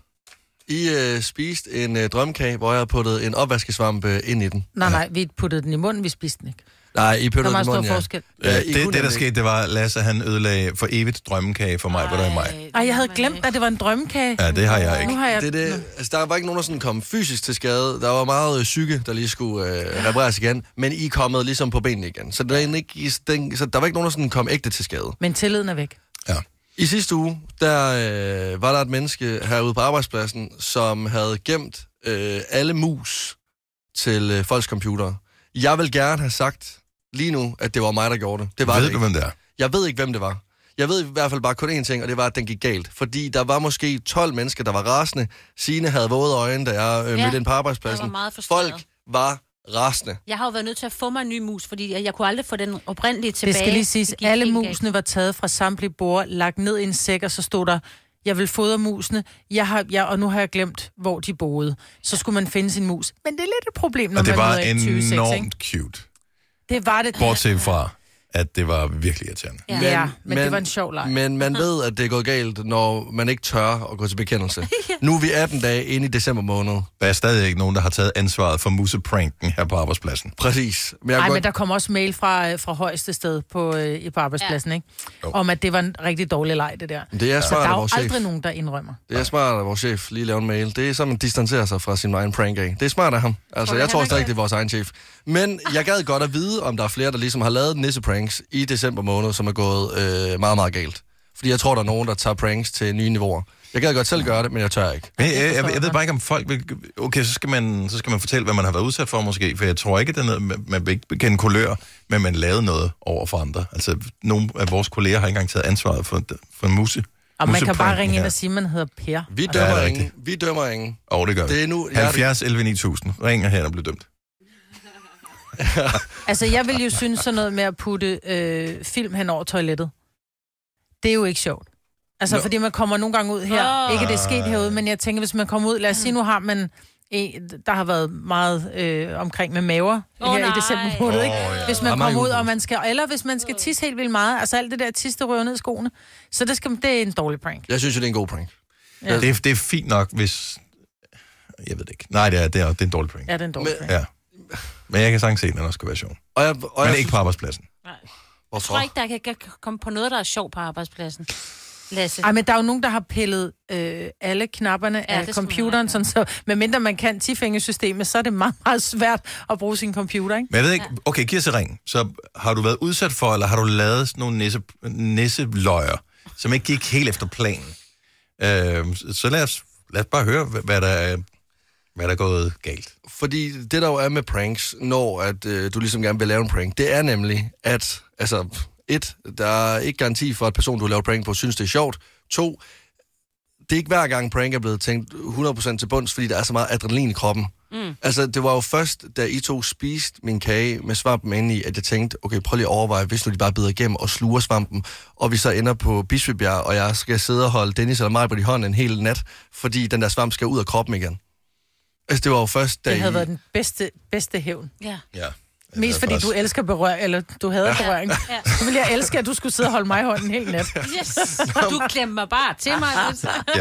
Speaker 2: I øh, spiste en øh, drømkage, hvor jeg havde puttet en opvaskesvampe ind i den.
Speaker 3: Nej, nej, vi puttede den i munden, vi spiste den ikke.
Speaker 2: Nej, I
Speaker 3: Der er
Speaker 2: pyttede den i
Speaker 3: meget
Speaker 2: munden,
Speaker 3: stor forskel.
Speaker 1: Ja,
Speaker 2: Ja, I kunne
Speaker 1: det, det, der
Speaker 2: nemlig
Speaker 1: skete, det var, Lasse han ødelagde for evigt drømmekage for mig, hvor der er mig.
Speaker 3: Ej, jeg havde glemt, at det var en drømmekage.
Speaker 1: Ja, det har jeg ikke.
Speaker 3: Nu har jeg...
Speaker 2: Det, er det, altså, der var ikke nogen, der sådan kom fysisk til skade. Der var meget øh, psyke, der lige skulle øh, repareres igen. Men I er kommet ligesom på benene igen. Så der, er egentlig ikke, den, så der var ikke nogen, der sådan kom ægte til skade.
Speaker 3: Men tilliden er væk.
Speaker 2: I sidste uge, der øh, var der et menneske herude på arbejdspladsen, som havde gemt øh, alle mus til øh, folks computere. Jeg vil gerne have sagt lige nu, at det var mig, der gjorde det. det var
Speaker 1: Ved
Speaker 2: det
Speaker 1: du,
Speaker 2: ikke.
Speaker 1: hvem det er?
Speaker 2: Jeg ved ikke, hvem det var. Jeg ved i hvert fald bare kun én ting, og det var, at den gik galt. Fordi der var måske 12 mennesker, der var rasende. Sine havde våde øjne, da jeg øh,
Speaker 4: Ja,
Speaker 2: ja, mødte ind på
Speaker 4: jeg
Speaker 2: arbejdspladsen.
Speaker 4: var meget frustreret.
Speaker 2: Folk var rasende.
Speaker 4: Jeg har jo været nødt til at få mig en ny mus, fordi jeg, jeg kunne aldrig få den oprindelige tilbage.
Speaker 3: Det skal lige siges,
Speaker 4: gik
Speaker 3: alle
Speaker 4: helt galt.
Speaker 3: musene var taget fra samtlige bord, lagt ned i en sæk, og så stod der, jeg vil fodre musene, jeg har, jeg, og nu har jeg glemt, hvor de boede. Så skulle man finde sin mus. Men det er lidt et problem, når
Speaker 1: Og det
Speaker 3: man
Speaker 1: var
Speaker 3: møder en 26, ikke?
Speaker 1: enormt cute.
Speaker 3: Det var det.
Speaker 1: Bortset fra, at det var virkelig irriterende.
Speaker 3: Ja, men, ja, men, men det var en sjov leg.
Speaker 2: Men man ved, at det er gået galt, når man ikke tør at gå til
Speaker 3: <laughs>
Speaker 2: bekendelse. Nu er vi 18 dage inde i december måned.
Speaker 1: Der er stadig ikke nogen, der har taget ansvaret for musepranken her på arbejdspladsen.
Speaker 2: Præcis. Men
Speaker 3: Nej, men der kom også mail fra, øh, fra højeste sted på, øh, i- på arbejdspladsen, ikke? Om, at det var en rigtig dårlig leg, det der.
Speaker 2: Det er
Speaker 3: så
Speaker 2: smart
Speaker 3: der
Speaker 2: af
Speaker 3: er jo
Speaker 2: vores chef.
Speaker 3: aldrig nogen, der indrømmer.
Speaker 2: Det er smart, at vores chef lige laver en mail. Det er så, man distancerer sig fra sin egen prank af. Det er smart af ham. Altså,
Speaker 3: Tror du,
Speaker 2: jeg tror
Speaker 3: han er Ah.
Speaker 2: stadig,
Speaker 3: glad?
Speaker 2: det er vores egen chef. Men jeg gad godt at vide, om der er flere, der ligesom har lavet nissepranks i december måned, som er gået øh, meget, meget galt. Fordi jeg tror, der er nogen, der tager pranks til nye niveauer. Jeg gad godt selv gøre det, men jeg tør ikke.
Speaker 1: Men jeg, jeg, jeg, jeg ved bare ikke, om folk vil... Okay, så skal, man, så skal man fortælle, hvad man har været udsat for måske, for jeg tror ikke, at det er noget, man, man vil ikke kende kulør, men man lavede noget over for andre. Altså, nogle af vores kolleger har ikke engang taget ansvaret for, for muse.
Speaker 3: Og man kan bare
Speaker 1: musepranken
Speaker 3: ringe ind
Speaker 1: her.
Speaker 3: og sige, at man hedder Per.
Speaker 2: Vi
Speaker 1: Ja,
Speaker 2: dømmer
Speaker 1: det er
Speaker 2: ja, ingen. Vi dømmer ingen.
Speaker 1: Åh, oh, det gør
Speaker 2: Det
Speaker 1: vi.
Speaker 2: er nu- jeg er det-
Speaker 1: 70 11 9000. Ringer her, der bliver dømt.
Speaker 3: Altså, jeg vil jo synes sådan noget med at putte øh, film hen over toilettet. Det er jo ikke sjovt. Altså,
Speaker 6: Nå.
Speaker 3: Nå. fordi man kommer nogle gange ud her.
Speaker 6: Åh.
Speaker 3: Oh. Ikke, det er sket herude, men jeg tænker, hvis man kommer ud... Lad os sige, nu har man... en, Der har været meget øh, omkring med maver
Speaker 6: Åh,
Speaker 3: oh, her
Speaker 6: nej.
Speaker 3: i december måned, ikke?
Speaker 6: Åh, ja.
Speaker 3: Hvis
Speaker 6: Der er mange
Speaker 3: man kommer ud,
Speaker 6: udenfor.
Speaker 3: og man skal... Eller hvis man skal tisse helt vildt meget. Altså, alt det der tisse, der rører ned i skoene. Så det, skal, det er en dårlig prank.
Speaker 2: Jeg synes jo, det er en god prank.
Speaker 3: Ja.
Speaker 1: Ja. Det, er- det er fint nok, hvis... Jeg ved det ikke. Nej, det er, det er, det er en dårlig prank.
Speaker 3: Ja, det er en dårlig prank.
Speaker 1: Ja. Men jeg kan sagtens se, at den også skal være sjov.
Speaker 2: Og jeg, og
Speaker 1: Men
Speaker 2: jeg
Speaker 1: ikke på arbejdspladsen.
Speaker 4: Nej. Jeg
Speaker 1: Hvorfor? <laughs>
Speaker 4: tror ikke, der kan, kan komme på noget, der er sjovt på arbejdspladsen. Lasse.
Speaker 3: Ej, men der er jo nogen, der har pillet øh, alle knapperne ja, af
Speaker 4: det skal man
Speaker 3: computeren, sådan så medmindre man kan tifingersystemet, så er det meget, meget svært at bruge sin computer, ikke?
Speaker 1: Men jeg ved ikke, okay, giv os et ring. Så har du været udsat for, eller har du lavet sådan nogle nisse, nisseløjer, som ikke gik helt efter planen? Øh, så- så lad os, lad os bare høre, hvad hvad der, er- hvad der er gået galt.
Speaker 2: Fordi det, der jo er med pranks, når at, øh, du ligesom gerne vil lave en prank, det er nemlig, at altså, et, der er ikke garanti for, at personen, du laver prank på, synes, det er sjovt. To, det er ikke hver gang, en prank er blevet tænkt 100% til bunds, fordi der er så meget adrenalin i kroppen.
Speaker 6: Mm.
Speaker 2: Altså, det var jo først, da I to spiste min kage med svampen inde i, at jeg tænkte, okay, prøv lige at overveje, hvis nu de bare bider igennem og sluger svampen, og vi så ender på Bispebjerg, og jeg skal sidde og holde Dennis eller mig på de hånden en hel nat, fordi den der svamp skal ud af kroppen igen. Altså, det var jo først, da
Speaker 3: Det havde
Speaker 2: I...
Speaker 3: været den bedste, bedste hævn.
Speaker 4: Ja.
Speaker 1: Ja.
Speaker 3: Mest fordi du elsker berøring, eller du havde
Speaker 2: Ja.
Speaker 3: ja. berøring.
Speaker 4: Ja.
Speaker 3: Så ville jeg elske, at du skulle sidde og holde mig i hånden hele nat.
Speaker 4: Yes. Og du klemmer mig bare til mig. altså.
Speaker 1: <laughs>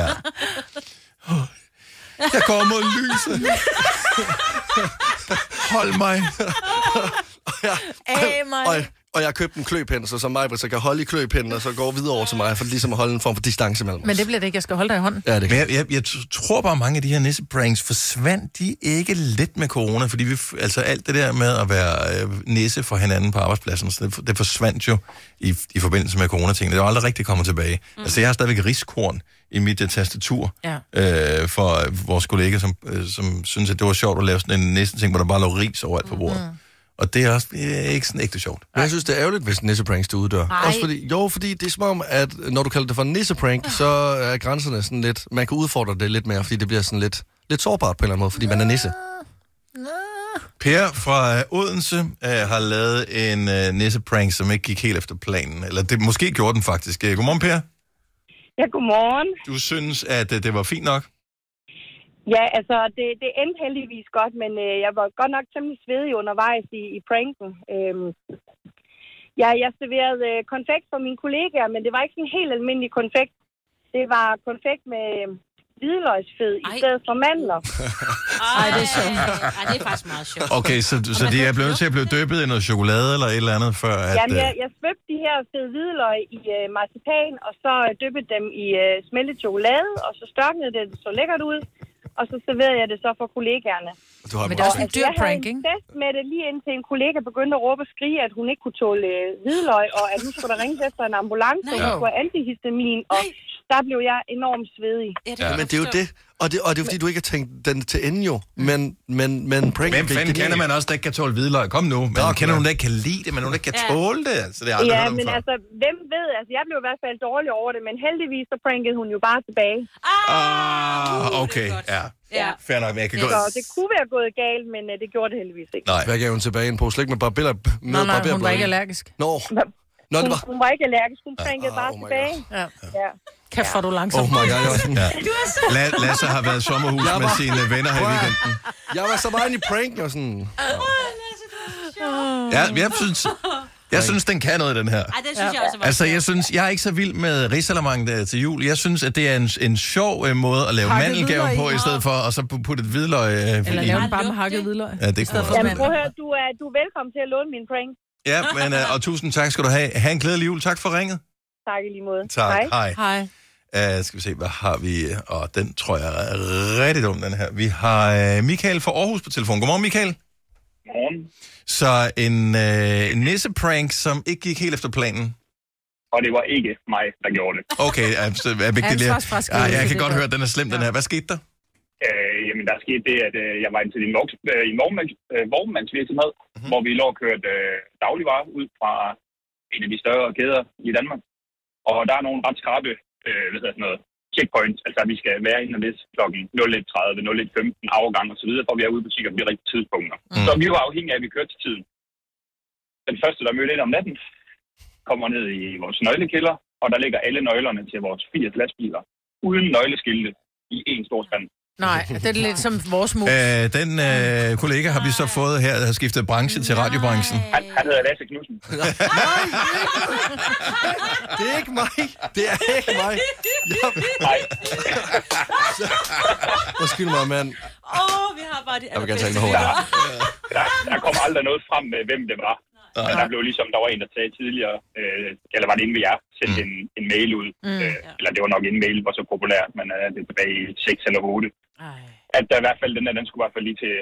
Speaker 1: Ja. Jeg kommer mod lyset. Hold mig.
Speaker 3: Af mig.
Speaker 2: Og, og jeg købte en kløpind, så, så mig, så kan holde i kløpinden, og så går videre over til mig, for ligesom at holde en form for distance mellem os.
Speaker 3: Men det bliver det ikke, jeg skal holde dig i hånden.
Speaker 2: Ja, det
Speaker 1: Men jeg, jeg, jeg t- tror bare, mange af de her nissepranks forsvandt de ikke lidt med corona, fordi vi, f- altså alt det der med at være øh, nisse for hinanden på arbejdspladsen, så det, f- det forsvandt jo i, i forbindelse med corona-tingene. Det er jo aldrig rigtig kommet tilbage. Mm. Altså, jeg har stadigvæk riskorn i mit øh, tastatur
Speaker 3: Ja.
Speaker 1: øh, for øh, vores kollega, som, øh, som synes, at det var sjovt at lave sådan en nisse-ting, hvor der bare lå ris overalt på bordet. Mm. Og det er også øh, ikke sådan ægte sjovt.
Speaker 2: Men jeg synes, det er ærgerligt, hvis nissepranks det uddør.
Speaker 1: Ej.
Speaker 2: Også fordi, jo, fordi det er som om, at når du kalder det for en nisseprank, så er grænserne sådan lidt... Man kan udfordre det lidt mere, fordi det bliver sådan lidt, lidt sårbart på en eller anden måde, fordi man er nisse.
Speaker 1: Per fra øh, Odense øh, har lavet en øh, nisseprank, som ikke gik helt efter planen. Eller det, måske gjorde den faktisk. Øh, Godmorgen, Per.
Speaker 16: Ja, godmorgen.
Speaker 1: Du synes, at øh, det var fint nok?
Speaker 16: Ja, altså, det, det endte heldigvis godt, men øh, jeg var godt nok temmelig svedig undervejs i, i pranken. Øhm, ja, jeg serverede øh, konfekt for mine kollegaer, men det var ikke sådan helt almindelig konfekt. Det var konfekt med øh, hvidløgsfed i stedet for mandler.
Speaker 4: <laughs> Ej, det er sjovt. Ej, det er faktisk meget sjovt.
Speaker 1: Okay, så, så de er blevet nødt til at blive døbet i noget chokolade eller et eller andet, før at...
Speaker 16: Jamen,
Speaker 1: øh,
Speaker 16: jeg, jeg svøbte de her fede hvidløg i øh, marcipan, og så øh, dyppede dem i øh, smeltet chokolade, og så størknede det, det så lækkert ud, og så serverede jeg det så for kollegaerne.
Speaker 2: Du har
Speaker 3: Men det er også en dyr
Speaker 16: jeg havde
Speaker 3: prank,
Speaker 16: en
Speaker 3: ikke?
Speaker 16: test med det, lige indtil en kollega begyndte at råbe og skrige, at hun ikke kunne tåle øh, hvidløg, og at nu skulle der ringes efter en ambulance, og hun
Speaker 2: Nej.
Speaker 16: skulle have antihistamin, og der blev jeg enormt svedig.
Speaker 2: Ja. Men det er jo det. Og det, og det er fordi, du ikke har tænkt den til ende jo.
Speaker 3: Mm.
Speaker 2: Men, men, men prank,
Speaker 1: Hvem fanden kender man også, der ikke kan tåle hvidløg? Kom nu. Man kender nogen, der ikke kan lide det, men nogen, der ikke kan
Speaker 16: Ja.
Speaker 1: tåle det. Så det har jeg aldrig
Speaker 16: ja,
Speaker 1: hørt om
Speaker 16: men
Speaker 1: før.
Speaker 16: altså, hvem ved? Altså, jeg blev i hvert fald dårlig over det, men heldigvis så prankede hun jo bare tilbage.
Speaker 1: Ah, okay, ja.
Speaker 16: Ja.
Speaker 1: Fair nok, men jeg kan
Speaker 16: Så
Speaker 1: godt...
Speaker 16: det kunne være gået galt, men øh, det gjorde det heldigvis ikke.
Speaker 1: Nej.
Speaker 2: Hvad gav hun tilbage en pose slik med barbeller? Med
Speaker 3: Nej, nej, hun var
Speaker 2: barberblade?
Speaker 3: ikke allergisk.
Speaker 2: Nå. Nå, det
Speaker 16: Hun,
Speaker 2: var...
Speaker 16: hun var ikke allergisk, hun prankede bare tilbage.
Speaker 3: Ja.
Speaker 16: Ja.
Speaker 3: Kæft, hvor er du langsom.
Speaker 2: Oh
Speaker 3: <laughs>
Speaker 2: my god, jeg var sådan...
Speaker 1: Ja.
Speaker 16: Du er så...
Speaker 1: La- Lasse har været i sommerhus
Speaker 2: Jeg
Speaker 1: med
Speaker 2: var-
Speaker 1: sine venner her i
Speaker 2: Prøv at-
Speaker 1: weekenden.
Speaker 2: Jeg var så meget inde i pranken og sådan...
Speaker 1: Ja, jeg synes, jeg synes, den kan noget, den her.
Speaker 4: Ej, det synes jeg også var
Speaker 1: Altså, jeg synes, jeg er ikke så vild med risalamang der til jul. Jeg synes, at det er en, en sjov øh, måde at lave
Speaker 3: Pakket
Speaker 1: mandelgaven på,
Speaker 3: hvidløg i.
Speaker 1: i stedet for, og så pu- putte et hvidløg øh,
Speaker 3: Eller
Speaker 1: i.
Speaker 3: lave den bare med hakket hvidløg.
Speaker 1: Ja, det kunne man
Speaker 16: Jamen,
Speaker 1: også.
Speaker 16: prøv at høre, du er, du er velkommen til at låne min prank.
Speaker 1: Ja, men, øh, og tusind tak skal du have. Ha' en glædelig jul. Tak for ringet.
Speaker 16: Tak i lige måde.
Speaker 1: Tak. Hej.
Speaker 3: Hej.
Speaker 1: Uh, skal vi se, hvad har vi? Og oh, den tror jeg er rigtig dum, den her. Vi har uh, Michael fra Aarhus på telefon. Godmorgen, Michael.
Speaker 17: Godmorgen.
Speaker 1: Så en, uh, en nisseprank, som ikke gik helt efter planen.
Speaker 17: Og det var ikke mig, der gjorde det.
Speaker 1: Okay, er, så er vigtigt lige.
Speaker 17: Ansvarsfraskrivelse,
Speaker 1: Ah, jeg
Speaker 17: det
Speaker 1: kan godt
Speaker 17: der.
Speaker 1: høre, at den er slem, den her. Hvad skete der?
Speaker 17: Øh, jamen, der skete det, at øh, jeg var ind til en, voks, øh, en vognmands, øh, vognmandsvirksomhed, mm-hmm. hvor vi lå og kørte øh, dagligvarer ud fra en af de større kæder i Danmark. Og der er nogle ret skarpe øh, hvad hedder sådan noget, checkpoints, altså at vi skal være inde og vist kl. 01.30, 01.15, afgang osv., for at vi er ude i butikker på de rigtige tidspunkter. Mm. Så vi var afhængige af, at vi kørte til tiden. Den første, der mødte ind om natten, kommer ned i vores nøglekælder, og der ligger alle nøglerne til vores 80 lastbiler, uden nøgleskilte i en stor spand.
Speaker 3: Nej, det er lidt som vores mus.
Speaker 1: Uh, den uh, kollega har vi så fået her, der har skiftet branche til radiobranchen.
Speaker 17: Han, han hedder Lasse
Speaker 2: <laughs>
Speaker 17: Knudsen.
Speaker 2: Det er ikke mig. Det er ikke mig. Jeg...
Speaker 17: Nej.
Speaker 2: <laughs> Undskyld mig, mand.
Speaker 4: Åh, oh, vi har bare det
Speaker 2: Jeg vil gerne tage en med
Speaker 17: Der, der, der kom aldrig noget frem med, hvem det var. Men der blev ligesom, der var en, der sagde tidligere, øh, eller var det inde ved jer, sendt en, en mail ud.
Speaker 6: Mm.
Speaker 17: Øh, eller det var nok en mail, var så populært, men øh, det er tilbage i 6 eller 8. At der i hvert fald, den der, den skulle i hvert fald lige til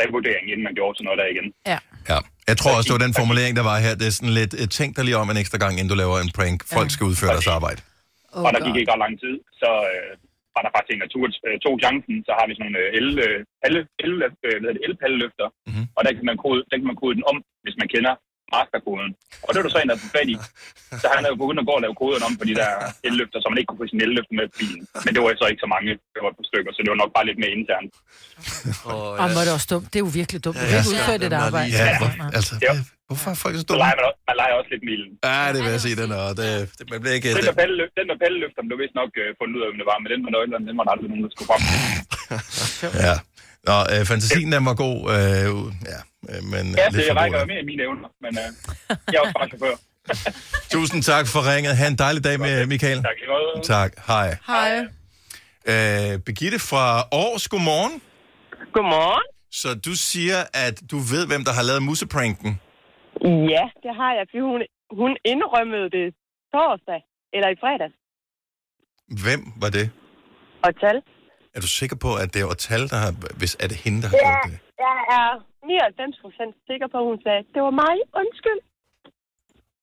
Speaker 17: revurdering, inden man gjorde sådan noget der igen.
Speaker 3: Ja.
Speaker 1: Ja. Jeg tror også, det var den formulering, der var her. Det er sådan lidt, øh, tænk dig lige om en ekstra gang, inden du laver en prank. Folk skal udføre deres arbejde.
Speaker 17: Oh, og der gik ikke ret lang tid, så øh, var der faktisk en, der tog, øh, tog chancen, så har vi sådan nogle øh, el, øh, palle, el, øh, hvad hedder det, elpalleløfter, mm-hmm. og der kan, man kode, der kan man kode den om, hvis man kender masterkoden. Og det var der så en, der tog fat i. Så han er jo begyndt at gå og lave koderne om på de der elløfter, så man ikke kunne få sin elløfter med på bilen. Men det var så ikke så mange, det var et par stykker, så det var nok bare lidt mere internt.
Speaker 3: Og hvor er det også dumt. Det er jo virkelig dumt. Du kan ikke udføre dit arbejde.
Speaker 1: Ja, hvor- altså, hvorfor er folk så dumme?
Speaker 17: Så leger man, også, man leger også lidt med ilden.
Speaker 1: Ja, det vil jeg sige, den er. Det, det, man bliver ikke...
Speaker 17: Den med palleløft- Den med palleløfteren blev vist nok øh, fundet ud af, hvem det var, men den med nøglerne, den var der aldrig nogen, der skulle
Speaker 1: <laughs>
Speaker 17: frem.
Speaker 1: Ja. Nå, øh, fantasien den var god. Øh, ja, øh, men
Speaker 17: Ja,
Speaker 1: lidt
Speaker 17: det
Speaker 1: for god,
Speaker 17: rækker
Speaker 1: ja.
Speaker 17: jo mere i mine evner, men øh, jeg er også bare chauffør.
Speaker 1: Tusind tak for ringet. Ha' en dejlig dag med Michael. Tak, tak. hej.
Speaker 3: Hej.
Speaker 1: Øh, Birgitte fra Aarhus, godmorgen.
Speaker 18: Godmorgen.
Speaker 1: Så du siger, at du ved, hvem der har lavet musepranken.
Speaker 18: Ja, det har jeg, fordi hun, hun indrømmede det torsdag, eller i fredags,
Speaker 1: Hvem var det?
Speaker 18: og tal.
Speaker 1: Er du sikker på, at det er Otal, der har... Hvis er det hende, der har...
Speaker 18: Ja, jeg er 99 procent sikker på, at hun sagde, det var mig, undskyld.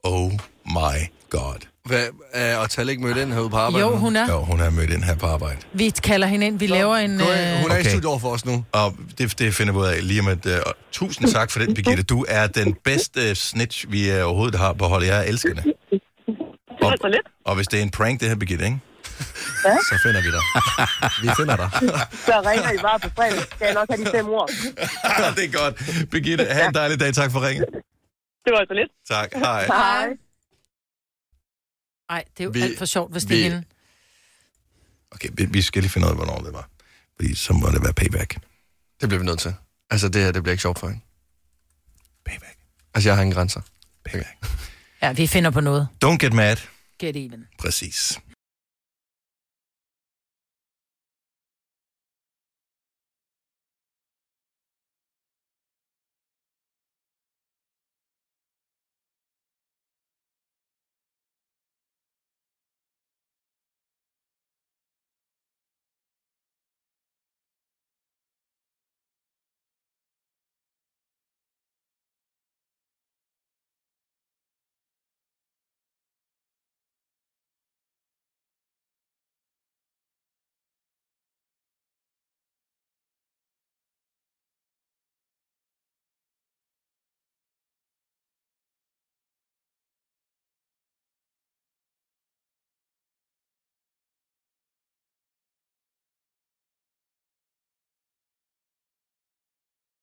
Speaker 1: Oh my god.
Speaker 2: Hvad, er og Tal ikke mødt ind herude på arbejde?
Speaker 3: Jo,
Speaker 2: nu?
Speaker 3: hun er.
Speaker 1: Jo, hun er mødt ind her på arbejde.
Speaker 3: Vi kalder hende ind. Vi laver en... Øh,
Speaker 1: Hun er okay. i studiet over for os nu. Og det, det finder vi ud af lige om et... Uh, tusind tak for det, Birgitte. Du er den bedste snitch, vi uh, overhovedet har på holdet. Jeg elsker det. Og,
Speaker 18: altså
Speaker 1: og hvis det er en prank, det her, Birgitte, ikke?
Speaker 18: Ja.
Speaker 1: Så finder vi dig. <laughs> vi finder dig.
Speaker 18: Så ringer I bare på fredag, skal jeg nok have de fem ord.
Speaker 1: <laughs> det er godt. Birgitte, have en dejlig dag. Tak for ringen.
Speaker 18: Det var så lidt.
Speaker 1: Tak. Hej.
Speaker 3: Hej. Nej, det er jo
Speaker 1: Vi-
Speaker 3: alt for sjovt, hvis det
Speaker 1: vi-
Speaker 3: er hende.
Speaker 1: Okay, vi, vi skal lige finde ud af, hvornår det var. Fordi så må det være payback.
Speaker 2: Det bliver vi nødt til. Altså, det her, det bliver ikke sjovt for hende. Payback. Altså, jeg har ingen grænser.
Speaker 1: Payback.
Speaker 3: Ja, vi finder på noget.
Speaker 1: Don't get mad.
Speaker 3: Get even.
Speaker 1: Præcis.